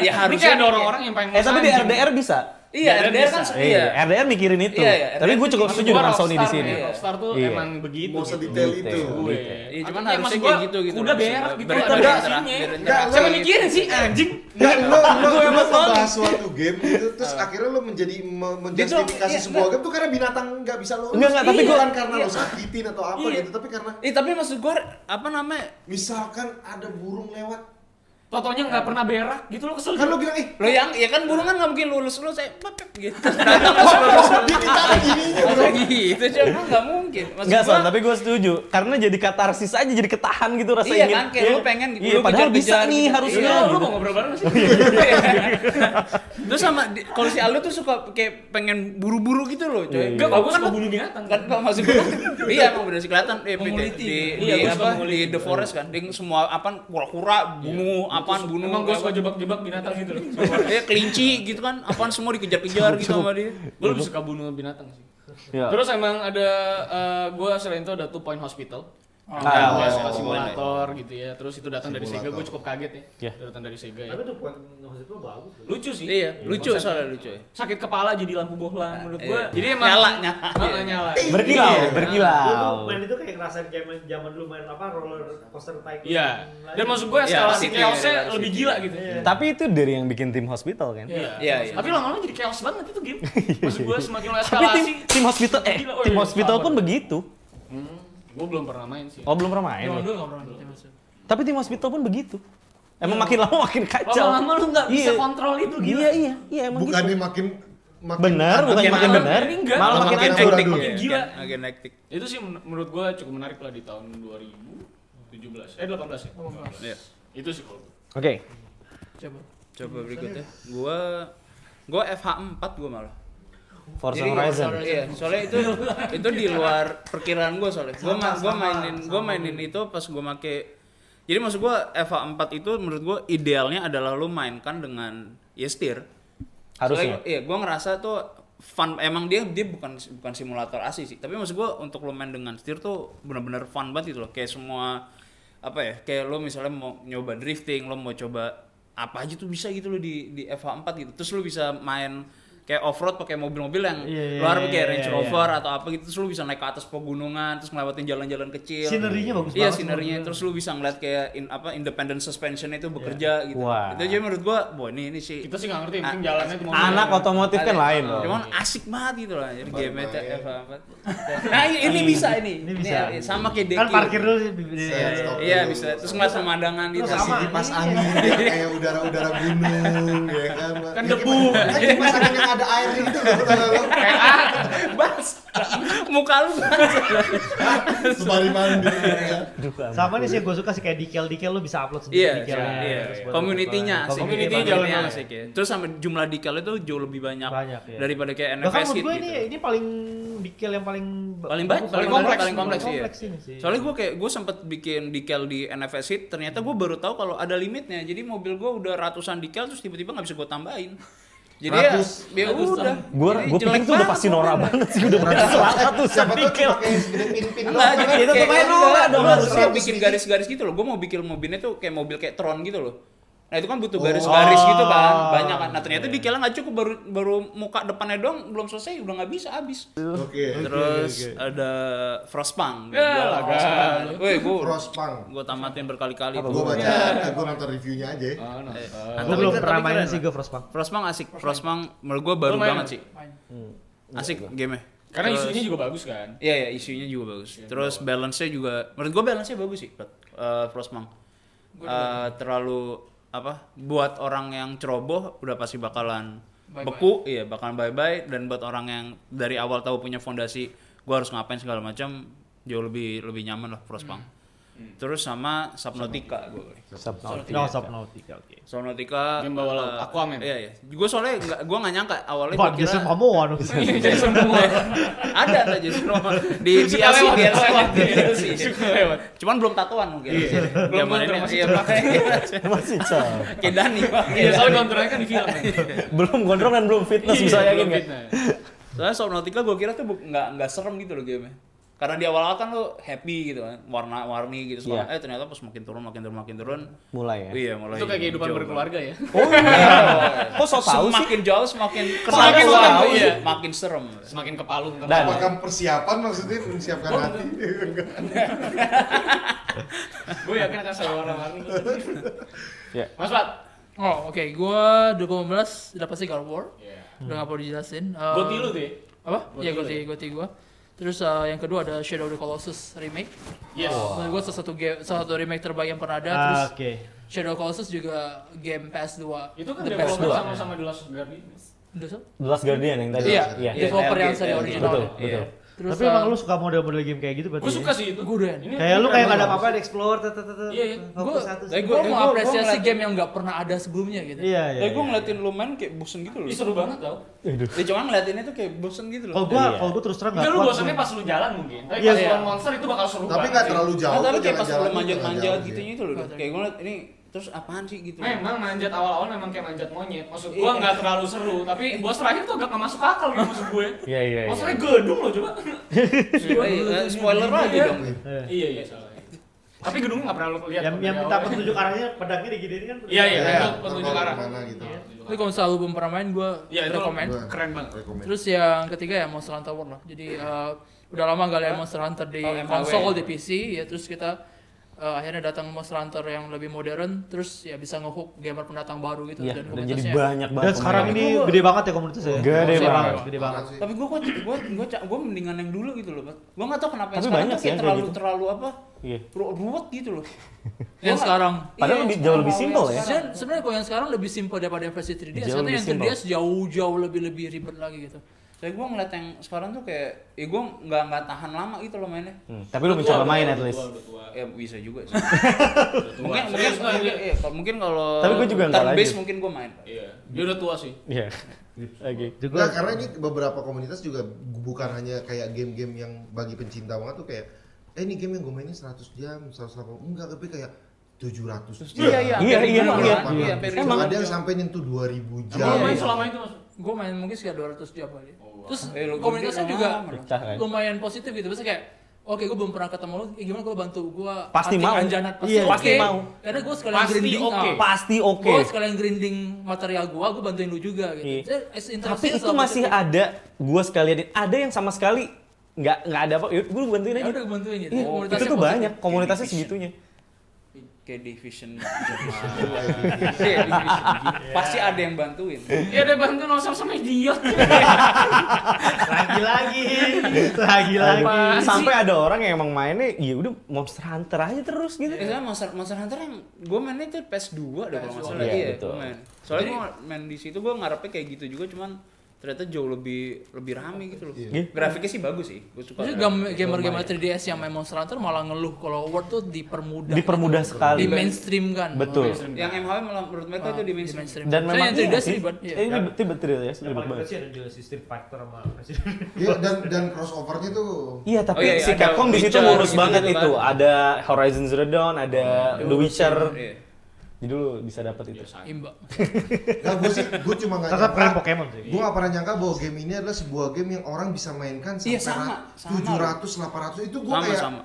Ya, Ini harusnya kayak ada kayak- orang-orang yang pengen Eh tapi di ngurus anjing. RDR bisa. Iya, Iya, RDR kan bisa. iya. Iya, RDR mikirin itu. Iya, iya, Tapi RDR gue cukup mikirin setuju itu. dengan Sony di Rockstar, sini. ya, Rockstar tuh Iya. emang begitu. Mau gitu. sedetail itu. Iya, cuman Gue. Tapi harusnya maksud kayak gua, gitu gitu. Udah loh. berak gitu Ber- ada enggak, isinya. berinteraksi. Siapa mikirin sih anjing? Nggak, lo, lo, Gua lo emang Sony. ngebahas suatu game itu, terus akhirnya lo menjadi me- menjustifikasi iya, sebuah game tuh karena binatang nggak bisa lo Enggak, enggak, tapi tapi gua- bukan karena lo sakitin atau apa Iya. gitu, tapi karena Eh tapi maksud gua apa namanya? misalkan ada burung lewat, Totonya nggak pernah berak gitu lo kesel. kan lo bilang, eh Lo yang ya kan burung kan nggak mungkin lulus lulus saya pepep gitu. dia ditarik ininya bro. gitu coy, kan nggak mungkin. Maksud Enggak, Son, gua- tapi gue setuju. Karena jadi katarsis aja, jadi ketahan gitu rasa Iya ingin. kan, kayak lu pengen gitu, Iya, lu padahal bisa kejar-kejar nih gitu. harusnya. Iya, lo gitu. mau ngobrol bareng sih? Terus sama di- kalau si Aldo tuh suka kayak pengen buru-buru gitu loh, Iya. coy. Enggak, kalau gue kan Kan- mau bunuh binatang. kan kan maksud gua iya emang bener sih kelihatan eh, di, Menguliti. di, Iya, di gua suka apa di The Forest kan dia semua apa kura-kura bunuh apaan bunuh Iya. Emang gue suka apa. jebak-jebak binatang gitu loh. Dia kelinci gitu kan apaan semua dikejar-kejar gitu sama dia Gue lebih suka bunuh binatang sih. Iya. Terus emang ada gue selain itu ada Two Point Hospital. Oh. Ah, Nah, iya. gua suka simulator gitu ya. Terus itu datang dari Sega, Simulator. gue cukup kaget ya. Iya. Itu Datang dari Sega ya. Tapi tuh bukan itu bagus. Lucu sih. iya lucu Konsep. soalnya lucu ya. Sakit kepala jadi lampu bohlam menurut gue. Iya. Jadi emang Nyala, nyala. Ah, ah, nyala. Iya. Berkilau, berkilau. itu kayak ngerasain kayak main zaman dulu main apa roller coaster tycoon. Iya. Dan maksud gue eskalasi pasti. chaosnya Iya, lebih pasti. gila gitu. Tapi itu dari yang bikin tim hospital kan? Iya, iya. Tapi lama-lama jadi chaos banget itu game. Maksud gue semakin lo Iya. Tapi tim, eskalasi. tim hospital eh Gila, oh tim iya, hospital sabar. pun begitu. Gue hmm, belum pernah main sih. Oh belum pernah main. Eh, Zaman lu. dulu nggak pernah gitu, maksudnya. Tapi tim hospital pun begitu. Emang Iya. makin lama makin kacau. Lama-lama lu nggak bisa Iya. kontrol itu gila. Iya iya iya emang Bukannya gitu. makin makin Benar, bukan iya, makin- makin malam. benar. Ini enggak. Malah Malah makin makin hancur. hancur. Aduh, Makin ya. gila Makin- makin hektik Itu sih men- menurut gue cukup menarik lah di tahun 2017. Eh 18 ya. 18. Iya. Itu sih kalau gua. Oke. Coba. coba berikutnya gua gua FH4 gua malah Forza Jadi, Horizon. Horizon. Iya, soalnya itu itu di luar perkiraan gue soalnya. Gue ma gua mainin gue mainin itu pas gue make jadi maksud gue Eva 4 itu menurut gue idealnya adalah lu mainkan dengan ya setir. Harusnya. Soalnya, iya, gue ngerasa tuh fun emang dia dia bukan bukan simulator asli sih, tapi maksud gue untuk lu main dengan setir tuh bener-bener fun banget gitu loh. Kayak semua apa ya? Kayak lu misalnya mau nyoba drifting, lu mau coba apa aja tuh bisa gitu loh di di FH4 gitu. Terus lu bisa main kayak off-road pakai mobil-mobil yang Iya, iya, luar iya, kayak iya, Range iya. Rover atau apa gitu terus lu bisa naik ke atas pegunungan terus ngelewatin jalan-jalan kecil Sinerinya bagus iya banget. sinerinya terus lu bisa ngeliat kayak in, apa independent suspension itu Iya. bekerja gitu Wah. itu jadi menurut gua wah ini ini sih Kita sih nggak ngerti, yang penting jalannya itu mobil. Anak otomotif kan ada- lain loh. cuman asik banget gitu lah jadi game Main-main. nah ini, ini bisa ini Ini bisa. Ini sama kayak Deki Kan parkir dulu di- di- Iya, di- stop iya dulu. bisa terus ngeliat pemandangan gitu Terus Kasih sama. kipas angin ya, kayak udara-udara gunung ya kan. Kan Ya, debu. kipas- Kan kipas angin yang ada air itu loh. tau nggak lo? Kayak ah, Muka lu Sebari mandi. ya kan. Aduh, Sama nih sih yang gue suka sih kayak decal-decal lu bisa upload sendiri Iya, decal-nya, iya. terus buat Community-nya apa. asik. Community-nya banget. jalan banget. asik ya. Terus sama jumlah decal itu jauh lebih banyak, Banyak, iya. daripada kayak Bahkan NFS menurut gitu. gue ini ini paling decal yang paling paling baik, bagus, paling kompleks, paling paling kompleks, iya. ini sih. Soalnya gue kayak gue sempet bikin decal di NFS hit, ternyata gue baru tahu kalau ada limitnya. Jadi mobil gue udah ratusan decal terus tiba-tiba nggak bisa gue tambahin. Jadi ya, Ratus. ya udah. Gue Jadi gue jelek pikir tuh udah banget pasti Nora mobilnya. banget sih udah pasti salah tuh Siapa tuh decal. cuma kayak segede pin-pin doang. Enggak, Nah, jadi Itu kayak pemain enggak, bola dong, gua harus harusnya seratus bikin biji. garis-garis gitu loh. Gue mau bikin mobilnya tuh kayak mobil kayak Tron gitu loh. Nah itu kan butuh Oh. garis-garis gitu kan, banyak kan. Iya, Nah ternyata di Kela nggak cukup baru baru muka depannya doang belum selesai udah nggak bisa habis. Oke. kan. Terus ada Frostpunk. Ya, Gua- lah, Frostpunk. Woi gue Frostpunk. gue tamatin berkali-kali. Gue baca, gue nonton reviewnya aja. ya. Oh, no. Eh, Nah, Gue tapi belum keren- pernah tapi main keren sih lah. gue Frostpunk. Frostpunk asik, Frostpunk menurut gue baru Lumayan. banget sih. Main. Asik game-nya. Karena Terus- isunya juga bagus kan. Iya ya isunya juga bagus. Terus balance-nya juga menurut gua balance-nya bagus sih uh, Frostpunk. Eh, terlalu apa buat orang yang ceroboh udah pasti bakalan Bye-bye. beku iya bakalan bye bye dan buat orang yang dari awal tahu punya fondasi gua harus ngapain segala macam jauh lebih lebih nyaman lah Frostpunk. Terus sama Hmm. Subnautica gua. No, Subnautica, oke. Subnautica Game bawah laut, eh, Aquaman. Iya iya. Gua soalnya nggak gua nggak nyangka awalnya Wah, gua kira Jason Momoa dong. Iya, Jason Momoa. ada ada Jason Momoa di di Iya, Suka DLC DLC, lewat, suka lewat. DLC. Suka lewat. Cuman belum tatoan mungkin. Iya. Belum Zaman kontrak ini masih iya cerak. makanya Masih cah. kayak Dani Pak. Iya, soalnya kontrolnya kan di film. kan. Belum gondrong dan belum fitness Iya, bisa yakin belum nggak? fitnah. Soalnya Subnautica gue kira tuh bu- nggak nggak serem gitu loh game Karena di awal-awal kan lo happy gitu kan, warna-warni gitu. Soalnya, Iya. eh ternyata pas makin turun, makin turun, makin turun. Mulai ya. Iya, mulai. Itu kayak kehidupan jauh. berkeluarga ya. Oh iya. Kok so tau sih? Semakin jauh, semakin kesana, Semakin semakin, tahu, iya. makin serem. Semakin kepalung kan. Dan- Apakah persiapan maksudnya menyiapkan hati? Enggak. gue yakin akan selalu warna-warni. Iya. Mas Pat. Oh, oke. Gua 2015 udah pasti God of War. Udah nggak perlu dijelasin. Eh, Goti lu tuh ya? Apa? Iya, Goti lu Goti, ya? Goti gua. Terus eh, yang kedua ada Shadow of the Colossus remake. Yes. Menurut gua salah satu game, salah satu remake terbaik yang pernah iya. ada. Terus Ah, Oke. Shadow of the Colossus juga game PS2. Itu kan The developer PS2. sama-sama di Last Guardian. Udah, so? The Last Guardian yang tadi. Iya, Iya. developer Iya, yang seri iya, original. betul, betul. Terus, Tapi emang eh, lu suka model-model game kayak gitu berarti? Gue ya? suka sih itu. Gue doyan. Ini- Kayak ini lu kayak nggak keren ada Iya, banget. apa-apa, ada explore, tet, tet, tet, tet, Iya, iya. fokus eh, Gua- satu. Tapi gue gua- mau gua- gua apresiasi ngeliatin- game yang nggak pernah ada sebelumnya gitu. Iya, iya. Tapi gue iya. ngeliatin lu main kayak bosen gitu loh. Ih, seru banget tau. Ya cuman ngeliatinnya tuh kayak bosen gitu Kalau Oh, loh. gua, Iya. kalau gua terus terang nggak Enggak lu kuat. bosannya gua. pas lu jalan mungkin. Tapi Iya, pas iya. lawan monster itu bakal seru Tapi banget. ya. nggak terlalu jauh. Nah, tapi lu kayak jalan-jalan pas gitu kan, lu manjat-manjat gitu ya. jalan-jalan gitunya itu loh. Kayak gue ngeliat ini terus apaan sih Eh, gitu. Memang manjat awal-awal memang kayak manjat monyet. Maksud Iya. gua nggak terlalu seru, tapi bos terakhir tuh agak nggak masuk akal gitu maksud gue. Iya iya iya. Monsternya gedung loh coba. Eh, eh, spoiler lagi Iya. dong. Iya. Iya iya salah. Tapi gedungnya nggak pernah lu Yang lihat. kok yang dari minta awal. petunjuk arahnya pedangnya diginiin kan. Iya iya, Iya, untuk petunjuk kalau arah. kemana gitu. Iya. Tapi kalau misalnya lu belum pernah main, gue Iya, itu rekomend. Gua keren banget. rekomen. Terus yang ketiga ya Monster Hunter World lah. Jadi eh, udah lama gak lihat Monster Hunter di Oh, MHW. konsol, di PC. Ya terus kita eh, akhirnya datang Monster Hunter yang lebih modern. Terus ya bisa ngehook gamer pendatang baru gitu. Iya, dan jadi komunitasnya. banyak banget. Dan sekarang pemain. ini gede banget ya komunitasnya. ya? Gede banget. Gede banget. Parah sih. Tapi gue kok gue gue gue mendingan yang dulu gitu loh, Pat. Gue nggak tahu kenapa yang Tapi sekarang banyak tuh sih yang kayak kayak terlalu gitu. terlalu apa? Iya. ru- Ruwet gitu loh. Iya, Yang sekarang. Padahal lebih- jauh lebih simpel ya. Sebenarnya sebenarnya kalau yang sekarang lebih simpel daripada yang versi 3DS. Jauh Ternyata lebih yang simpel. 3DS jauh-jauh lebih lebih ribet lagi gitu. Tapi gue ngeliat yang sekarang tuh kayak, ya gue nggak nggak tahan lama gitu loh mainnya. Hmm, Tapi lu mencoba main at least. Ya bisa juga sih. mungkin mungkin Serius, mungkin, iya. iya, kalau- mungkin kalau Tapi gua juga nggak turn based lanjut. mungkin gue main. Iya. Dia udah tua sih. Iya. Oke. Juga Nah, karena ini beberapa komunitas juga bukan hanya kayak game-game yang bagi pencinta banget tuh kayak eh ini game yang gue mainin 100 jam, 180 enggak tapi kayak 700 jam. Iya iya Iya, hampir iya, ribuan iya. lah. Iya, hampir Cuma ribuan. ada yang sampai nyentuh 2000 jam. Emang lu main selama itu mas? gue main mungkin sekitar 200 jam kali. Terus Eh, lu- komunitasnya lu- juga lu- Pecah kan. lumayan positif gitu. Maksudnya kayak Oke, gue belum pernah ketemu lu. Eh, gimana gue bantu gue? Pasti mau. Anjanat, pasti Iya, oke. pasti mau. Karena gue sekalian Pasti grinding. oke. ah, Pasti oke. Gue sekalian grinding material gue, gue bantuin lu juga gitu. Iya. Jadi, as- Tapi interaksinya itu selalu masih positif. ada gua sekalian ada yang sama sekali nggak nggak ada apa gue bantuin Ya aja. udah gue bantuin gitu. Iya, itu Komunitasnya tuh positif. banyak komunitasnya segitunya. Kayak division Iya, division. Pasti ada yang bantuin. Iya dia bantu nosong sama idiot. lagi-lagi, lagi-lagi. Apaan sih? Sampai ada orang yang emang mainnya ya udah Monster Hunter aja terus gitu. Eh, soalnya Monster, Monster Hunter yang gue mainnya tuh PS2 dah kalau nggak salah Iya, iya, betul. gua main. Soalnya gue main di situ gue ngarepnya kayak gitu juga cuman ternyata jauh lebih lebih rame gitu loh. Iya. Grafiknya sih bagus sih, gue suka. Justru gam- gamer-gamer 3DS yang main Monster Hunter malah ngeluh kalau World tuh dipermudah. Dipermudah sekali. Di mainstream kan. Betul. Yang MHW malah menurut mereka itu di mainstream. Dan memang yang 3DS sih, ribet. iya. Iya. eh, ini ribet ribet ya, Yang ribet paling banget. sih ada di sistem factor sama presiden. Iya, dan dan crossovernya tuh Iya, tapi Oh, iya, iya, si ada Capcom di situ Witcher ngurus gitu-gitu banget kan. itu. Ada Horizon Zero Dawn, ada The Witcher. Iya. Jadi lu bisa dapat itu. Imba. Nah, gue sih, gue cuma nggak Tetap keren nyangka. Pokemon sih. Gue nggak pernah nyangka bahwa game ini adalah sebuah game yang orang bisa mainkan sampai Iya, sama, sama. tujuh ratus, delapan ratus itu gue Sama kayak sama.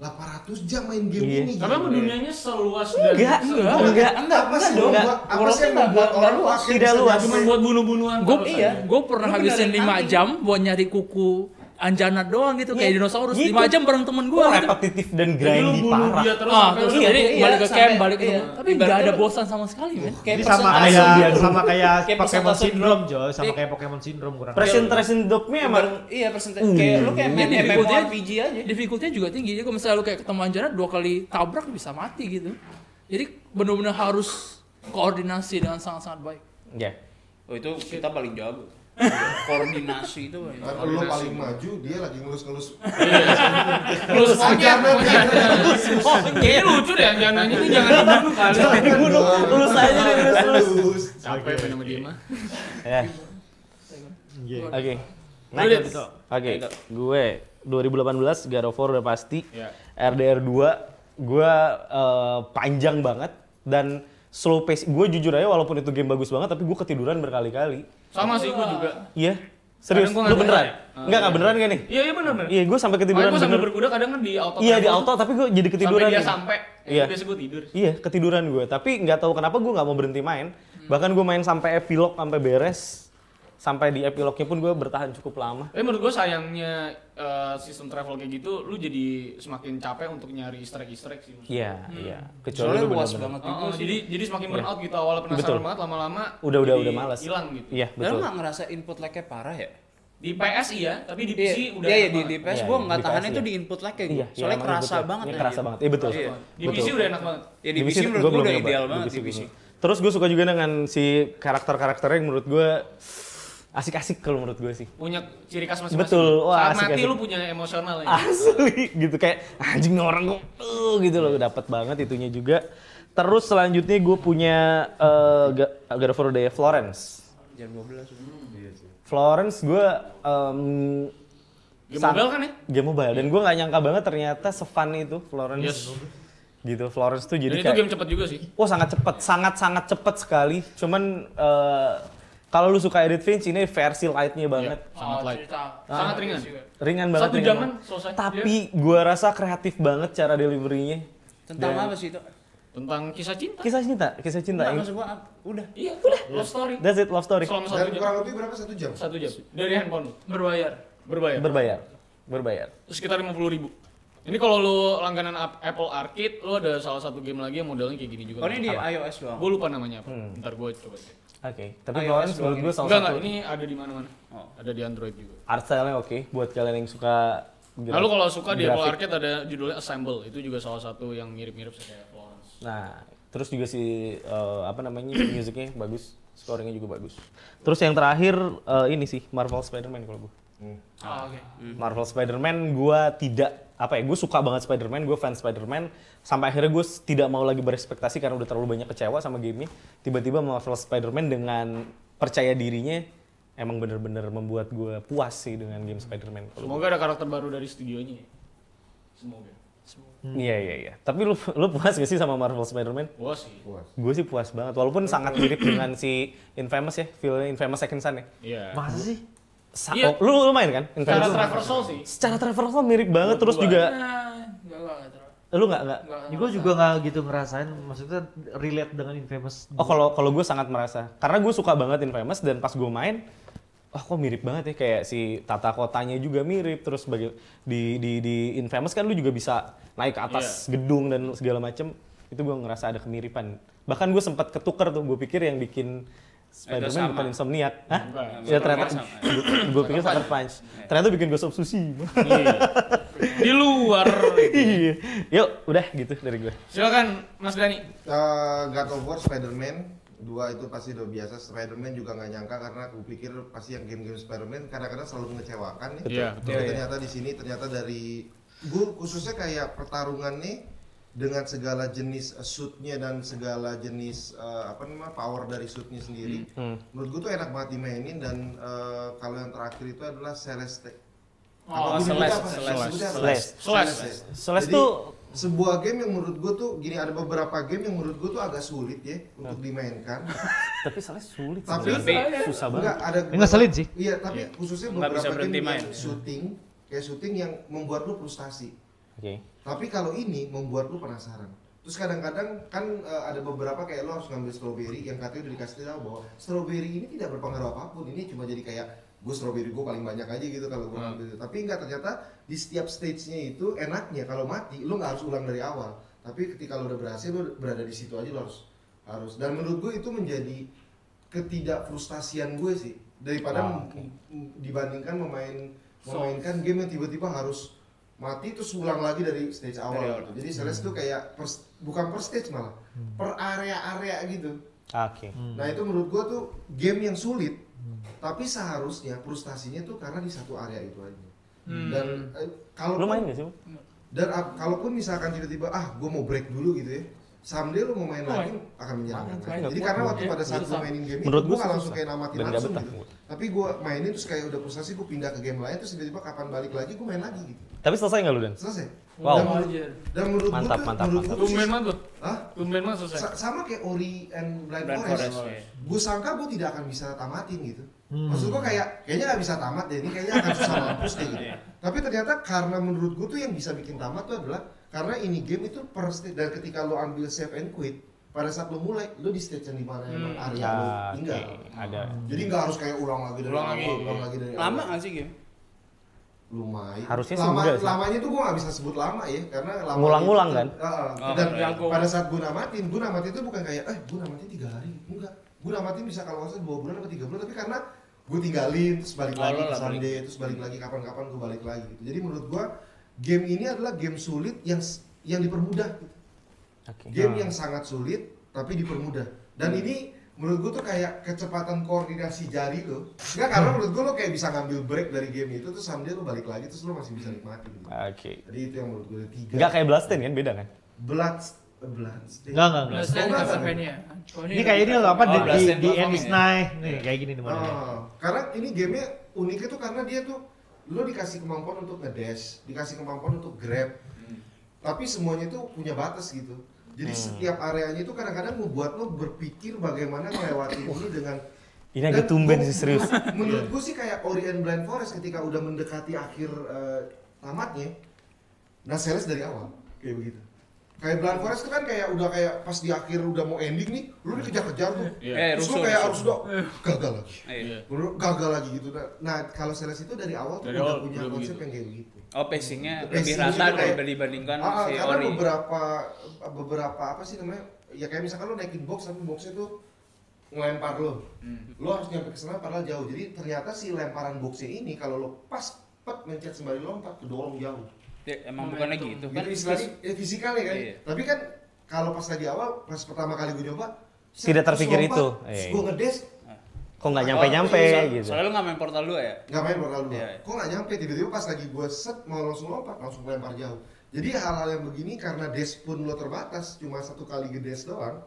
delapan ratus jam main game Iya. ini. Karena emang dunianya seluas dan Enggak, enggak, enggak, enggak, apa sih dong. yang buat- apa sih yang membuat orang pakai tidak bisa luas. cuma buat bunuh-bunuhan. Gue terus iya, aja. gue pernah habisin 5 jam buat nyari kuku anjana doang gitu kayak dinosaurus. 5 jam bareng temen gue Wah, gitu. repetitif dan Jadi lu grindy bunuh parah. dia terus Ah, sampai terus lu- jadi Iya, balik ke sampai- camp, balik ke iya. temen. Tapi nggak ada bosan sama sekali, men. Jadi sama persentase Iya, kayak dia dulu. sama kayak Kayak Pokemon persentase Syndrome, Joy. Sama Iya. kayak Pokemon Syndrome kurang. Presentation dognya emang Ibarat- iya persentase kayak lu kayak main Iya, MMORPG aja. Difficulty-nya juga tinggi. Jadi kalau misalnya lu kayak ketemu anjana dua kali tabrak bisa mati gitu. Jadi benar-benar harus koordinasi dengan sangat-sangat baik. ya. Oh itu kita paling jago. Koordinasi itu. paling Kan jago. Lo paling maju, dia lagi ngelus-ngelus. Lu semuanya. Anjana dia. Oh, iya, Kayaknya lucu deh anjananya tuh jangan dibunuh kali. Dibunuh, lulus aja deh, lulus, lulus. Lulus. Capek main sama dia mah. Ya, Iya. oke. Lanjut. Next. Oke, gue 2018 God of War udah pasti. Iya. RDR 2 gue eh, panjang banget dan slow pace. Gue jujur aja walaupun itu game bagus banget tapi gue ketiduran berkali-kali. Sama sih gue juga. Iya. Serius, lu Kadang gua nggak beneran? beneran ya. Enggak, enggak beneran gak nih? Iya iya benar benar. Iya, gue sampai ketiduran gue sambil bener. berkuda kadang kan di auto. Iya di travel auto tapi gue jadi tuh, ketiduran. Sampai dia gitu. sampai. Iya. Iya. Biasa gue tidur. Iya, ketiduran gue. Tapi nggak tahu kenapa gue nggak mau berhenti main. Hmm. Bahkan gue main sampai epilog sampai beres. Sampai di epilognya pun gue bertahan cukup lama. Tapi menurut gue sayangnya eh, sistem travel kayak gitu, lu jadi semakin capek untuk nyari easter egg easter egg sih. maksudnya. Iya, iya. Kecuali Soalnya lu luas bener-bener- banget juga Oh, oh, sih. jadi jadi semakin burnout gitu awalnya penasaran Iya. Betul. banget lama-lama Udah udah jadi udah malas. hilang gitu. Iya, Dan betul. nggak ngerasa input lag-nya parah ya? Di PS iya, tapi di Iya, PC udah iya, iya, enak di, di banget. PS Iya, gue iya, nggak di tahan PS, itu iya. di input lag-nya Iya, gitu. Soalnya emang kerasa betul. banget Iya, aja. kerasa banget. Iya, betul. Iya. Di PC udah enak banget. Ya di PC menurut gua gue belum udah nyoba. ideal Di banget di gua PC. belum. Terus gue suka juga dengan si karakter-karakternya yang menurut gue asik-asik kalau menurut gue sih. Punya ciri khas masing-masing. Betul, wah, Saat asik, mati asik. lu punya emosional ya. Asli gitu kayak anjing nih orang kok eh, gitu loh dapat banget itunya juga. Terus selanjutnya gue punya eh, Ga- God of War Day Florence. Jam Iya 12. Florence gue Game mobile kan ya? game mobile dan gue nggak nyangka banget ternyata sefun itu Florence. Yes. Gitu Florence tuh Dan jadi itu kayak game cepet juga sih. Wah sangat cepat, sangat sangat cepat sekali. Cuman eh, kalau lu suka edit Finch ini versi lightnya banget, Sangat Oh, light. cerita. Ah. Sangat ringan. ringan banget. Iya. Satu ringan jaman banget. selesai. Iya. Tapi gua rasa kreatif banget cara deliverynya. Tentang apa sih itu? Tentang kisah cinta. Kisah cinta, kisah cinta. Enggak, yang- maksud gue udah. Iya, udah love story. That's it, love story. Selama Dan satu jam. kurang lebih berapa satu jam? Satu jam. Dari handphone lu. Berbayar. Berbayar. Berbayar, berbayar. sekitar 50.000 ribu. Ini kalau lu langganan Ap- Apple Arcade, lu ada salah satu game lagi yang modelnya kayak gini Oh juga. ini di iOS doang. Gue lupa namanya apa. Ntar gue coba cek. Oke, tapi Florence iOS doang menurut gua salah Enggak satu enggak, ini ada di mana-mana. Oh. Ada di Android juga. art style-nya oke buat kalian yang suka. Nah, lu kalau suka di Apple Gitu. grafik. Arcade ada judulnya Assemble. Itu juga salah satu yang mirip-mirip kayak Florence. Nah, terus juga si eh, apa namanya musiknya bagus, scoringnya juga bagus. Terus yang terakhir eh, ini sih Marvel Spider-Man kalau gue. Hmm. Ah, oke. Marvel Spider-Man gue tidak apa ya gue suka banget Spider-Man gue fans Spider-Man sampai akhirnya gue tidak mau lagi berespektasi karena udah terlalu banyak kecewa sama gamenya tiba-tiba Marvel Spider-Man dengan percaya dirinya emang bener-bener membuat gue puas sih dengan game Spider-Man kalau Semoga ada karakter baru dari studionya. ya. Semoga. Hmm. gua. iya iya iya tapi lu lu puas gak sih sama Marvel Spider-Man Wah sih. Puas. gue sih puas banget walaupun sangat mirip dengan si Infamous ya filmnya Infamous Second Son ya Iya. Masa sih? Sa- oh, Iya. lu, lu main kan Cara Infamous traversal sih. secara traversal mirip banget terus gua. juga Nah, enggak enggak enggak terlalu. lu nggak nggak Enggak, Ya, gue enggak. juga nggak gitu ngerasain. Maksudnya relate dengan Infamous. Oh kalau kalau gue sangat merasa karena gue suka banget Infamous dan pas gue main Wah kok mirip banget ya kayak si tata kotanya juga mirip terus bagi di di di Infamous kan lu juga bisa naik ke atas gedung dan segala macem itu gue ngerasa ada kemiripan bahkan gue sempat ketuker tuh gue pikir yang bikin Spider-Man sama. bukan Insomniac Hah? Bukan. ya ternyata Sama. gue pikir Sucker Punch ternyata bikin Ghost of Tsushima Iya. Di luar. Iya. yuk udah gitu dari gue Silakan Mas Dani. Eh, God of War, Spider-Man, dua itu pasti udah biasa Spider-Man juga nggak nyangka karena aku pikir pasti yang game-game Spider-Man kadang-kadang selalu mengecewakan nih Iya, Tapi ternyata di sini ternyata dari gue khususnya kayak pertarungan nih dengan segala jenis eh, suitnya dan segala jenis eh, apa namanya power dari suitnya sendiri Hmm. menurut gue tuh enak banget dimainin dan eh, kalau yang terakhir itu adalah Celeste Oh, Apa Celeste, apa? Celeste, Sebutnya apa? Celeste. Celeste. Celeste Jadi, tuh- sebuah game yang menurut gue tuh gini ada beberapa game yang menurut gue tuh agak sulit ya untuk dimainkan Tapi Celeste sulit. Tapi- ya. sebenarnya. susah banget. Enggak ada Enggak beberapa- selin sih. Iya, tapi khususnya Enggak beberapa bisa berhenti game main. yang syuting, kayak syuting yang membuat lu frustasi. Oke. Tapi kalau ini membuat lu penasaran. Terus kadang-kadang kan eh, ada beberapa kayak lu harus ngambil strawberry yang katanya udah dikasih tahu bahwa strawberry ini tidak berpengaruh apapun. Ini cuma jadi kayak gue strawberry gue paling banyak aja gitu kalau gue ngambil. itu." Tapi enggak ternyata di setiap stage-nya itu enaknya kalau mati lu nggak harus ulang dari awal. Tapi ketika lu udah berhasil lu berada di situ aja lu harus harus. Dan menurut gue itu menjadi ketidakfrustasian gue sih daripada Ah, mem- oke. m- dibandingkan memain memainkan game yang tiba-tiba harus mati terus ulang lagi dari stage awal gitu. Jadi Celeste tuh kayak per- bukan per stage malah, Hmm. per area-area gitu. Oke. Nah, itu menurut gua tuh game yang sulit. Hmm. Tapi seharusnya frustasinya tuh karena di satu area itu aja. Dan eh, kalau Lu main gak sih? Bang? dan ap- kalaupun misalkan tiba-tiba ah gue mau break dulu gitu ya someday lu mau main Oh, lagi akan menyerangkan iya. Main, main, lagi. jadi gak karena kuat. waktu Iya, pada saat gue susah. mainin game Menurut itu gua gue gak langsung susah. kayak namatin Dan gak langsung betah gitu gua. tapi gue mainin terus kayak udah frustasi gue pindah ke game lain terus tiba-tiba kapan balik lagi gue main lagi gitu Tapi selesai gak lu Dan? selesai Wow. dan menurut, dan menurut Mantap, gue mantap, menurut mantap. gua tuh Tumben banget gue. Hah? Tumben banget selesai. Sa- sama kayak Ori and Blind, Blind Forest, Forest, iya. gue sangka gue tidak akan bisa tamatin gitu maksud gue kayak kayaknya nggak bisa tamat deh ini kayaknya akan susah mampus kayak Iya. gitu tapi ternyata karena menurut gue tuh yang bisa bikin tamat tuh adalah karena ini game itu per stage dan ketika lo ambil save and quit pada saat lo mulai lo di stage yang dimana emang Hmm. area Ah, lo Oke. tinggal Ada. jadi nggak harus kayak ulang lagi dari Ya, Ulang awal, lagi. ulang lagi dari Lama awal. nggak sih game? lumayan Harusnya sih lama, enggak sih. lamanya tuh gue nggak bisa sebut lama ya karena lama Ngulang-ngulang kan? Oh, dan iya. pada saat gue namatin gue namatin itu bukan kayak eh gue namatin tiga hari enggak gue namatin bisa kalau nggak salah dua bulan atau tiga bulan tapi karena gue tinggalin terus balik Oh, lagi ke lo lah balik. Sunday terus balik lagi kapan-kapan gue balik lagi gitu. jadi menurut gue game ini adalah game sulit yang s- yang dipermudah gitu. Oke. game yang sangat sulit tapi dipermudah dan ini menurut gue tuh kayak kecepatan koordinasi jari lo enggak karena menurut gue lo kayak bisa ngambil break dari game itu terus Sunday lo balik lagi terus lo masih bisa nikmatin gitu. Oke. jadi itu yang menurut gue tiga eh, Enggak kayak Blasten kan beda kan? blood blood Stain. Enggak, enggak, enggak. Nah, selain Oh, enggak, Castlevania. Oh, Ini kayak ini loh apa Oh, di di, Blasten di Bloodhound End is ya? Night. Nih kayak gini nih modelnya. Ah, karena ini gamenya uniknya tuh karena dia tuh lo dikasih kemampuan untuk ngedash, dikasih kemampuan untuk grab, tapi semuanya itu punya batas gitu. Jadi setiap areanya itu kadang-kadang membuat lo berpikir bagaimana melewati ini dengan Ini agak Dan tumben gua- sih serius. Menurut gue sih kayak Ori and Blind Forest ketika udah mendekati akhir eh, tamatnya, nah sales dari awal kayak begitu. Kayak Blind Forest itu kan kayak udah kayak pas di akhir udah mau ending nih, lu dikejar-kejar tuh. Iya. Eh, Terus lu rusuh, kayak rusuh. harus udah gagal lagi. Iya. Menurut gagal lagi gitu. Nah, Nah, kalau sales itu dari awal tuh Dari udah awal punya udah konsep begitu. yang kayak gitu. Oh pacingnya lebih Pacing-nya rata juga kayak- daripada dibandingkan Ah, ah, Kan si karena Ori. beberapa beberapa apa sih namanya? Ya kayak misalkan lo naikin box tapi boxnya tuh ngelempar lo. Hmm. Lo harus nyampe ke sana padahal jauh. Jadi ternyata si lemparan boxnya ini kalau lo pas pet mencet sembari lompat kedorong jauh. Ya, emang bukannya gitu kan? Itu istilahnya eh, fisikal ya kan. Iya. Tapi kan kalau pas lagi awal pas pertama kali gue nyoba Tidak terpikir itu. Iya. Gue ngedes Kok nggak nyampe-nyampe Oh, gitu. Soalnya lu nggak main Portal 2 ya? nggak main bakal dua. Iya. Kok nggak nyampe tiba-tiba pas lagi gue set mau langsung lompat langsung lempar jauh. Jadi hal-hal yang begini karena dash pun lo terbatas cuma satu kali gedes doang.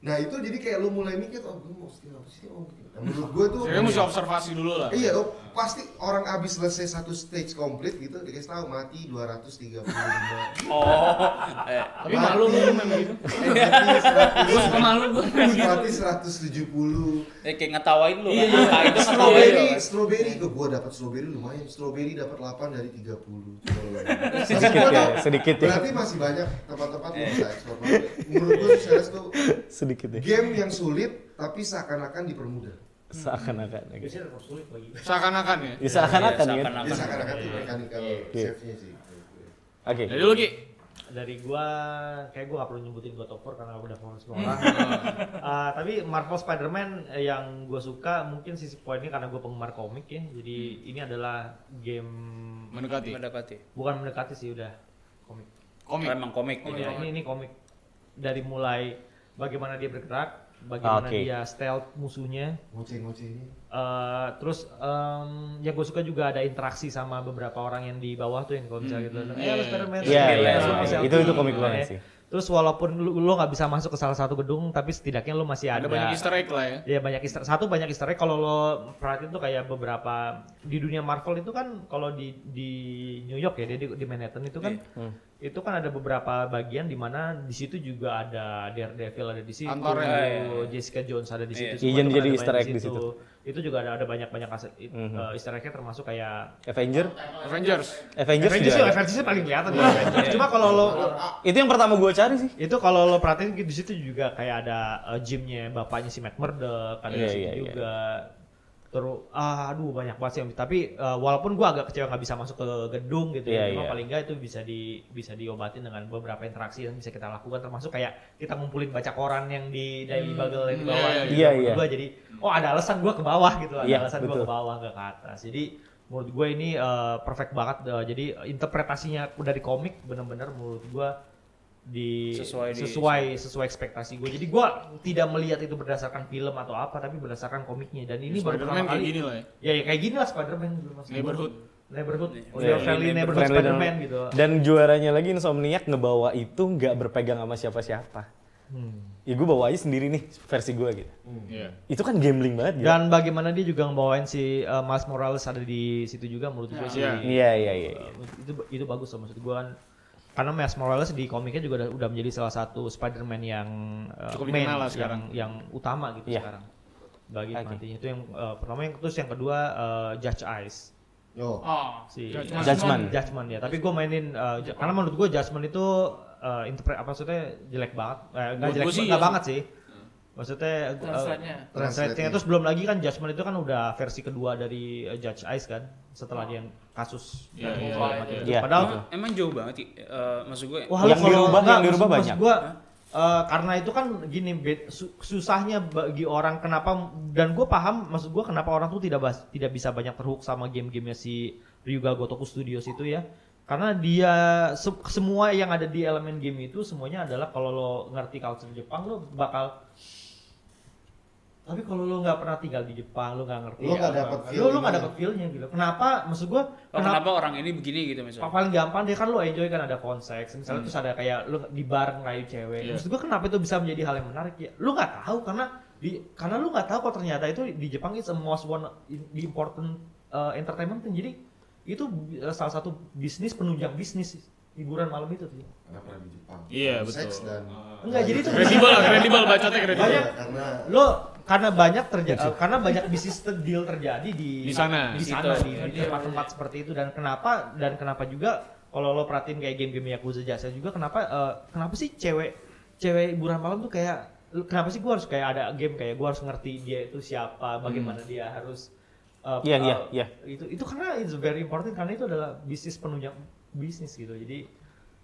Nah itu jadi kayak lo mulai mikir oh gue mau skill apa sih oh. gitu." Nah, menurut gue tuh Saya mesti observasi dulu lah. Iya, oh, pasti orang abis selesai satu stage komplit gitu, dikasih tahu mati 235. Oh, eh. Tapi malu lu Mati. main begitu. Mati Gue 100. suka malu gue. Mati 170. Eh, kayak ngetawain lu. Iya, Iya, itu iya. ngetawain lu. Strawberry, kan? strawberry, gue gua dapat strawberry lumayan. Strawberry dapat 8 dari 30. Coba lu bayangin. Sedikit Maksud ya, gua tuh, sedikit ya. Berarti masih banyak Eh. tempat-tempat yang bisa ekspor. Menurut gue Sales tuh Sedikit ya. deh. game yang sulit tapi seakan-akan dipermudah. Seakan-akan. oke. Seakan-akan ya. Ya seakan-akan Iya, kan. Jadi seakan-akan. seakan-akan itu mechanical Iya. save-nya sih. Oke. Jadi lu Ki, Dari gua kayak gua gak perlu nyebutin God of War karena udah ngomong semua orang. Ah, tapi Marvel Spider-Man eh, yang gua suka mungkin sisi poinnya karena gua penggemar komik ya. Jadi ini adalah game mendekati. Mendekati. bukan mendekati sih udah komik. Komik. Oh, Kan. Emang komik. Iya, Ini- jadi. ini ini komik dari mulai bagaimana dia bergerak bagaimana Oke. dia stealth musuhnya ngoceh-ngoceh ini. Eh, terus em, yang gue suka juga ada interaksi sama beberapa orang yang di bawah tuh yang kalau misalnya gitu eh lu Spiderman, Iya, Spiderman, iya, lu iya. masih Itu- apa?" itu komik banget Nah, ya. sih. terus walaupun lu, lu gak bisa masuk ke salah satu gedung tapi setidaknya lu masih ada, Ada banyak easter egg lah ya. Ya banyak easter satu banyak easter egg kalau lo perhatiin tuh kayak beberapa di dunia Marvel itu kan kalau di di New York ya dia di, di Manhattan itu kan Iya. Hmm. itu kan ada beberapa bagian di mana di situ juga ada Daredevil ada di situ, Kantornya. ada Iya, Jessica Jones ada di situ. Iya, jadi- semua itu kan jadi ada easter banyak egg di Mhm. Itu juga ada ada banyak banyak aset, i- eh, easter eggnya termasuk kayak Avenger? Avengers. Avengers juga. Avengers sih, ada. Avengers sih paling kelihatan. ya. Cuma kalau lo Itu yang pertama gue cari sih. itu kalau lo perhatiin di situ juga kayak ada eh, gymnya bapaknya si Matt Murdock ada Iya, di situ iya, iya. juga terus ah, aduh banyak banget sih yang- tapi eh, walaupun gua agak kecewa nggak bisa masuk ke gedung gitu Iya, ya cuma iya. paling nggak itu bisa di bisa diobatin dengan beberapa interaksi yang bisa kita lakukan termasuk kayak kita ngumpulin baca koran yang di dari bagel yang di iya, bawah iya, gitu. iya. Menurut Iya, gua jadi oh ada alasan gua ke bawah gitu ada Iya, alasan gua betul. ke bawah nggak ke atas jadi menurut gue ini eh, perfect banget eh, jadi interpretasinya dari komik bener-bener menurut gua di Sesuai di- sesuai sesuai ekspektasi gue. Jadi gue tidak melihat itu berdasarkan film atau apa, tapi berdasarkan komiknya. Dan ini baru Spider-Man pertama kayak kali. gini lah ya. Ya, ya kayak gini lah Spider-Man. dulu, Mas. Neighborhood. Neighborhood. Oh, Iya, your friendly iya, neighborhood Friendly dan- Spider-Man gitu. Dan juaranya lagi Insomniac ngebawa itu nggak berpegang sama siapa-siapa. Ya gue bawa aja sendiri nih versi gue gitu. Iya. Itu kan gambling banget gitu. Dan bagaimana dia juga ngebawain si uh, Miles Morales ada di situ juga menurut gue sih. Iya. Iya iya iya. iya. itu itu bagus loh maksud gue kan karena Miles Morales di komiknya juga udah, udah menjadi salah satu Spider-Man yang uh, Cukup dikenal lah sekarang. yang, yang utama gitu Iya. sekarang. Bagi Oke. matinya itu yang uh, pertama yang terus yang kedua uh, Judge Eyes Yo, Oh, si Judgment. Judgment. Judgment ya. Tapi gue mainin uh, ju- karena menurut gue Judgment itu uh, interpret apa maksudnya jelek banget. Eh, nggak Menurut jelek gua sih nggak ya. banget sih. Maksudnya uh, Translate-nya. translate-nya. terus belum lagi kan Judgment itu kan udah versi kedua dari uh, Judge Eyes kan setelah dia yang kasus Iya, dan iya, segala iya, macam iya. itu. Iya, Padahal betul. Emang jauh banget, Ki. Eh, maksud gue. Oh, Yang dirubah- yang dirubah banyak. Gue karena itu kan gini bet- su- susahnya bagi orang kenapa dan gue paham maksud gue kenapa orang tuh tidak bas- tidak bisa banyak terhook sama game-gamenya si Ryuga Gotoku Studios itu ya karena dia se- semua yang ada di elemen game itu semuanya adalah kalau lo ngerti culture Jepang lo bakal tapi kalau lo nggak pernah tinggal di Jepang lo nggak ngerti Lo nggak apa- dapet apa- feel lo lo nggak gimana? dapet feelnya gitu kenapa maksud gue Oh, kenapa orang ini begini gitu Pa- misalnya? paling gampang dia kan lo enjoy kan ada konseks misalnya terus ada kayak lo di bar ngerayu cewek Iya. maksud gue kenapa itu bisa menjadi hal yang menarik ya lo nggak tahu karena di karena lo nggak tahu kalau ternyata itu di Jepang it's a most one in- the important uh, entertainment thing. jadi itu uh, salah satu bisnis penunjang bisnis hiburan malam itu tuh. karena pernah di Jepang. Iya, Seks betul. dan ya, enggak jadi itu Kredibel lah, kredibel bacotnya kredibel. banyak karena lo karena banyak terjadi karena banyak bisnis ter- deal terjadi Iya di Di sana. di sana di di tempat-tempat seperti itu dan kenapa dan kenapa juga kalau lo perhatiin kayak game-game Yakuza jasa juga kenapa eh, kenapa sih cewek cewek hiburan malam tuh kayak lu- kenapa sih gue harus kayak ada game kayak gue harus ngerti dia itu siapa bagaimana dia harus eh, Hmm. Iya, eh, iya, iya. itu itu karena it's very important karena itu adalah bisnis penunjang bisnis gitu jadi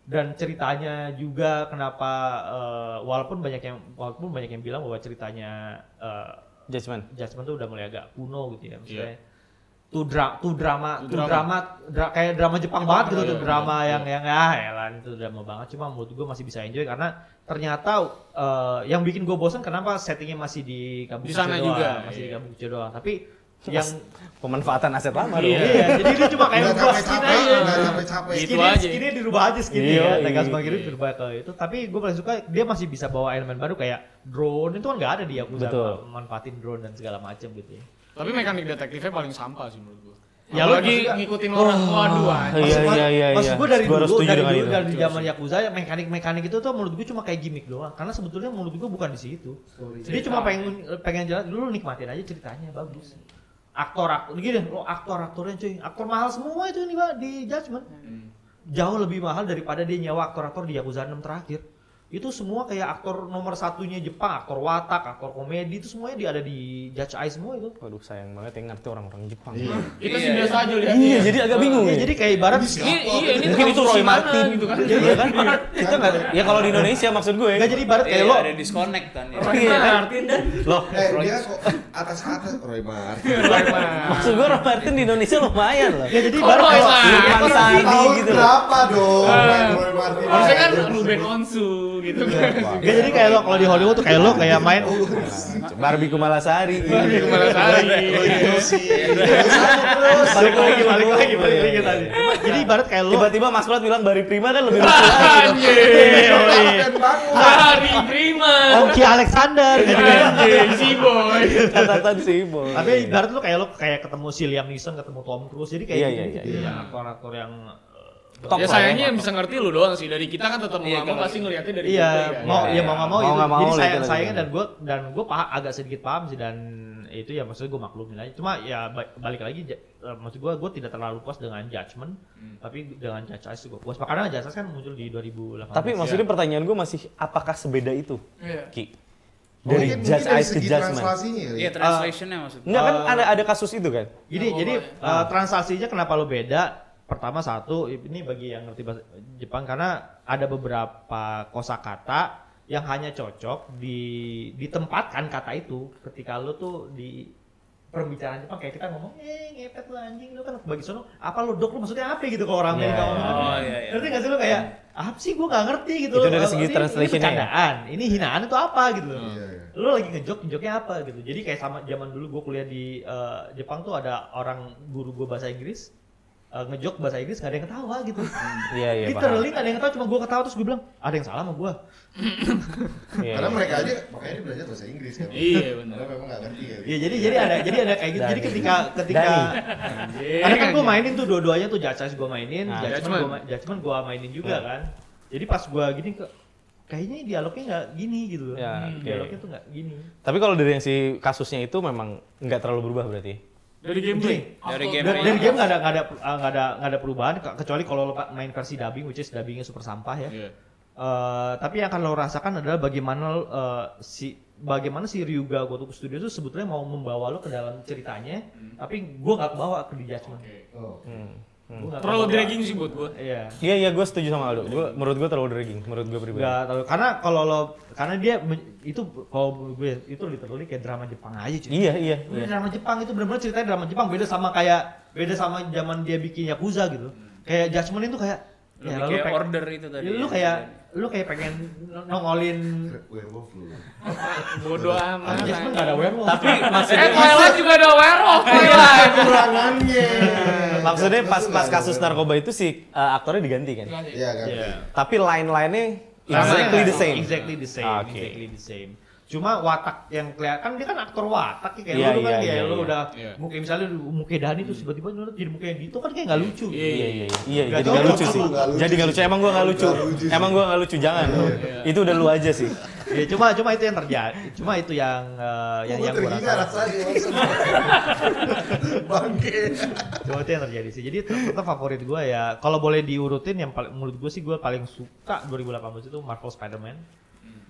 dan ceritanya juga kenapa eh, walaupun banyak yang walaupun banyak yang bilang bahwa ceritanya eh, Judgment. Judgment tuh udah mulai agak kuno gitu ya maksudnya. Tuh, dra- tuh drama, Iya. Tuh tuh drama. drama, dra- kayak drama Jepang banget gitu iya, tuh iya, drama yang yang ah elan itu drama banget cuma menurut gue masih bisa enjoy karena ternyata eh, yang bikin gue bosan kenapa settingnya masih di Kabupaten Di sana juga, masih di iya. Kabupaten doang tapi yang Pemanfaatan aset lama dong. Iya. iya jadi dia cuma nggak kayak gue skin capek-capek, aja nggak capek-capek. Gitu Skinny, aja. skinny dirubah aja skinny Iya, ya. Tegas iya. bang Giring dirubah ke itu. Tapi gue paling suka dia masih bisa bawa elemen baru kayak drone itu kan nggak ada dia Yakuza Betul. manfaatin drone dan segala macam gitu ya. Tapi mekanik detektifnya paling sampah sih menurut gua. Ya, Ya lu lagi juga- ngikutin orang. Waduh, anjing. Iya, Maksud gua- iya, iya, Maksud iya. gue dari Gua harus dulu, setuju dari dengan dulu, itu. dari zaman Yakuza, mekanik-mekanik itu tuh menurut gue cuma kayak gimmick doang. Karena sebetulnya menurut gue bukan di situ. Dia cuma pengen pengen jalan dulu nikmatin aja ceritanya bagus. Aktor aktor gini lo aktor aktornya cuy, aktor mahal semua itu nih Pak, di Judgment. Hmm. Jauh lebih mahal daripada dia nyewa aktor-aktor di Yakuza 6 terakhir. Itu semua kayak aktor nomor satunya Jepang, aktor watak, aktor komedi itu semuanya dia ada di Judge Eye semua itu. Waduh sayang banget yang ngerti orang-orang Jepang. Iya. Kita Iya, sih iya. biasa aja lihat. Iya, jadi agak bingung. Iya, ya. jadi kayak ibarat Iya, iya, ini Mungkin itu kasus Roy mana Martin gitu kan. Iya kan? Kita nggak ya kalau di Indonesia maksud gue. Nggak, jadi ibarat Iya, kayak lo ada disconnect kan ya. Iya kan? Loh, Eh, dia kok atas atas Roy Martin. maksud gue Roy Martin di Indonesia lumayan loh. Ya jadi Kok baru lo kayak enak? Irfan Sandi Tahu gitu loh. kenapa dong? main Roy Martin. Eh. Iya. Harusnya kan aja. Ruben Onsu. lu gitu. Iya, Gak Ya, jadi kayak lo kalau di Hollywood tuh kayak lo kayak main uh, Barbie Kumalasari. Di Kemana sari? balik lagi balik lagi balik lagi tadi. Jadi ibarat kayak lo Tiba-tiba Mas Prat bilang Bari Prima kan lebih lucu. Anjir. Iya. Keren banget. Hari Prima. Onki Alexander. Oh, Jadi iya. kayak- Anjir, si boy. Catatan Iya. sih, Boy. Tapi ibarat lo kayak lo kayak ketemu si Liam Neeson, ketemu Tom Cruise, jadi kayak Iya, gitu, iya, gitu iya, ya, aktor-aktor yang eh, Top Ya lah sayangnya ya. yang bisa ngerti lu doang sih. Dari kita kan tetap mau Iya, nggak mau kalau- pasti ngeliatnya dari iya gameplay kan. mau Iya, ya mau nggak mau, mau itu. nggak mau jadi lah sayang itu sayangnya lagi. dan gue dan gue paham agak sedikit paham sih dan itu ya maksudnya gue maklumin aja cuma ya ba- balik lagi ja- eh, maksud gue gue tidak terlalu puas dengan judgement Hmm. tapi dengan judge eyes gue puas makanya judge eyes kan muncul di 2018 Tapi maksudnya pertanyaan gue masih apakah sebeda itu? Iya. Ki. Dari Mungkin- judge mungkin dari eyes ke segi judgment. translasinya kali Iya, ya. translation-nya maksudnya. Enggak kan ada ada kasus itu kan? Jadi Nah, jadi pokoknya. ya. eh, transaksinya kenapa lo beda? Pertama satu ini bagi yang ngerti bahasa Jepang karena ada beberapa kosakata yang hanya cocok di ditempatkan kata itu ketika lo tuh di perbicaraan Jepang kayak kita ngomong eh ngepet lo anjing lo kan bagi sono apa lo dok lo maksudnya apa gitu kalau orang Iya, Amerika iya. ngomong Oh, iya, iya. ngerti gak sih lo kayak apa sih gue gak ngerti gitu Itu loh. dari segi Ini- ini translation-nya ya? bercandaan ini hinaan itu apa gitu loh Iya, iya. lo lagi ngejok ngejoknya apa gitu jadi kayak sama zaman dulu gue kuliah di eh, Jepang tuh ada orang guru gue bahasa Inggris eh, ngejok bahasa Inggris gak ada yang ketawa gitu Iya, iya, paham. literally gak ada yang ketawa cuma gue ketawa terus gue bilang ada yang salah sama gue Iya, Karena iya. mereka aja makanya dia belajar bahasa Inggris kan. Iya benar. Karena memang nggak ngerti kali. Iya, ya jadi jadi ada jadi ada kayak gitu jadi Dani. ketika ketika Dani. karena kan gue mainin tuh dua-duanya tuh judges gue mainin Nah, Iya. judgment gue judgment gue mainin juga kan jadi pas gue gini ke kayaknya dialognya nggak gini gitu loh Ya, Hmm, oke. dialognya tuh nggak gini Tapi kalau dari yang si kasusnya itu memang nggak terlalu berubah berarti. Dari gameplay. Dari Atau- game dari, dari game nggak ada nggak ada ah, nggak ada nggak ada perubahan ke- kecuali kalau lo main versi dubbing which is dubbingnya super sampah ya. Iya. Eh, tapi yang akan lo rasakan adalah bagaimana eh, si bagaimana si Ryuga Gotoku Studio itu sebetulnya mau membawa lo ke dalam ceritanya, tapi gue nggak bawa ke di judgment. Oh. Gua nggak Terlalu kebawa. dragging sih buat gua. Iya. Iya iya gue setuju sama Aldo. Gua, menurut gue terlalu dragging. Menurut gue pribadi. Nggak terlalu- karena kalau lo karena dia men- itu kalau menurut gue itu literally kayak drama Jepang aja cuy. Iya iya. Ini iya. drama Jepang itu benar-benar ceritanya drama Jepang beda sama kayak beda sama zaman dia bikin Yakuza gitu. Kayak Judgment itu Ya, kayak Lebih lalu kayak peng- order itu tadi. ya, lu kayak lu kayak pengen nongolin Werewolf lu. Bodoh Ah, amat. Judgment gak ada werewolf. Tapi Eh, maksudnya Thailand juga ada werewolf Thailand. Kekurangannya. maksudnya pas Lu nggak pas ada kasus werewolf. narkoba itu si eh, aktornya diganti kan. Ganti. Iya kan. Iya. Tapi line-linenya Sama exactly kan? the same. Exactly the same. Ah, oke. Exactly the same. Cuma watak yang kelihatan kan dia kan aktor watak ya, kayak Iya, lu kan iya, kayak iya, lu iya. udah Iya. muka misalnya lu- muka Dani terus tiba-tiba nyolot jadi muka yang gitu kan kayak nggak lucu. Iya, Iya iya iya. Iya, Nggak jadi tahu gak lucu kenapa sih. lu nggak lucu Jadi gak lucu. Emang gue gak lucu. Nggak lucu sih. Emang gue gak lucu jangan. Itu udah lu aja sih. Ya cuma cuma itu yang terjadi. Cuma itu yang eh, yang Gua yang gue terhina rasain. rasanya. Bangke. Cuma itu yang terjadi sih. Jadi tetap favorit gue ya. Kalau boleh diurutin yang paling menurut gue sih gue paling suka 2018 itu Marvel Spider-Man.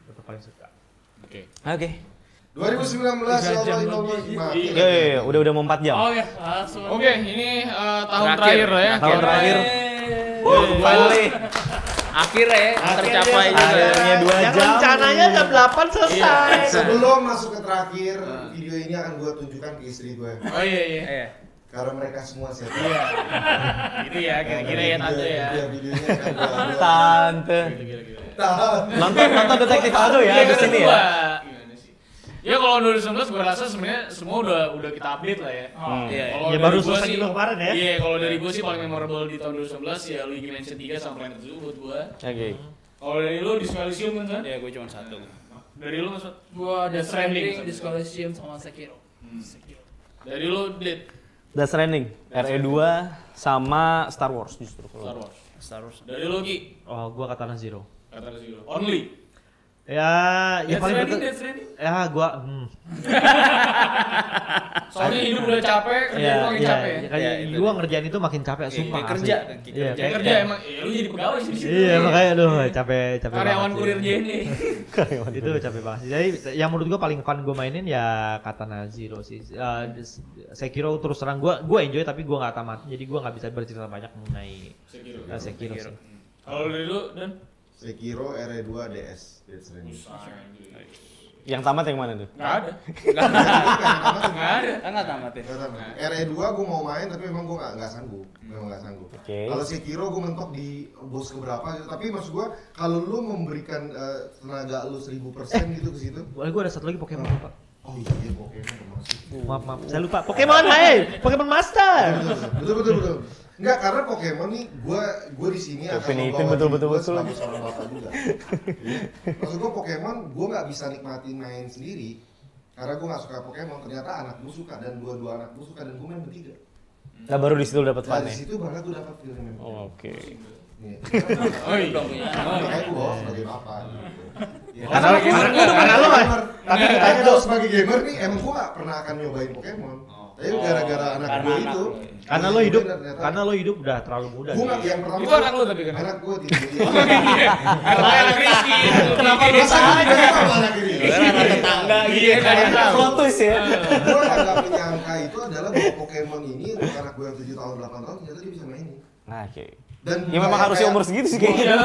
Tetap paling suka. Oke. Oke. 2019 ya Allah ya Allah Iya, gimana? iya, iya. udah udah mau 4 jam. Oh ya, langsung. Oke, ini eh, tahun Terakhir. terakhir ya. Tahun terakhir. iya, Wuh, Finally. Akhirnya ya, tercapai juga. Akhirnya 2 Yang jam. Iya. rencananya jam 8 selesai. Sebelum masuk ke terakhir, video ini akan gue tunjukkan ke istri gue Oh iya iya. Iya. karena mereka semua siapa. Gitu ya, kira-kira ya tante ya. Iya, videonya akan gua upload. Tante. Tahan. Nonton nonton detektif Aldo Iya, ya Iya, di sini ya. Ya kalau 2019 gue rasa sebenarnya semua udah udah kita update lah ya. Iya. iya. Kalau Ya, dari baru gua selesai sih- juga kemarin ya. Iya, kalau dari gue sih paling memorable di tahun 2019 ya League Mansion 3 sama Planet Zoo buat gue. Oke. Kalau dari lu di Spelisium kan kan? Ya, gue cuma satu. Dari lu maksud? Gua ada Death Stranding. Stranding, Discolosseum sama Sekiro. Sekiro. Dari lu dit Death Stranding, RE2 sama Star Wars justru Star kalau. Wars. Star Wars. Dari lu Ki Oh, gua Katana Zero. kata lu sih lu. Only. Ya, ya Death paling Stranding, betul. Death Stranding. Ya, gua hmm. Soalnya hidup udah capek, kerja Iya, lu makin Ya, capek. ya, ya. kayak Ya, itu gua dia. ngerjain itu makin capek, sumpah. Iya, asli. kerja, kerja. Iya, Ya, kayak- kerja emang ya, lu jadi pegawai sih di situ. Iya, makanya aduh capek capek. banget karyawan sih. kurir JNE. itu capek banget sih. Jadi yang menurut gua paling fun gua mainin ya Katana Zero sih. Eh, des- Sekiro terus terang gua gua enjoy tapi gua nggak tamat. Jadi gua nggak bisa bercerita banyak mengenai Sekiro. eh, Sekiro. Sekiro. sih. Kalau dari lu dan E Sekiro RE2 DS. That's right. Yang tamat yang mana tuh? Nggak ada. Nggak Nggak ada. Enggak tamat ya. Nggak tamat. RE2 gue E mau main tapi memang gue nggak nggak sanggup, memang nggak sanggup. Oke. Kalau Sekiro gue mentok di bos keberapa gitu, tapi maksud gue kalau lu memberikan eh, tenaga lu 1000% gitu ke situ, Boleh gue ada satu lagi Pokemon lupa. oh iya Pokemon termasuk. Maaf maaf, saya lupa. Pokemon, hai, Pokemon Master. betul betul betul Enggak, karena Pokemon nih gua gua di sini Tuh, akan Finitin membawa betul, diri betul, gua betul. selaku seorang bapak juga. Iya. Maksud gua Pokemon gua nggak bisa nikmatin main sendiri karena gua nggak suka Pokemon. Ternyata anak gua suka dan dua-dua anak gua suka dan gua main bertiga. Nah baru di situ lu dapet Nah, fun di ya? situ banget gua dapat feeling memang. Oh, Oke. Iya. Oh iya. Makanya gua bawa sebagai apa gitu. Ya. Karena Karena- karena karena- karena lu kan. Tapi ditanya dong sebagai gamer nih, emang gua nggak pernah akan nyobain Pokemon. Oh. Tapi gara-gara anak karena gua anak itu, Iya, lu ya. Karena lo hidup, karena lo hidup udah terlalu muda. gue nggak yang pertama Itu Iya. anak lu tapi kan. iya. anak gue tidak Kenapa anak Rizky? Kenapa masa gue tidak tahu anak ini Anak tetangga gitu. Iya kan. Plot twist ya. Iya. gue agak menyangka itu adalah bahwa Pokemon ini untuk anak gue yang 7 tahun 8 tahun ternyata dia bisa mainin Nah, Oke. dan Ya memang harusnya umur segitu sih Iya. kayaknya.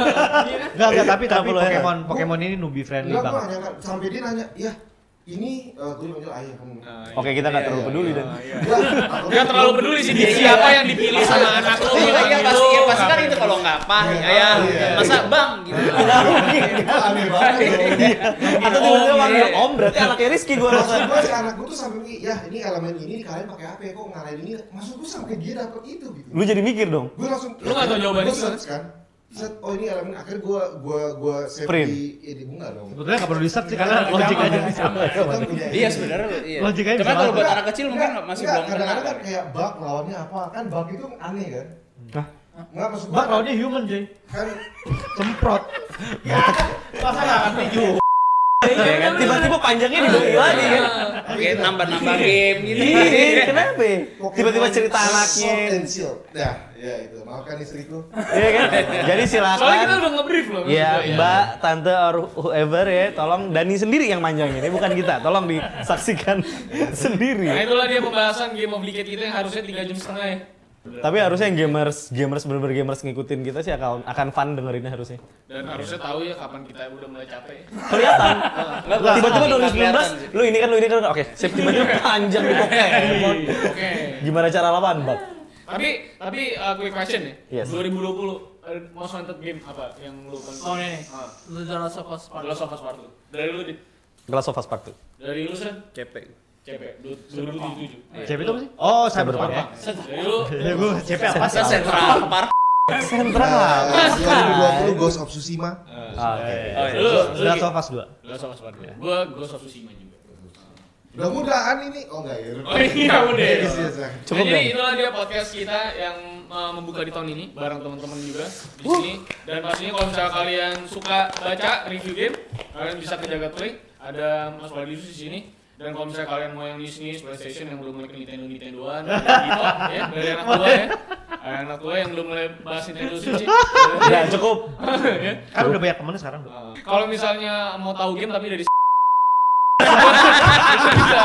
Enggak, enggak, tapi Kenapa tapi lo heran? Pokemon Pokemon ini newbie friendly enggak gue banget. nyangka sampai dia nanya ya ini eh, gue manggil ayah kamu Oke kita Iya, nggak terlalu peduli dan. Gua takut- Gak Ah, iya. terlalu peduli sih dia siapa yang dipilih sama anak lu. Iya, iya, orang pasti itu. iya, pasti kan itu kalau enggak pah Iya, ya. iya. Masa bang gitu. Gua aneh Iya. banget dong Atau tiba-tiba manggil om berarti anaknya Rizky gue rasa. Maksud gue si anak gue tuh sampai mikir, ya ini elemen ini kalian pakai apa ya kok ngalahin ini? Maksud gue sampai dia dapet itu gitu. Lu jadi mikir dong. gue langsung Lu nggak tahu jawabannya Gua search kan set oh ini elemen akhirnya gue gue gue save Print. di ya di bunga dong Sebetulnya nggak perlu di search sih karena logik aja di Kita punya Iya ini. sebenarnya iya. Logikanya Cuma bisa kalau buat Enggak, anak kecil mungkin enggak, masih enggak, belum kenal. kadang-kadang kan kayak bug lawannya apa kan bug itu aneh kan Hah? Enggak maksud gue Mbak lawannya human cuy. kan Semprot. Masa nggak ngerti juga. Ya kan tiba-tiba panjangnya dibagi lagi kan. Oke, nambah-nambah game gitu. Iya, kenapa? Pokemon Tiba-tiba cerita Sword anaknya. and Shield. ya ya itu maafkan istriku Iya kan? Jadi Soalnya kan. kita silakan. udah nge-brief loh. Iya, Ya, Iya. maksudnya. Mbak, Tante, or whoever ya, tolong Dani sendiri yang manjangin, ya bukan kita. Tolong disaksikan sendiri. Nah itulah dia pembahasan game of Decade kita yang harusnya 3 jam setengah ya. Tapi harusnya yang gamers, gamers bener-bener gamers ngikutin kita sih akan akan fun dengerinnya harusnya. Dan harusnya tahu ya kapan kita udah mulai capek. ya. Kelihatan. Nggak, Tiba-tiba nggak kelihatan sih. 2019, lu ini kan lu ini kan oke, sip tiba-tiba panjang di Pokemon. Oke. Gimana cara lawan, Bang? Tapi tapi uh, quick question ya. Yes. 2020 uh, most wanted game apa yang lu Oh ini nih. Ah. Lu udah rasa pas The Last of Us Part 2. Dari lu Dit. Glass of Us Part 2. Dari lu Sen. Cepet. CP 2007. CP itu apa sih? Oh, Cyberpunk. Cyberpunk ya. Dari lu Ya gue CP apa sih? Masa sentral park. Sentral. Nah, 2020 Ghost of Tsushima uh, Ah, oke. Oh, iya. Lu, lu Last gitu. of Us 2. The Last of Us Part 2. Gua Ghost of Tsushima juga. mudah-mudahan ini oh enggak ya Oh iya udah. Iya, ya. iya, iya. Cukup, Nah, jadi Bang. itulah dia podcast kita yang uh, membuka di tahun ini bareng teman-teman juga di sini dan pastinya kalau misalnya kalian suka baca review game kalian bisa ke Jagat Play ada Mas Wadius di sini dan kalau misalnya kalian mau yang Disney, PlayStation yang belum mulai ke Nintendo Nintendoan gitu ya dari anak tua ya Ada anak tua yang belum mulai bahas Nintendo Switch ya. Iya. Ya, cukup. Ya. Kan udah banyak temennya sekarang. bro. Uh, kalau misalnya mau tahu game tapi dari bisa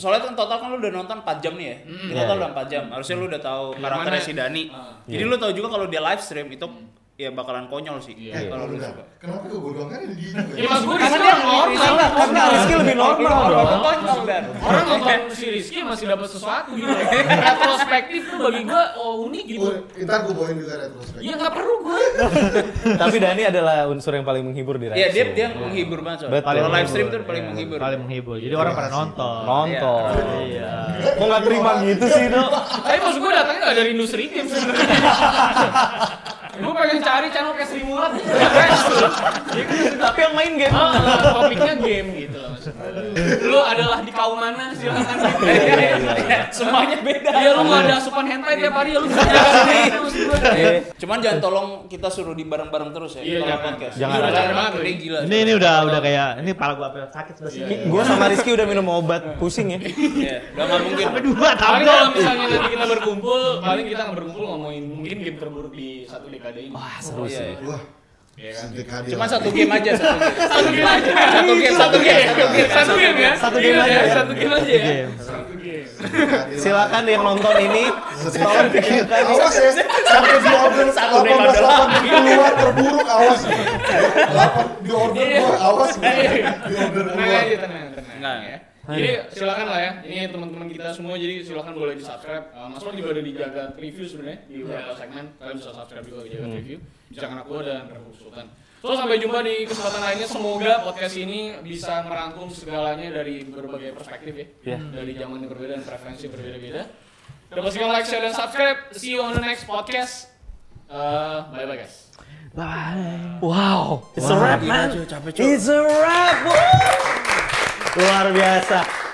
Soalnya kan total kan lu udah nonton 4 jam nih ya. Mm. Di total Iya, udah 4 jam. Harusnya lu udah tahu Iya, karakternya mana- si Dani. Ah. Jadi Iya. lu tahu juga kalau dia live stream itu ya bakalan konyol sih. Iya. Eh, Kalau lu bentar. suka. Kenapa tuh bodoh kan di juga Ya mas gue Karena dia Rizky orang normal karena- Karena Rizky lebih normal dong. Orang konyol dan. Orang nonton si Rizky masih dapat sesuatu gitu loh Retrospektif tuh bagi gue oh unik gitu Oh, Ntar gue bawain juga retrospek. Ya gak perlu gue Tapi Dani adalah unsur yang paling menghibur di Riot Iya, dia Show. dia menghibur banget soalnya. Betul. Kalau live stream tuh Iya, paling menghibur. Paling menghibur. Jadi orang pada nonton. nonton. Iya. Kok nggak terima gitu sih, Dok? Tapi maksud gue datangnya gak dari industri game sebenernya Gue pengen cari channel kayak Sri Mulat gitu Tapi yang main game. Ah, Topiknya game gitu loh maksud gue. Lu adalah di kaum mana silahkan Semuanya beda. Ya lu gak ada asupan hentai tiap hari ya lu bisa nyari sendiri, maksud gue. Iya. Cuman jangan tolong kita suruh di bareng-bareng terus ya. Iya, kalau jangan. podcast. Jangan. Ini udah Jangan. capek banget, ini gila. Ini ini udah udah kayak ini kepala gua apa, ya? sakit sebelah sini. Gue sama Rizky udah minum obat pusing ya. Iya, udah nggak mungkin. Sampai dua Paling tablet. kalau misalnya nanti kita berkumpul, paling kita nggak berkumpul ngomongin mungkin game terburuk di satu dekade ini. Wah, seru Iya, iya. kan? Wah, suntik hadiah. Cuma satu game aja satu game. Satu game aja. Satu game, satu ya, game, satu game. Satu game ya. Satu game Iya, aja. ya, Satu game aja Iya. ya. Game. Suntik hadiah. Silakan yang nonton ini tolong pikirkan. Awas ya, sampai dua belas, delapan belas, delapan belas keluar terburuk awas. ya. Di order Iya. gue, awas gue. Di order Nah, Tenang gue. aja, tenang, tenang Tenang. ya. Jadi silakan lah ya, ini teman-teman kita semua jadi silakan boleh di subscribe. Uh, Mas Lon juga ada di Jagat Review sebenarnya di beberapa segmen. Kalian bisa subscribe juga di Jagat Review. Jangan aku dan Rebu Sultan. So sampai jumpa di kesempatan lainnya. Semoga podcast ini bisa merangkum segalanya dari berbagai perspektif ya. Iya. Dari zaman yang berbeda dan preferensi berbeda-beda. Udah pastikan like, share, dan subscribe. See you on the next podcast. Uh, bye bye guys. Wow, it's a wrap man. It's a wrap. Luar biasa.